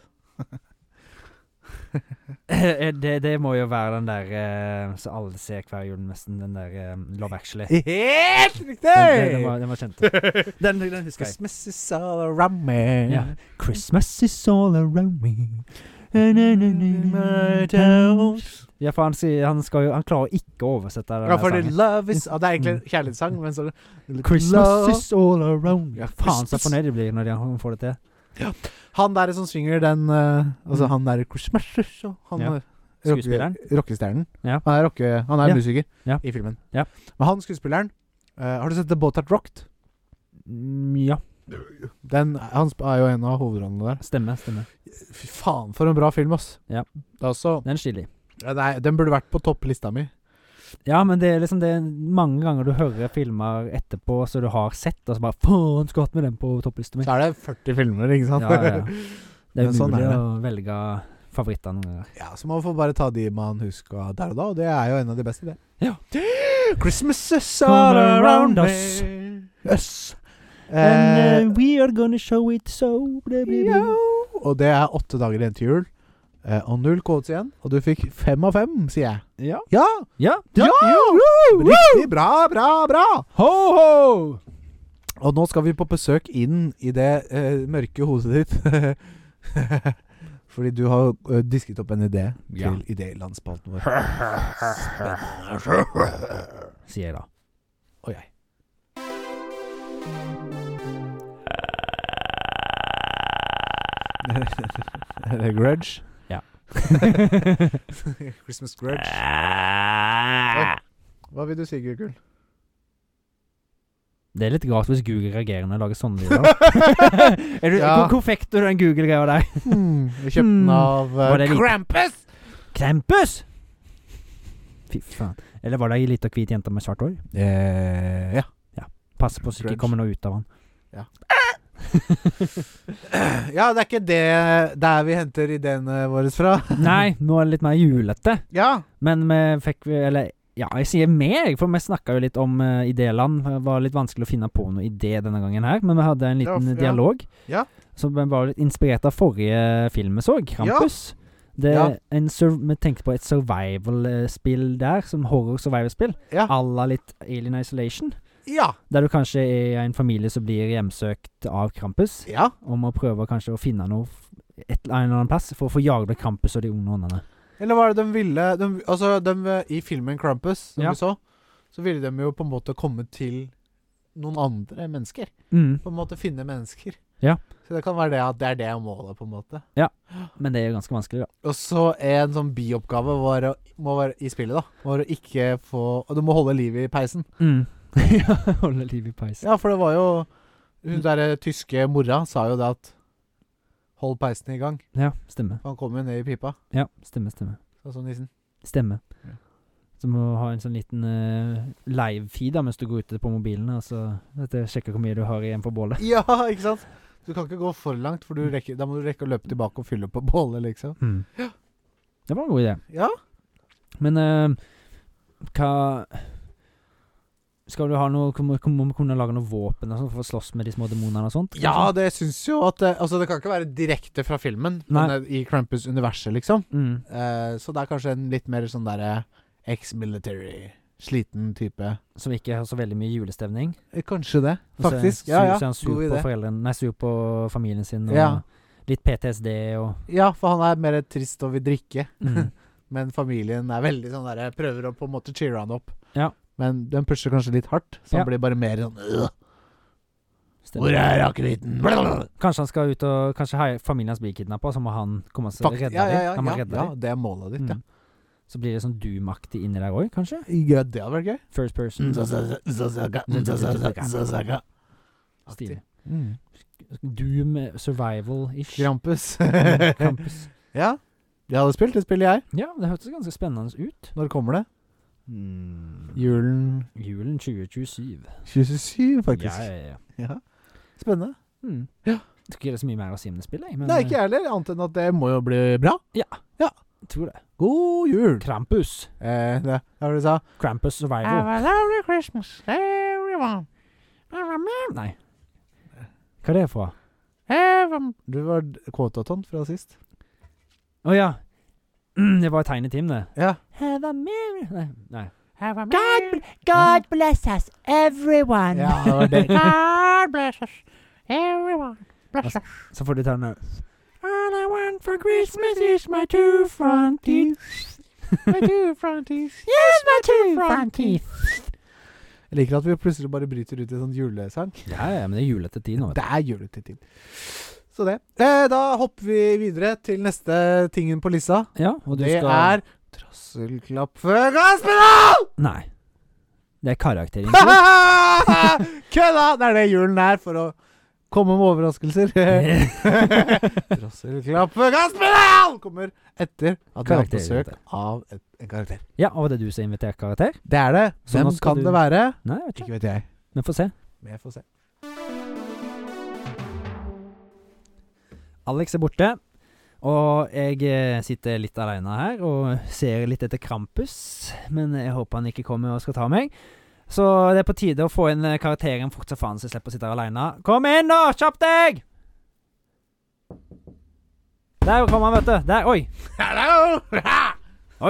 Eh, det, det må jo være den der eh, Så alle ser hver jul, nesten. Den der eh, Love Actually. Den,
Helt
den, den, var, den var kjent. Den, den husker jeg.
Christmas is all around me.
Ja. Christmas is all around me. Ja, for han, sier, han, skal jo, han klarer ikke å oversette den
Ja, for
her
det
sangen.
love is ah, Det er egentlig kjærlighetssang, men så er det
sånn. Mm. Christmas
Love-
is all around me.
Ja,
Faen så
Christmas.
fornøyd de blir når de han får det til.
Han der som synger den eh, Altså,
Mm.
han der Christmas is all- han,
Ja.
eh,
Skuespilleren.
rocke- Rockestjernen.
Ja.
Han er, rocke, han er
Ja.
musiker
Ja.
i filmen.
Ja.
Men han skuespilleren eh, Har du sett The Boat That Rocked?
Mm, Ja,
Den, han sp- er jo en av hovedrollene der.
stemmer. stemmer
Fy faen, for en bra film, ass.
Ja.
Det er også
Den er stilig.
ja, det er- Den burde vært på topplista mi.
Ja, men det er liksom det er mange ganger du hører filmer etterpå så du har sett, og så bare Faen, skulle hatt med den på topplista mi.
Så er det 40 filmer, ikke sant?
Ja, ja, ja. Det er
Men sånn
umulig
er det.
å velge favoritter noen ganger.
Ja, så man får bare ta de man husker der og da, og det er jo en av de beste, det.
Ja.
Christmas is
Come
all around
around
us.
us.
Yes. Eh,
And uh, we are gonna show it so blah, blah, blah.
jo. og det er åtte dager igjen til jul, eh, og null kvotes igjen. Og du fikk fem av fem, sier jeg.
Ja.
Ja!
Ja.
Jo! Riktig bra, bra, bra!
Ho, ho!
Og nå skal vi på besøk inn i det eh, mørke hodet ditt. Fordi du har eh, disket opp en idé
Ja.
til idélandspalten vår. Spennende.
Sier jeg da.
Og jeg. Er det grudge?
Ja.
Christmas grudge. Hva vil du si, Gugul?
Det er litt rart hvis Google reagerer når jeg lager sånne lyder. er du,
Ja.
hvor, hvor fikk du den Google-greia der?
Hmm, vi kjøpte den
Hmm.
av eh,
Var det lite?
Krampus!
Krampus! Fy faen. Eller var det ei lita hvit jente med svart hår?
Eh, ja.
Pass på så
Grudge.
det ikke kommer noe ut av han.
ja, det er ikke det der vi henter ideene våre fra.
Nei, nå er det litt mer julete.
Ja.
Men vi fikk Eller ja, jeg sier meg, for vi snakka jo litt om uh, idéland. Det var litt vanskelig å finne på noe idé denne gangen her, men vi hadde en
Det var
liten
f- ja.
dialog.
Ja.
Som var litt inspirert av forrige film vi så, Krampus. Det,
Ja.
en sur vi tenkte på et survival-spill der, som horror-survival-spill.
Ja.
À la litt Alien Isolation.
Ja.
Der du kanskje er en familie som blir hjemsøkt av Krampus.
Ja.
Om å prøve kanskje å finne noe f- et eller annen plass for å få jaget Krampus og de onde åndene.
Eller var det de ville de, Altså, de, i filmen Krampus, som
Ja.
vi så, så ville de jo på en måte komme til noen andre mennesker.
Mm.
På en måte finne mennesker.
Ja.
Så det kan være det at det er det målet, på en måte.
Men det er jo ganske vanskelig, da.
Og så en sånn bioppgave var å, må være i spillet, da. Var å ikke få Og du må holde livet i peisen.
Mm. ja, holde liv i peisen.
Ja, for det var jo Hun derre tyske mora sa jo det at Hold peisen i gang.
Ja, stemmer.
Han kom jo ned i pipa,
Ja, stemmer, stemmer.
sa sånn nissen.
Stemmer.
Ja.
Så må du ha en sånn liten eh, live-feed da, mens du går ute på mobilen, og så dette sjekker hvor mye du har igjen på bålet.
Ja, ikke sant? Mm. Du kan ikke gå for langt, for du rekker, da må du rekke å løpe tilbake og fylle opp på bålet, liksom.
Mm. Det var en god idé.
Ja.
Men eh, hva Skal du ha noe Må må vi kunne lage noe våpen og sånt for å slåss med de små demonene og sånt?
Ja, det syns jo at det, Altså, det kan ikke være direkte fra filmen, men
Nei.
eh, i Krampus-universet, liksom.
Mm.
Eh, så det er kanskje en litt mer sånn derre ex-military, sliten type.
Som ikke har så veldig mye julestemning?
Eh, Kanskje det,
Og så er-
faktisk. Ja, ja.
Så er han sur
God
på
idé.
foreldrene Nei, sur på familien sin, og
Ja.
litt PTSD og
Ja, for han er mer trist og vil drikke,
mm.
men familien er veldig sånn derre Prøver å på en måte cheere han opp.
Ja.
Men den pusher kanskje litt hardt, så
Ja.
han blir bare mer sånn «Øh, Hvor
Stemmer.
er akevitten?
Kanskje han skal ut og Kanskje hei- familien hans blir kidnappa, så må han komme seg
Fakt-
redde
Ja, ja, ja,
dem. Han må
ja,
redde
ja,
dem.
det er målet ditt, ja.
Mm. Så blir det sånn Doom-aktig inni der òg, kanskje?
ja. Det hadde vært gøy.
First
Mm.
person. Sånn Mm.
Stilig.
Stilig. Doom eh, survival-ish.
Krampus.
Mm, Krampus.
ja. Jeg hadde spilt det spillet, jeg.
Ja, det hørtes ganske spennende ut.
Når kommer det?
Mm.
Julen
Julen 2027.
27, faktisk.
Ja, ja, ja.
Ja. Spennende.
Mm.
Ja.
Jeg tror ikke det er så mye mer å si om det spillet, jeg, men
Nei, ikke
eh,
jeg heller, annet enn at det må jo bli bra.
jeg tror det.
God jul!
Krampus.
Eh, det var det du sa.
Krampus survival.
lovely Christmas, everyone.
Nei. Hva er det for?
Du var Kåtaton fra sist.
Å ja. Mm, Det var Tiny Tim, det.
Ja.
Have a merry Nei. Nei.
God,
God
bless us, everyone. Ja, det var det. God bless us, everyone.
Bless Så får du ta den òg.
All I want for Christmas is my two front teeth. My two front teeth. Yes, my two front teeth. Jeg liker at vi plutselig bare bryter ut i sånn julesang.
Ja, ja, men det er julete tid nå. vet du.
Det er julete til. Så det. Eh, da hopper vi videre til neste tingen på lista.
Ja, og du
det
skal
er Trasselklapp før gasspedal!
Nei. Det er karakterinfo.
Kødda! Det er det julen er for å komme med overraskelser. Trasselklapp før gasspedal kommer etter at vi har hatt
Karakter,
besøk av et, en karakter.
ja, og var det du som inviterte karakter?
Det er det.
Så nå
Hvem
skal
kan
du-
det være?
Nei, jeg vet ikke.
Ikke vet jeg.
Men få se.
Men jeg får se.
Alex er borte, og jeg eh, sitter litt alene her og ser litt etter Krampus. Men jeg håper han ikke kommer og skal ta meg. Så det er på tide å få inn eh, karakteren fort som faen, så jeg slipper å sitte her alene. Kom inn, nå! Kjapp deg! Der kom han, vet du. Der, oi.
Hello!
Oi,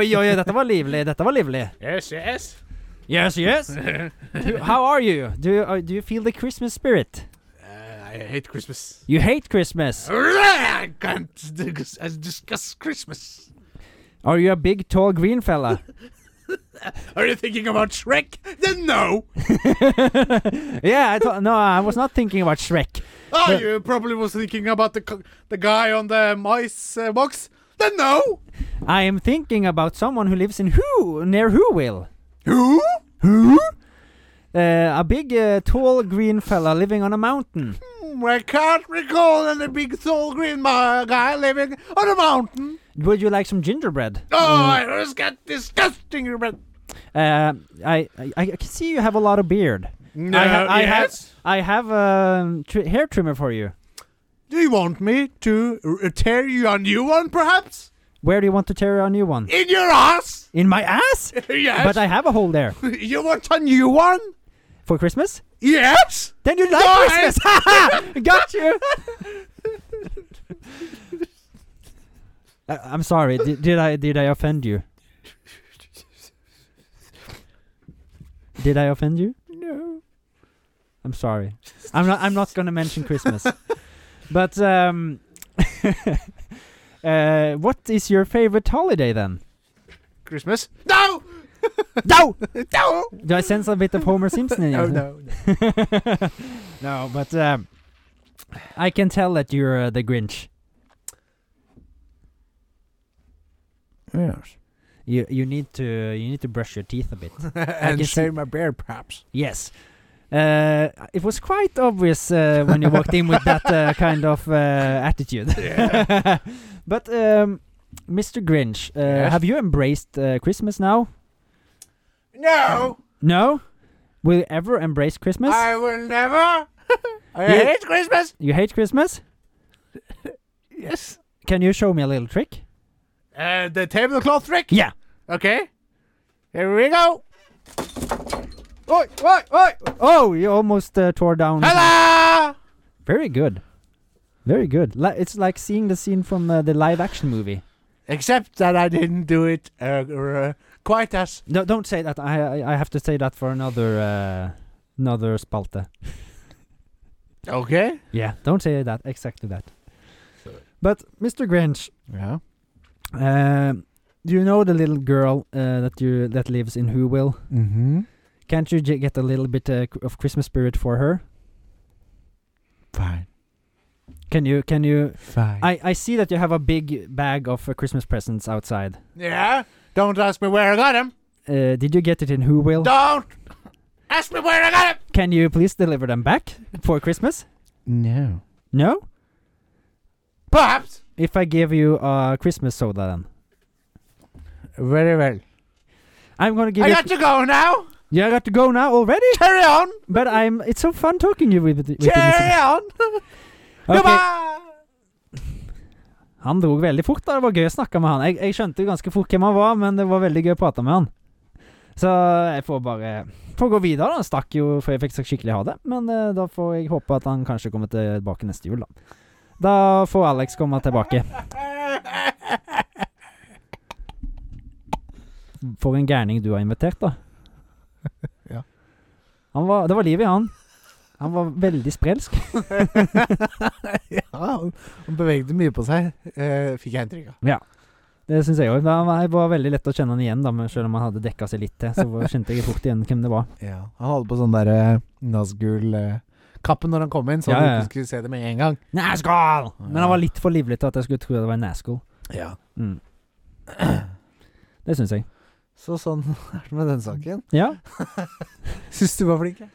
oi, oi, dette var livlig. Dette var livlig.
yes, yes.
Yes, yes. Do, how are you? Do, you- uh, do you feel the Christmas spirit?
Uh, I hate Christmas.
You hate Christmas.
I can't dis- I discuss Christmas.
Are you a big, tall, green fella?
Are you thinking about Shrek? Then no.
yeah, I thought no, I was not thinking about Shrek.
Oh,
But-
you probably was thinking about the co- the guy on the mice uh, box. Then no.
I am thinking about someone who lives in Who near Whoville.
Who?
Who? Uh, a big, uh, tall, green fella living on a mountain.
Hmm, I can't recall any big tall green ma- guy living on a mountain.
Would you like some gingerbread?
Oh, I just got disgusting.
Uh, I, I I can see you have a lot of beard.
No,
I, ha- I
yes.
have I have um, tr- hair trimmer for you.
Do you want me to r- tear you a new one, perhaps?
Where do you want to tear a new one?
In your ass?
In my ass?
yes.
But I have a hole there
You want a new one?
for Christmas.
Yes!
Then you like
Nice!
Christmas. Haha! Got you. I, I'm sorry. Did, did I did I offend you? Did I offend you?
No.
I'm sorry. I'm not. I'm not going to mention Christmas. but um, uh, what is your favorite holiday then?
Christmas? No!
No.
No!
Do I sense a bit of Homer Simpson in you?
Oh, no.
no, but um, I can tell that you're uh, the Grinch.
Yes.
You you need to you need to brush your teeth a bit.
And
can see-
shave my beard, perhaps.
Yes. Uh, it was quite obvious uh, when you walked in with that uh, kind of uh, attitude. but um, Mr. Grinch, uh,
Yes?
have you embraced uh, Christmas now?
No!
No. Will you ever embrace Christmas?
I will never! I
Yeah.
hate Christmas!
you hate Christmas?
Yes.
Can you show me a little trick?
Uh, the tablecloth trick?
Yeah.
Okay. Here we go!
Oi, oi, oi! Oh, you almost uh, tore down.
Hello!
Very good. Very good. Li- it's like seeing the scene from uh, the live action movie.
Except that I didn't do it uh, uh, quite as.
No, don't say that. I I, I have to say that for another uh, another spalte.
Okay.
Yeah, don't say that. Exactly that. But Mr. Grinch,
Ja.
Mm-hmm.
um, do you know the little girl uh, that you that lives in Whoville? Can't you j- get a little bit uh, of Christmas spirit for her?
Fine.
Can you? Can you?
Fine.
I, I see that you have a big bag of uh, Christmas presents outside.
Yeah? Don't ask me where I got him.
Uh, did you get it in Who Will?
Don't ask me where I got him.
Can you please deliver them back for Christmas?
no.
No.
Perhaps.
If I give you a Christmas soda, then
Very well.
I'm gonna give
I
you.
got to go now.
yeah, I got to go now already.
Carry on.
But I'm. It's so fun talking you with, with you,
Carry
Mr.
on.
Okay.
Goodbye.
Han dro veldig fort. da Det var gøy å snakke med han. Jeg, jeg skjønte jo ganske fort hvem han var, men det var veldig gøy å prate med han. Så jeg får bare får gå videre. da Han stakk jo før jeg fikk sagt skikkelig ha det, men eh, da får jeg håpe at han kanskje kommer tilbake neste jul, da. Da får Alex komme tilbake. For en gærning du har invitert, da.
Ja.
Han var, det var liv i han. Han var veldig sprelsk.
ja, han han bevegde mye på seg, eh, fikk jeg inntrykk av.
Det syns jeg òg. Det var veldig lett å kjenne han igjen, da, men selv om han hadde dekka seg litt til. Så var- kjente jeg fort igjen hvem det var.
Ja. Han hadde på sånn der eh, Nazgul-kappe når han kom inn, så
Ja, ja,
du
ja.
ikke skulle se det med en gang.
Næskål! Men han var litt for livlig til at jeg skulle tro det var en næskål.
Ja.
Mm. Det syns jeg.
Så sånn er det med den saken.
Ja.
Syns du var flink jeg,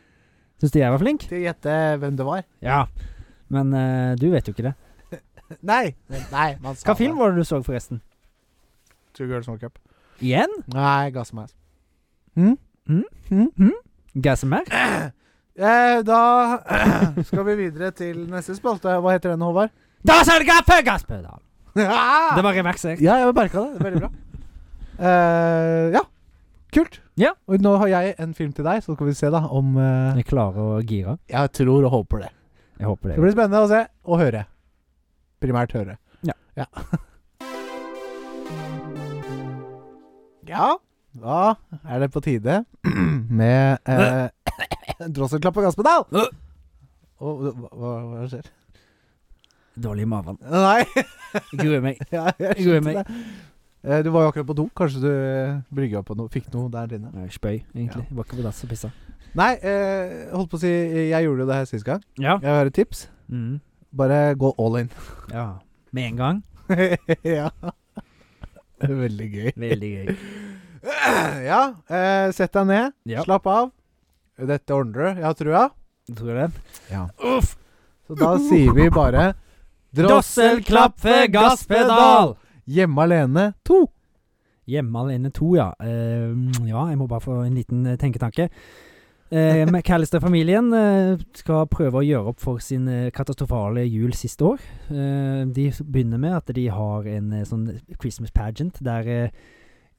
Syns du jeg var flink?
til å gjette hvem det var?
Ja. Men eh, du vet jo ikke det.
Nei! Nei, man sa
Hva film var det du så, forresten?
det. Two Girls One Cup.
Igjen?
Nei, Gassmaus.
Hm? Gassemer?
Eh, da skal vi videre til neste spalte. Hva heter den, Håvard?
Da sørger jeg for gasspedal! Det var reversert.
Ja, jeg merka det. Veldig bra. Eh, ja. Kult.
Ja.
Og nå har jeg en film til deg, så skal vi se da om eh,
Jeg klarer å gire.
Jeg tror og håper det.
Jeg håper
Det
det.
blir spennende å se og høre. Primært høre.
Ja.
Ja, ja da er det på tide med eh, drosselklapp og gasspedal. Og hva, hva, hva skjer?
Dårlig i maven.
Nei.
Jeg gruer meg.
Ja, jeg
Jeg gruer
skjønte
meg.
det. Eh, Du var jo akkurat på do. Kanskje du brygga på noe, fikk noe der inne?
Jeg spøy, egentlig. Jeg var ikke på dass og pissa.
Nei, eh, holdt på å si Jeg gjorde jo det her sist gang.
Ja.
Jeg har et tips.
Mm.
Bare gå all in.
ja. Med en gang.
ja. Veldig gøy.
Veldig gøy.
Ja, eh, sett deg ned.
Ja.
Slapp av. Dette ordner du. Jeg har trua.
Tror du det?
Ja.
Uff!
Så da sier vi bare
Drosselklappe gasspedal!
Hjemme alene 2.
Hjemme alene to, ja. Eh, ja, jeg må bare få en liten eh, tenketanke. Uh, McAllister-familien eh, skal prøve å gjøre opp for sin eh, katastrofale jul siste år. Eh, de begynner med at de har en eh, sånn Christmas pageant der eh,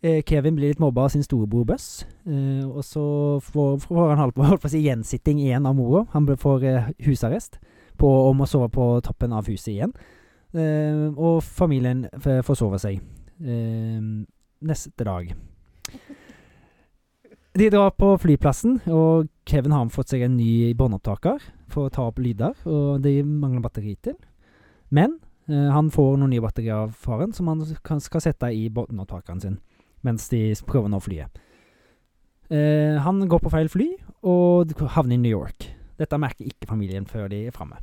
eh, Kevin blir litt mobba av sin storebror Buss. Eh, og så får, får han holdt på, holdt på å si gjensitting igjen av mora. Han blir- får eh, husarrest på, og må sove på toppen av huset igjen. Eh, og familien f- får sove seg. Eh, neste dag. De drar på flyplassen, og Kevin har fått seg en ny båndopptaker for å ta opp lyder, og de mangler batteri til. Men eh, han får noen nye batterier av faren som han kan, skal sette i båndopptakeren sin mens de s- prøver å nå flyet. Eh, han går på feil fly og d- havner i New York. Dette merker ikke familien før de er framme.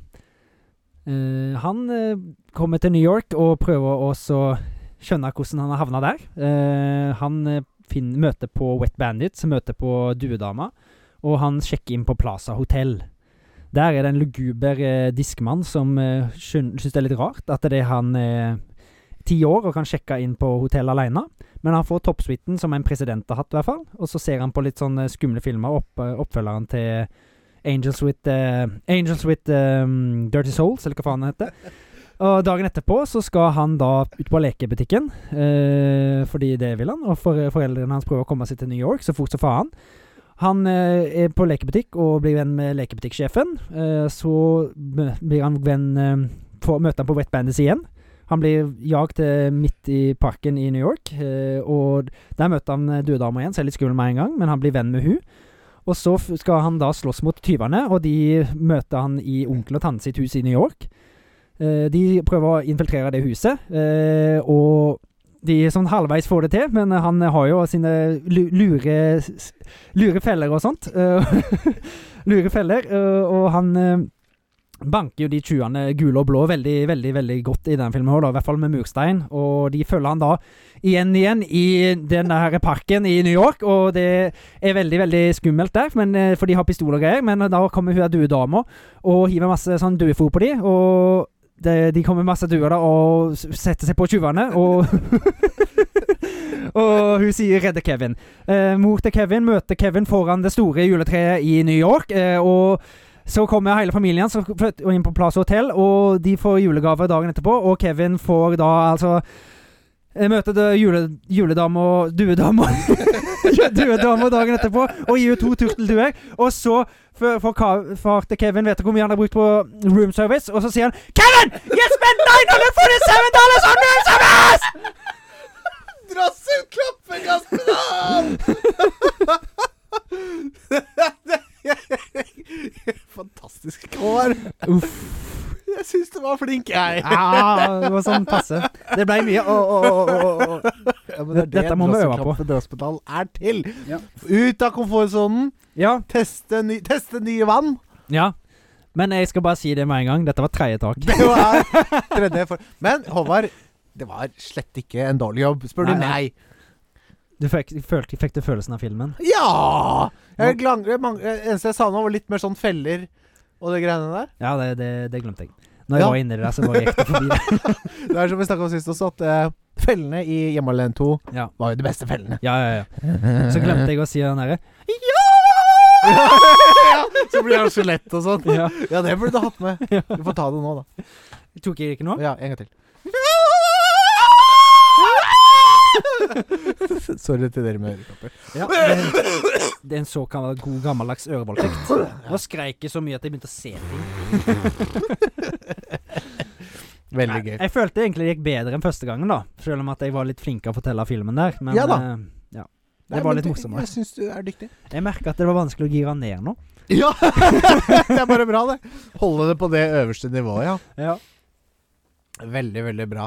Eh, han eh, kommer til New York og prøver også skjønner hvordan han har havna der. Eh, han eh, finn- møter på Wet Bandits, møter på Duedama, og han sjekker inn på Plaza Hotel. Der er det en luguber eh, diskmann som eh, skjøn- syns det er litt rart at det er han eh, ti år og kan sjekke inn på hotell alene. Men han får toppsuiten som en president har hatt, i hvert fall. Og så ser han på litt sånne skumle filmer, opp, oppfølgeren til Angels With, eh, Angels with eh, Dirty Souls, eller hva faen det heter. Og dagen etterpå så skal han da ut på lekebutikken, eh, fordi det vil han. Og for, eh, foreldrene hans prøver å komme seg til New York så fort som faen. Han eh, er på lekebutikk og blir venn med lekebutikksjefen. Eh, så mø- blir han venn eh, får- Møter han på Wet Bandits igjen. Han blir jagd eh, midt i parken i New York, eh, og der møter han eh, døddama igjen, så er det litt skummel med en gang, men han blir venn med hun. Og så f- skal han da slåss mot tyvene, og de møter han i onkel og tante sitt hus i New York. Eh, de prøver å infiltrere det huset, eh, og de sånn halvveis får det til, men han har jo sine lu- lure, s- lure feller og sånt. eh, lure feller, eh, og han eh, banker jo de tjuene gule og blå veldig, veldig veldig godt i den filmen, her da, i hvert fall med murstein. Og de følger han da igjen igjen i denne her parken i New York, og det er veldig veldig skummelt der, men, eh, for de har pistol og greier. Men da kommer hun duedama og hiver masse sånn duefòr på de, og det, de kommer masse duer da og s- setter seg på tjuvene, og Og hun sier 'redde Kevin'. Eh, mor til Kevin møter Kevin foran det store juletreet i New York. Eh, og så kommer hele familien så flytter hun inn på Plaza Hotel, og de får julegave dagen etterpå. Og Kevin får da altså eh, Møter det jule, juledame og duedame Duedame dagen etterpå og gir henne to turtelduer. Og så får får Ka- far til Kevin vet du hvor mye han har brukt på room service, og så sier han Kevin! You spent 947 dollars on room service!
Drassel klapper Gasperan! Fantastisk kår. Jeg syns du var flink, jeg.
Ja, det var sånn passe. Det ble mye å, å, å, å, å. Dette må vi øve på.
Drosselklappedrossepetal er til.
Ja.
Ut av komfortsonen,
Ja.
teste, ny, teste nye vann.
ja. Men jeg skal bare si det med en gang. Dette var tredje tak.
Det var tredje for... Men Håvard, det var slett ikke en dårlig jobb, spør du
Nei,
meg.
Du fikk, følte, fikk du følelsen av filmen?
Ja! Jeg glang, jeg mang, eh, eneste jeg savna, var litt mer sånn feller og de greiene der.
Ja, det, det, det glemte jeg. Når jeg
Ja.
var inni det der, så bare gikk det forbi. det.
Det er som vi snakka om sist også, at eh, fellene i Hjemme alene 2
Ja.
var jo de beste fellene.
Ja, ja, ja. Så glemte jeg å si den derre
ja, så blir han skjelett og sånn.
ja.
Ja, det burde du hatt med. Du får ta det nå, da.
Tok jeg det ikke nå?
Ja, en gang til. Sorry til dere med ørepropper.
Ja, det, det er en såkalt god gammeldags ørevoldtekt. Nå skreik jeg så mye at jeg begynte å se ting.
Veldig gøy.
Jeg følte egentlig det gikk bedre enn første gangen, da. Selv om at jeg var litt flinkere å fortelle filmen der. Men
Ja da.
eh, ja.
Nei,
det var
men
litt
du-
morsommere.
Jeg syns du er dyktig.
Jeg merker at det var vanskelig å gire ned nå.
Ja! det er bare bra, det. Holde det på det øverste nivået, ja.
Ja.
Veldig, veldig bra.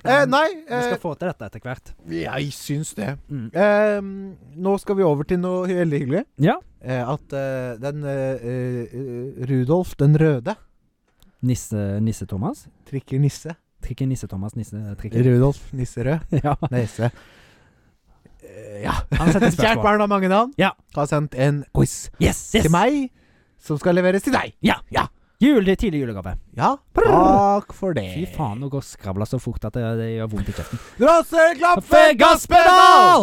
Eh, nei,
Vi
eh,
skal få til dette etter hvert.
jeg syns det.
Mm.
Eh, nå skal vi over til noe veldig hyggelig.
Ja.
Eh, at eh, den eh, eh, Rudolf den røde
Nisse, Nisse-Thomas.
trikker nisse.
Trikken Nisse-Thomas, Nisse-trikken.
Rudolf Nisserød.
Ja.
Nese. Eh, ja.
Han setter
Kjært
spørsmål.
barn har mange navn.
Ja.
Har sendt en quiz
Yes, yes!
til meg, som skal leveres til deg.
Ja.
Ja.
Jul, det er tidlig julegave.
Ja, takk for det.
Fy faen, nå går skravla så fort at det, det gjør vondt i kjeften.
Drosseklappe gasspedal!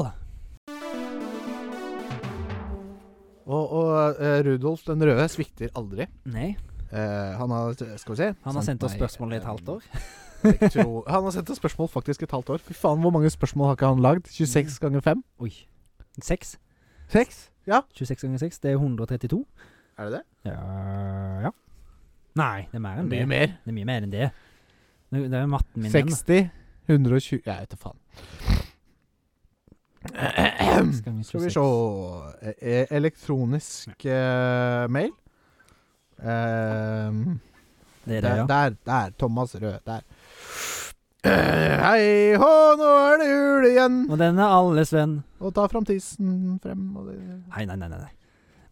Og, og eh, Rudolf den røde svikter aldri.
Nei,
Eh, han har Skal vi se.
han har sendt oss
meg,
spørsmål i et
eh,
halvt år.
jeg tror- han har sendt oss spørsmål faktisk et halvt år. Fy faen, hvor mange spørsmål har ikke han lagd? 26 ganger 5?
Oi. 6?
6? Ja.
26 ganger 6, det er 132.
Er det det?
Ja, ja. Nei, det er mer enn det.
mer.
Det er mye mer enn det. Det det er jo matten min igjen.
60, 120 Jeg vet da faen.
Skal
Skal vi se E- Elektronisk eh, mail. Ehm,
Det er det,
der,
ja.
der, der. Thomas Rød. Der. Eh, hei hå, nå er det jul igjen!
Og den er alles venn.
Og ta fram tissen frem og det
Nei, nei, nei, nei. nei.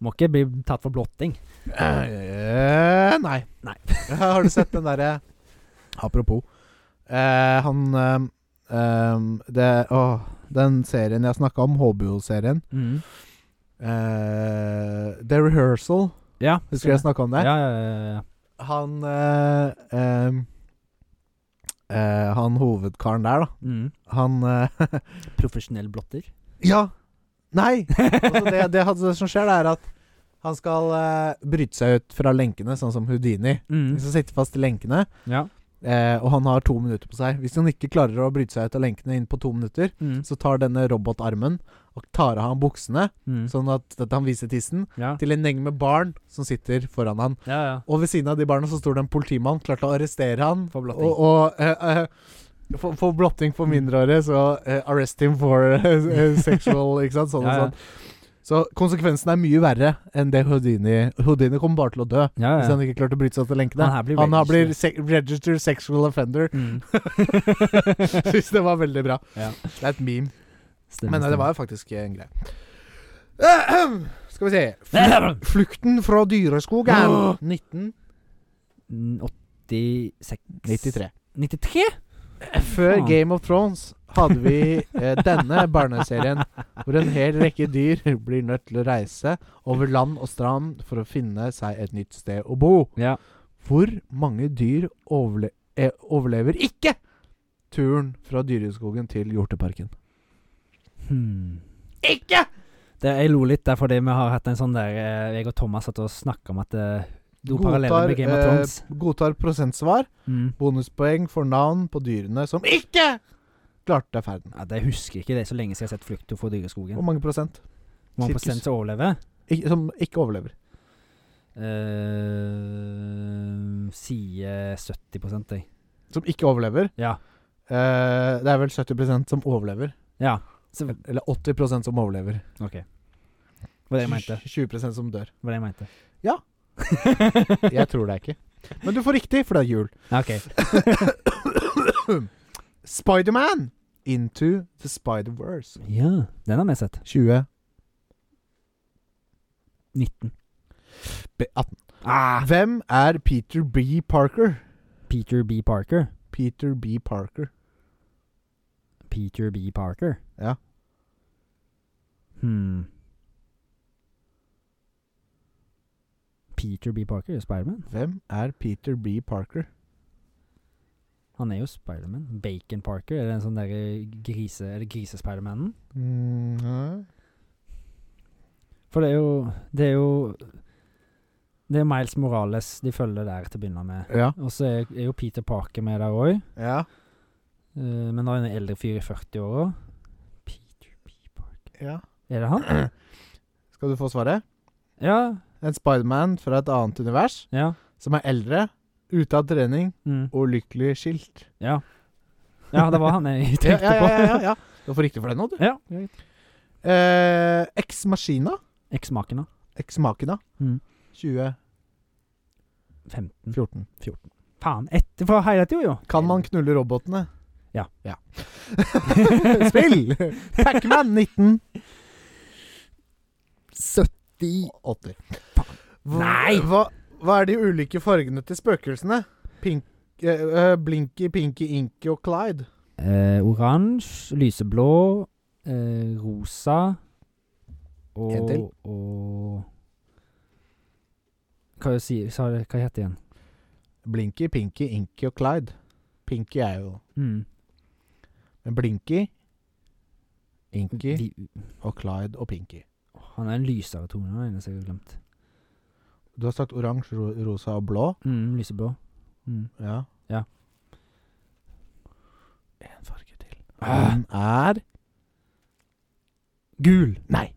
Må ikke bli tatt for blotting.
Eh, Nei.
Nei.
Har du sett den derre Apropos. Eh, han ehm, ehm, det, åh, Den serien jeg snakka om, HBO-serien
Mm.
eh, The Rehearsal.
Ja.
Husker du jeg snakka om det?
Ja, ja, ja, ja.
Han eh, ehm, eh, Han hovedkaren der, da.
Mm.
Han eh,
Profesjonell blotter.
Ja! Nei! Altså det, det, han- det som skjer, det er at han skal eh, bryte seg ut fra lenkene, sånn som Houdini.
Mm.
Hvis han sitter fast i lenkene,
Ja.
eh, og han har to minutter på seg Hvis han ikke klarer å bryte seg ut av lenkene innen på to minutter,
Mm.
så tar denne robotarmen og tar av ham buksene,
Mm.
sånn at, at han viser tissen,
Ja.
til en gjeng med barn som sitter foran han.
ja, ja.
Og ved siden av de barna så står det en politimann klar til å arrestere han.
For blotting.
Og, og eh, eh, for, for blotting for mindreårige, så eh, arrest him for eh, sexual Ikke sant? Sånn og
Ja, ja.
sånn. Så konsekvensen er mye verre enn det Houdini Houdini kommer bare til å dø.
Ja,
Hvis
ja.
han ikke klarte å bryte seg til lenkene.
Han her blir
Han her
registered.
blir se registered sexual offender.
Mm.
Syns det var veldig bra.
Ja.
Det er et meme.
Stemmer,
Men eh, det
stemmer.
var jo faktisk eh, en greie. Ahem. Skal vi se Flu- Flukten fra dyreskogen.
Åh.
1993.
86 93?
Før
Faen.
Game of Thrones hadde vi eh, denne barneserien hvor en hel rekke dyr blir nødt til å reise over land og strand for å finne seg et nytt sted å bo.
Ja.
Hvor mange dyr overle eh, overlever ikke turen fra dyreskogen til hjorteparken?
Hmm.
Ikke!
Det, jeg lo litt der fordi vi har hatt en sånn der eh, Jeg og Thomas satt og snakka om at eh, det var paralleller med Game of
eh,
Thrones.
godtar prosentsvar.
Mm.
Bonuspoeng for navn på dyrene som ikke klarte ferden.
Ja, det husker jeg ikke, det er så lenge siden jeg har sett Flukto fra
Hvor
dyreskogen.
mange prosent
Hvor mange
sirkus.
prosent som overlever?
Ik som ikke overlever?
Uh, Sier 70 jeg.
Som ikke overlever?
Ja.
Eh, det er vel 70 som overlever.
Ja. Så,
Eller 80 som overlever.
OK. Var det jeg mente.
20 som dør.
Var det jeg mente.
Ja. Jeg tror det ikke. Men du får riktig, for det er jul.
Ja, OK.
Spiderman Into the Spider-Verse.
Ja, den har vi sett.
20
19.
B 18.
Ah,
Hvem er Peter B. Parker?
Peter B. Parker.
Peter B. Parker.
Peter B. Parker.
Ja.
Hmm. Peter B. Parker er Spiderman.
Hvem er Peter B. Parker?
Han er jo Spiderman. Bacon Parker, er det en sånn derre grise... Er det grisespidermanen?
Mm, nei.
For det er jo Det er jo Det er Miles Morales de følger der til å begynne med.
ja.
Og så er, er jo Peter Parker med der òg,
ja.
Eh, men da er han en eldre fyr i 40-åra. Peter B. Parker
Ja.
Er det han?
Skal du få svaret?
Ja.
En Spiderman fra et annet univers
Ja.
som er eldre, ute av trening
Mm.
og lykkelig skilt.
Ja. ja, det var han jeg
Ja,
tenkte
ja, ja, ja,
på.
ja. Du får riktig for den nå, du.
Ja.
Eh, Ex Machina.
Eksmaken, da.
Ex Machina.
Mm.
2014.
15.
Mm.
Faen. Ett fra Highlight, jo, jo.
Kan man knulle robotene?
Ja.
ja. Spill! Pacman 19. 70 80. Hva,
Nei!
Hva, hva er de ulike fargene til spøkelsene? Pink, eh, eh, Blinky, Pinky, Inky og Clyde.
Eh, Oransje, lyseblå, eh, rosa og
En til.
Og Hva, si, sa, det- hva heter det igjen?
Blinky, Pinky, Inky og Clyde. Pinky er jo
Mm.
Men Blinky, Inky
Vi,
og Clyde og Pinky.
han er en lysere tone, det er det eneste jeg har glemt.
Du har sagt oransje, ro rosa og blå.
Mm, lyseblå. Mm.
Ja.
Ja.
En farge til.
Ah.
Den er
Gul!
Nei.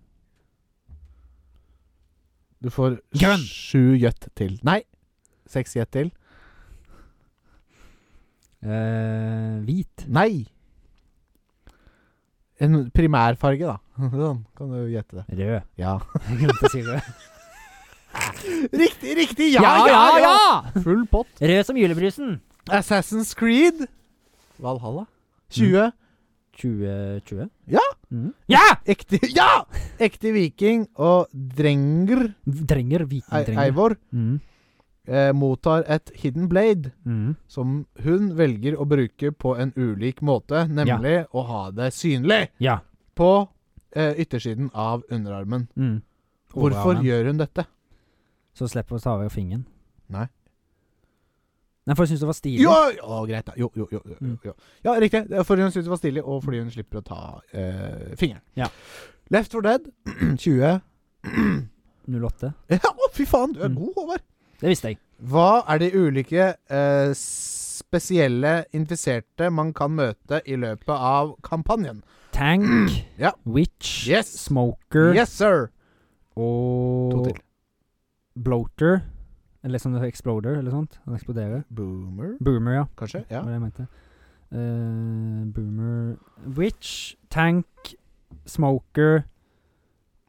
Du får
Grønn.
sju gjett til. Nei, seks gjett til.
Eh, hvit.
Nei! En primærfarge, da. Sånn kan du gjette det.
Rød.
Ja.
Jeg glemte å si rød.
Riktig, riktig! Ja,
Ja, ja, ja!
Full pott.
Rød som julebrusen.
Assassin's Creed. Valhalla. 20.
2020?
Ja!
Mm. Ja!
Ekte Ja! Ekte viking og drenger
Drenger. Viking
Ei-
drenger.
Eivor
Mm.
eh, mottar et hidden blade
Mm.
som hun velger å bruke på en ulik måte, nemlig å ha det synlig
Ja.
på eh, yttersiden av underarmen.
Mm.
Hvorfor
Overarmen.
gjør hun dette?
Så slipper vi å ta av fingeren.
Nei.
Nei, for jeg syns det var stilig.
Jo, å, greit da. Jo, jo, jo, jo,
Mm.
jo. Ja, riktig. Det er Fordi hun syntes det var stilig, og fordi hun slipper å ta eh, fingeren.
Ja.
Left for dead 20. Ja,
08.
å, fy faen, du er
Mm.
god, Håvard.
Det visste jeg.
Hva er de ulike eh, spesielle infiserte man kan møte i løpet av kampanjen?
Tank,
Ja.
Witch,
Yes.
Smoker
Yes, sir! To
og
til.
Bloater. Eller sånn Exploder, eller sånt. Han eksploderer.
Boomer,
Boomer, ja.
kanskje?
Det
Ja.
var det jeg mente. Eh, boomer Witch, Tank, Smoker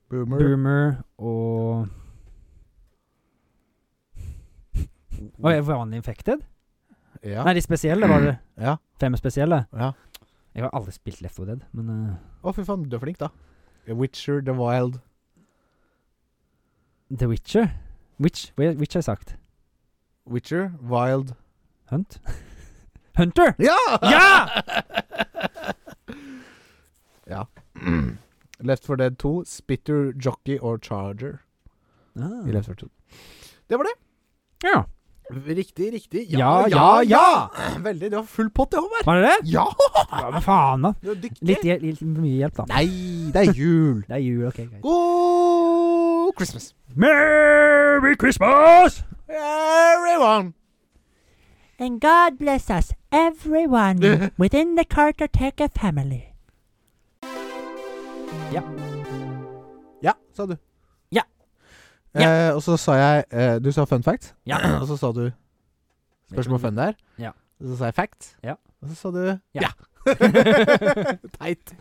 Boomer.
Boomer og Å, er vanlig infected?
Ja. Mm.
Nei, de spesielle var det.
Ja.
Fem spesielle.
ja.
Jeg har aldri spilt Left 4 Dead, men eh,
Å, fy faen, du er flink, da. Witcher, The Wild
The Witcher Witch, Witch har jeg sagt.
Witcher, Wild
Hunt? Hunter!
Ja!
Ah. Ja!
ja. Left 4 Dead 2, Spitter, Jockey og Charger. I
Ah.
Left 4 Dead 2. Det var det.
Ja.
Riktig, riktig.
Ja, ja,
Veldig. Du har full pott, det, Håvard.
Var det det?
Ja!
Ja, men faen, da.
Du er dyktig.
Litt, hjel- litt mye hjelp, da.
Nei, det er jul.
Det er jul, OK. Greit.
God Christmas,
Merry Christmas!
everyone!
And God bless us, everyone, within the Cartoteca family.
Ja, sa du.
Ja.
Eh, og så sa jeg eh, Du sa fun fact,
Ja.
og så sa du spørsmål fun der.
Ja.
Og så sa jeg fact,
Ja.
og så sa du
Ja.
Teit.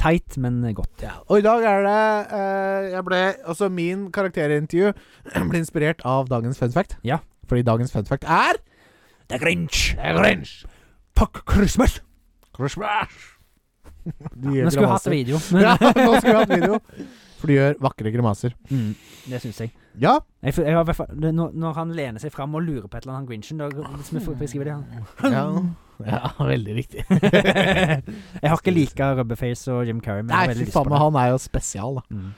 Teit, men eh, godt.
Og i dag er det eh, Jeg ble Altså, min karakterintervju ble inspirert av dagens fun fact.
Ja.
Fordi dagens fun fact er
Det er Grinch.
Det er Grinch.
Fuck Christmas!
Christmas. De
Nå
gjør
skulle vi hatt
grimaser.
video.
Ja, nå skulle vi hatt video. For de gjør vakre grimaser.
Mm, det syns jeg.
Ja.
jeg, f- jeg har, i hvert fall- det- når, når han lener seg fram og lurer på et eller annet, han Grinchen da, hvis vi får- beskriver det, han.
ja. Ja, veldig riktig.
jeg har ikke lika Rubberface og Jim Carrey, men jeg
Nei,
har veldig
fy
lyst på
faen, men
det.
han er jo spesial, da.
Mm.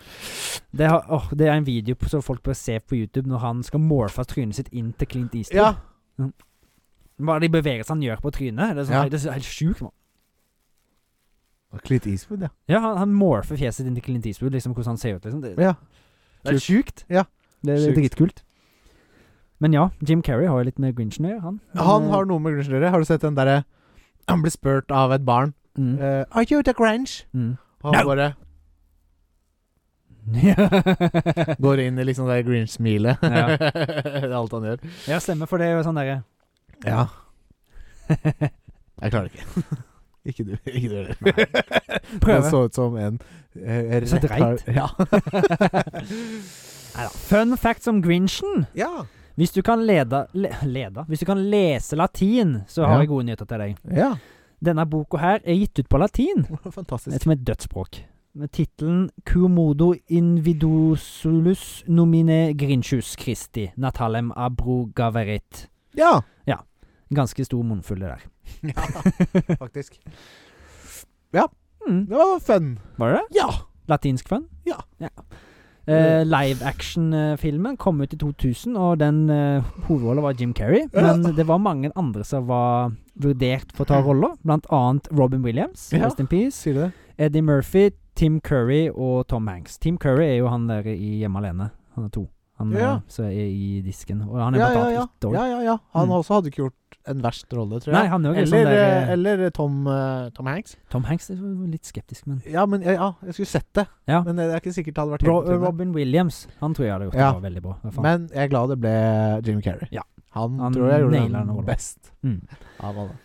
Det, har, åh, det er en video på- som folk bør se på YouTube når han skal morfe trynet sitt inn til Clint Eastwood.
Ja.
Bare de bevegelsene han gjør på trynet. Det er, sånn,
Ja.
det er så helt sjukt. man.
Clint Eastwood, ja.
Ja, han, han morfer fjeset sitt inn til Clint Eastwood, liksom hvordan han ser ut. Liksom. Det,
Ja.
det er sjukt.
Ja.
Det, det er
Sjukt.
dritkult. Men ja, Jim Carrey har jo litt med Grinchen å gjøre, han.
Han har noe med Grinch å gjøre. Har du sett den derre Han blir spurt av et barn
mm,
eh, Are you the Grinch?
mm.
Og han
No.
bare går inn i liksom det Grinch-smilet.
Ja.
det er alt han gjør.
ja, stemmer, for det er jo sånn derre
Ja. Jeg klarer det ikke. ikke du. Ikke du heller. Det
Prøve.
så ut som en eh,
Så
rett har-
Neida. Fun facts om Grinchen.
Ja. ja.
Hvis du kan leda, le, leda Hvis du kan lese latin, så har
Ja.
jeg gode nyheter til deg.
Ja.
Denne boka her er gitt ut på latin,
Fantastisk.
som et dødsspråk. Med tittelen 'Cumodo invidosulus nomine grinchus Christi natalem abrogaverit'.
Ja.
Ganske stor munnfull, det der.
ja. Faktisk.
Mm.
Det var fun.
Var det det?
Ja.
Latinsk fun?
Ja.
Eh, live action-filmen kom ut i 2000, og den eh, hovedrollen var Jim Carrey. Men det var mange andre som var vurdert for å ta roller, blant annet Robin Williams,
Ja.
Rest in Peace,
Sier du det?
Eddie Murphy, Tim Curry og Tom Hanks. Tim Curry er jo han der i Hjemme alene. Han er to. Han
Ja.
eh, som er i disken. Og han er blant annet ett år.
ja, ja, ja. Han
Mm.
også hadde ikke gjort en verst rolle, tror jeg.
Nei, han er jo ikke
eller,
sånn der
eh,
eh,
eller Tom, eh, Tom Hanks.
Tom Hanks er jo litt skeptisk, men
Ja, men ja, ja, jeg skulle sett det.
Ja.
Men det er ikke sikkert det hadde vært
Ro
helt på trynet.
Robin Williams, han tror jeg hadde gjort det
Ja.
bra, veldig bra. Hva faen?
Men jeg er glad det ble Jim Carrey.
Ja.
Han,
Han
tror jeg gjorde
naila den
den
rollen.
best
Mm.
av alle.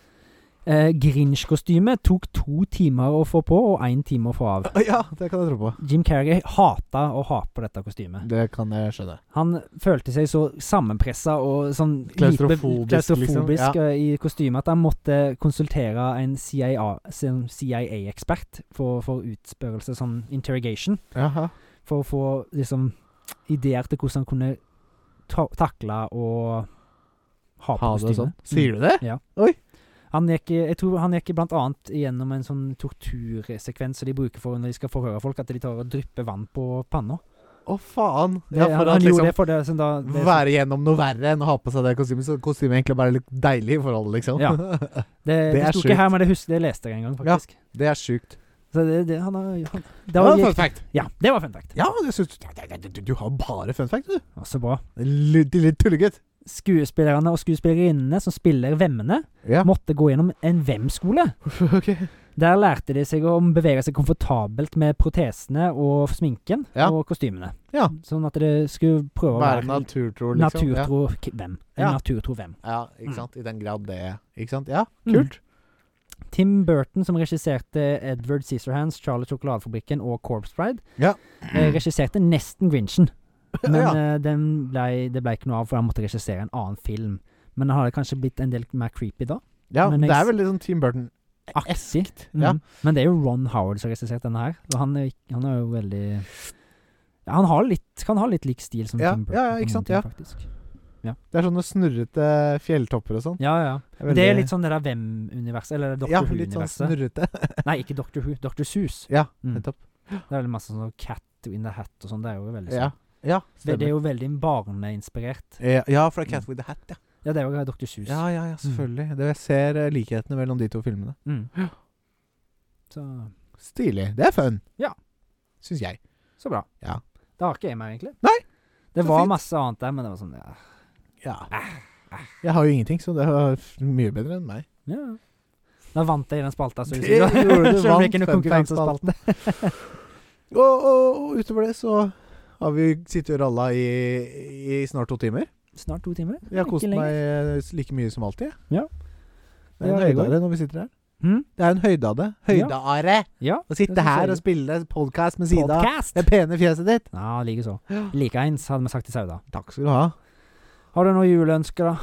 Eh, Grinch-kostymet tok to timer å få på, og én time å få av.
Ja, det kan jeg tro på.
Jim Carrey hata å ha på dette kostymet.
Det kan jeg skjønne.
Han følte seg så sammenpressa og sånn lite-
Klaustrofobisk,
klaustrofobisk
liksom.
eh, i kostymet at han måtte konsultere en CIA-ekspert for, for utspørrelse, sånn interrogation,
Jaha.
for å få liksom ideer til hvordan han kunne ta takle og ha på
Ha det
kostymet.
sånn.
Mm.
Sier du det?
Han gikk, i- jeg tror han gikk i blant annet gjennom en sånn tortursekvens som de bruker for når de skal forhøre folk, at de tar og drypper vann på panna.
Å, faen.
Det-
Ja,
han
for
han
at
gjorde
liksom
det for det, sånn da, det,
være gjennom noe verre enn å ha på seg det kostymet. Så kostymet egentlig bare er litt deilig i forholdet, liksom.
Ja. det, det,
er
sto
sjukt.
ikke her, men det, husker, det leste jeg en gang,
Ja.
faktisk.
det er sjukt.
Så det, det, han, har- han, det
Det
var,
var en fun
gikk,
fact.
ja, det var fun fact.
Ja, det syns du, du, du har bare fun fact, du.
Ja, Så bra.
Litt, litt tullegutt.
Skuespillerne og skuespillerinnene som spiller vemmene,
Ja.
måtte gå gjennom en hvem-skole.
ok.
Der lærte de seg å bevege seg komfortabelt med protesene og sminken
Ja.
og kostymene.
Ja.
Sånn at det skulle prøve å
Være
være
naturtro, liksom.
Naturtro k- hvem? En
Ja.
naturtro hvem?
Ja. ja, ikke
Mm.
sant. I den grad det Ikke sant. Ja,
Mm.
kult.
Tim Burton, som regisserte Edward Scissorhands, Charlie Sjokoladefabrikken og Corpse Bride,
Ja.
eh, regisserte nesten Grinchen. Men
Ja.
eh, den ble, det ble ikke noe av, for han måtte regissere en annen film. Men det hadde kanskje blitt en del mer creepy da.
Ja,
Men
det
jeg
er
s-
veldig sånn Team Burton.
Aktig.
Mm. Ja.
Mm. Men det er jo Ron Howard som har regissert denne her. Og han er, ikk- han er jo veldig ja, Han har litt, kan ha litt lik stil som
Ja,
Tim Burton.
ja, ja,
på
ikke
mange
sant,
ting,
ja.
faktisk.
Det er sånne snurrete fjelltopper og sånn.
Ja, ja. Men det er litt sånn det der Hvem-universet, eller Dr.
Ja, litt sånn
Who-universet.
snurrete.
Nei, ikke Dr. Who, Dr. Sus.
ja,
Mm.
nettopp.
Det er veldig masse sånn Cat in the Hat og sånn. Det er jo veldig sånn.
Ja, ja
det, det
stemmer.
er jo veldig barneinspirert.
Ja, ja, fra Cat with the Hat, ja.
Ja, det er jo Dr. Sus.
Ja, ja, ja, selvfølgelig. Det, jeg ser eh, likhetene mellom de to filmene.
Mm. Så,
Stilig. Det er fun.
Ja.
Syns jeg.
så bra.
Ja.
Det har ikke jeg mer, egentlig.
Nei,
Det
så
var
fint.
masse annet der, men det var sånn Ja.
Ja. Jeg har jo ingenting, så det var f- mye bedre enn meg.
ja. Da vant jeg i den spalta, så
Det
Altså, du sier.
gjorde du,
Selv om det ikke er
vant
noe konkurransespalte.
Og, og, og utover det så har vi sittet og ralla i, i snart to timer.
Snart to timer.
Jeg har
Ikke
kost
lenger.
meg eh, like mye som alltid. jeg.
Ja.
Det er
Ja,
en
jeg
høydare når vi sitter her.
Mm?
Det er en høyde av det. Høydeare!
Ja.
Å
det
sitte
synes jeg.
her og spille podkast med sida.
Podcast!
Det pene fjeset ditt.
Ja, likeså. Likeens, hadde vi sagt i Sauda.
Takk skal du ha.
Har du noen juleønsker, da?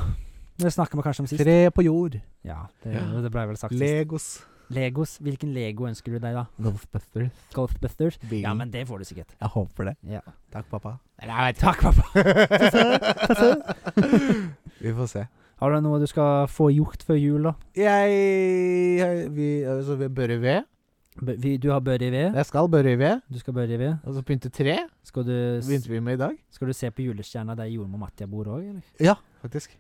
Det snakker vi kanskje om sist.
Tre på jord.
Ja, det, det ble vel sagt sist.
Legos.
Legos. Hvilken Lego ønsker du deg, da?
Ghostbusters.
Ghostbusters?
Bil.
Ja, men det får du sikkert.
Jeg håper det.
Ja.
Takk, pappa.
Takk, pappa.
vi får se.
Har du noe du skal få gjort før jul, da?
Jeg, jeg vi, altså, vi børre ved.
B vi, du har børre i ved.
Jeg skal børre ved.
Du skal børre i ved.
Og så pynte tre.
Skal du, s-
Begynte vi med i dag.
skal du se på julestjerna der jordmor Mattia bor òg, eller?
Ja, faktisk.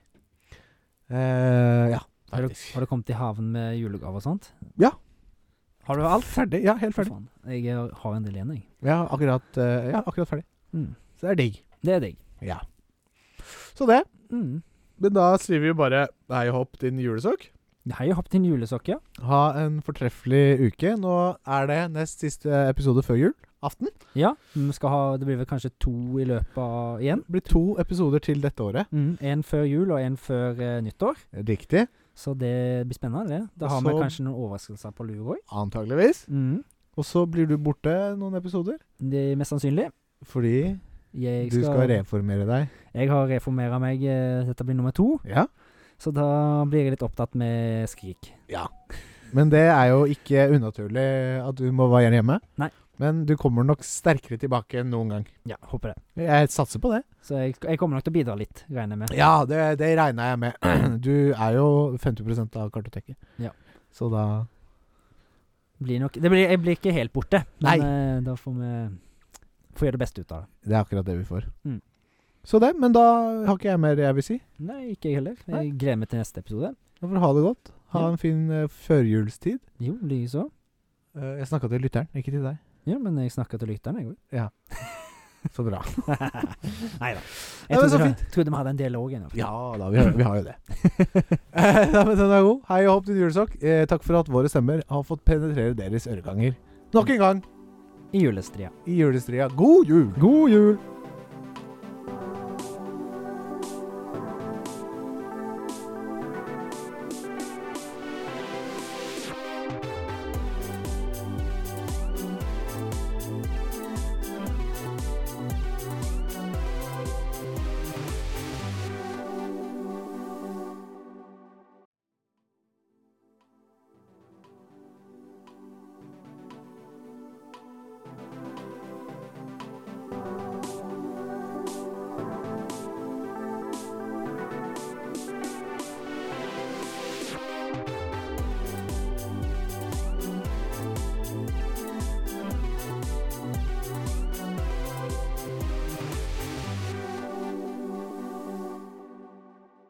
Eh, ja,
Har du,
faktisk.
har du kommet i havn med julegave og sånt?
Ja.
Har du alt?
Ferdig. Ja, helt ferdig.
Faen, Jeg er- har en del igjen, jeg.
Ja, akkurat, eh, ja, akkurat ferdig.
Mm.
Så det er digg.
Det er digg.
Ja. Så det.
Mm.
Men da skriver vi bare hei og hopp, din julesokk.
Hei og hopp til en julesokke.
Ha en fortreffelig uke. Nå er det nest siste episode før jul. Aften.
Ja, vi Mm, skal ha, det blir vel kanskje to i løpet av igjen.
Det blir to episoder til dette året.
Mm. En før jul og en før eh, nyttår.
Riktig.
Så det blir spennende, det. Da har
Og så-
vi kanskje noen overraskelser på lur òg.
Antageligvis.
Mm.
Og så blir du borte noen episoder.
Det er mest sannsynlig.
Fordi
Jeg
du skal reformere deg.
Jeg har reformera meg. eh, Dette blir nummer to.
Ja.
Så da blir jeg litt opptatt med skrik.
Men det er jo ikke unaturlig at du må være hjemme.
Nei.
Men du kommer nok sterkere tilbake enn noen gang.
Ja, håper det.
Jeg satser på det.
Så jeg, jeg kommer nok til å bidra litt, regner jeg med.
Ja, det, det regna jeg med. Du er jo 50 av kartoteket.
Ja.
Så da
Blir nok, det blir, jeg blir ikke helt borte,
Nei.
men eh, da får vi får gjøre det beste ut av det.
Det er akkurat det vi får.
Mm.
Så det. Men da har ikke jeg mer jeg vil si.
Nei, ikke jeg heller.
Nei.
Jeg gleder meg til neste episode.
Da får du ha det godt. Ha
Ja.
en fin eh, førjulstid.
Jo, likeså.
Eh, jeg snakka til lytteren, ikke til deg.
Ja, men jeg snakka til lytteren, jeg òg.
Så bra.
Nei da.
Nei,
Jeg
men så
trodde, trodde vi hadde en dialog igjen.
Ja da, vi har, vi har jo det. Eh, Nei, men den er god. Hei og hopp til julesokk. Eh, takk for at våre stemmer har fått penetrere deres øreganger. Nok en gang
I julestria.
i julestria. God jul! God jul!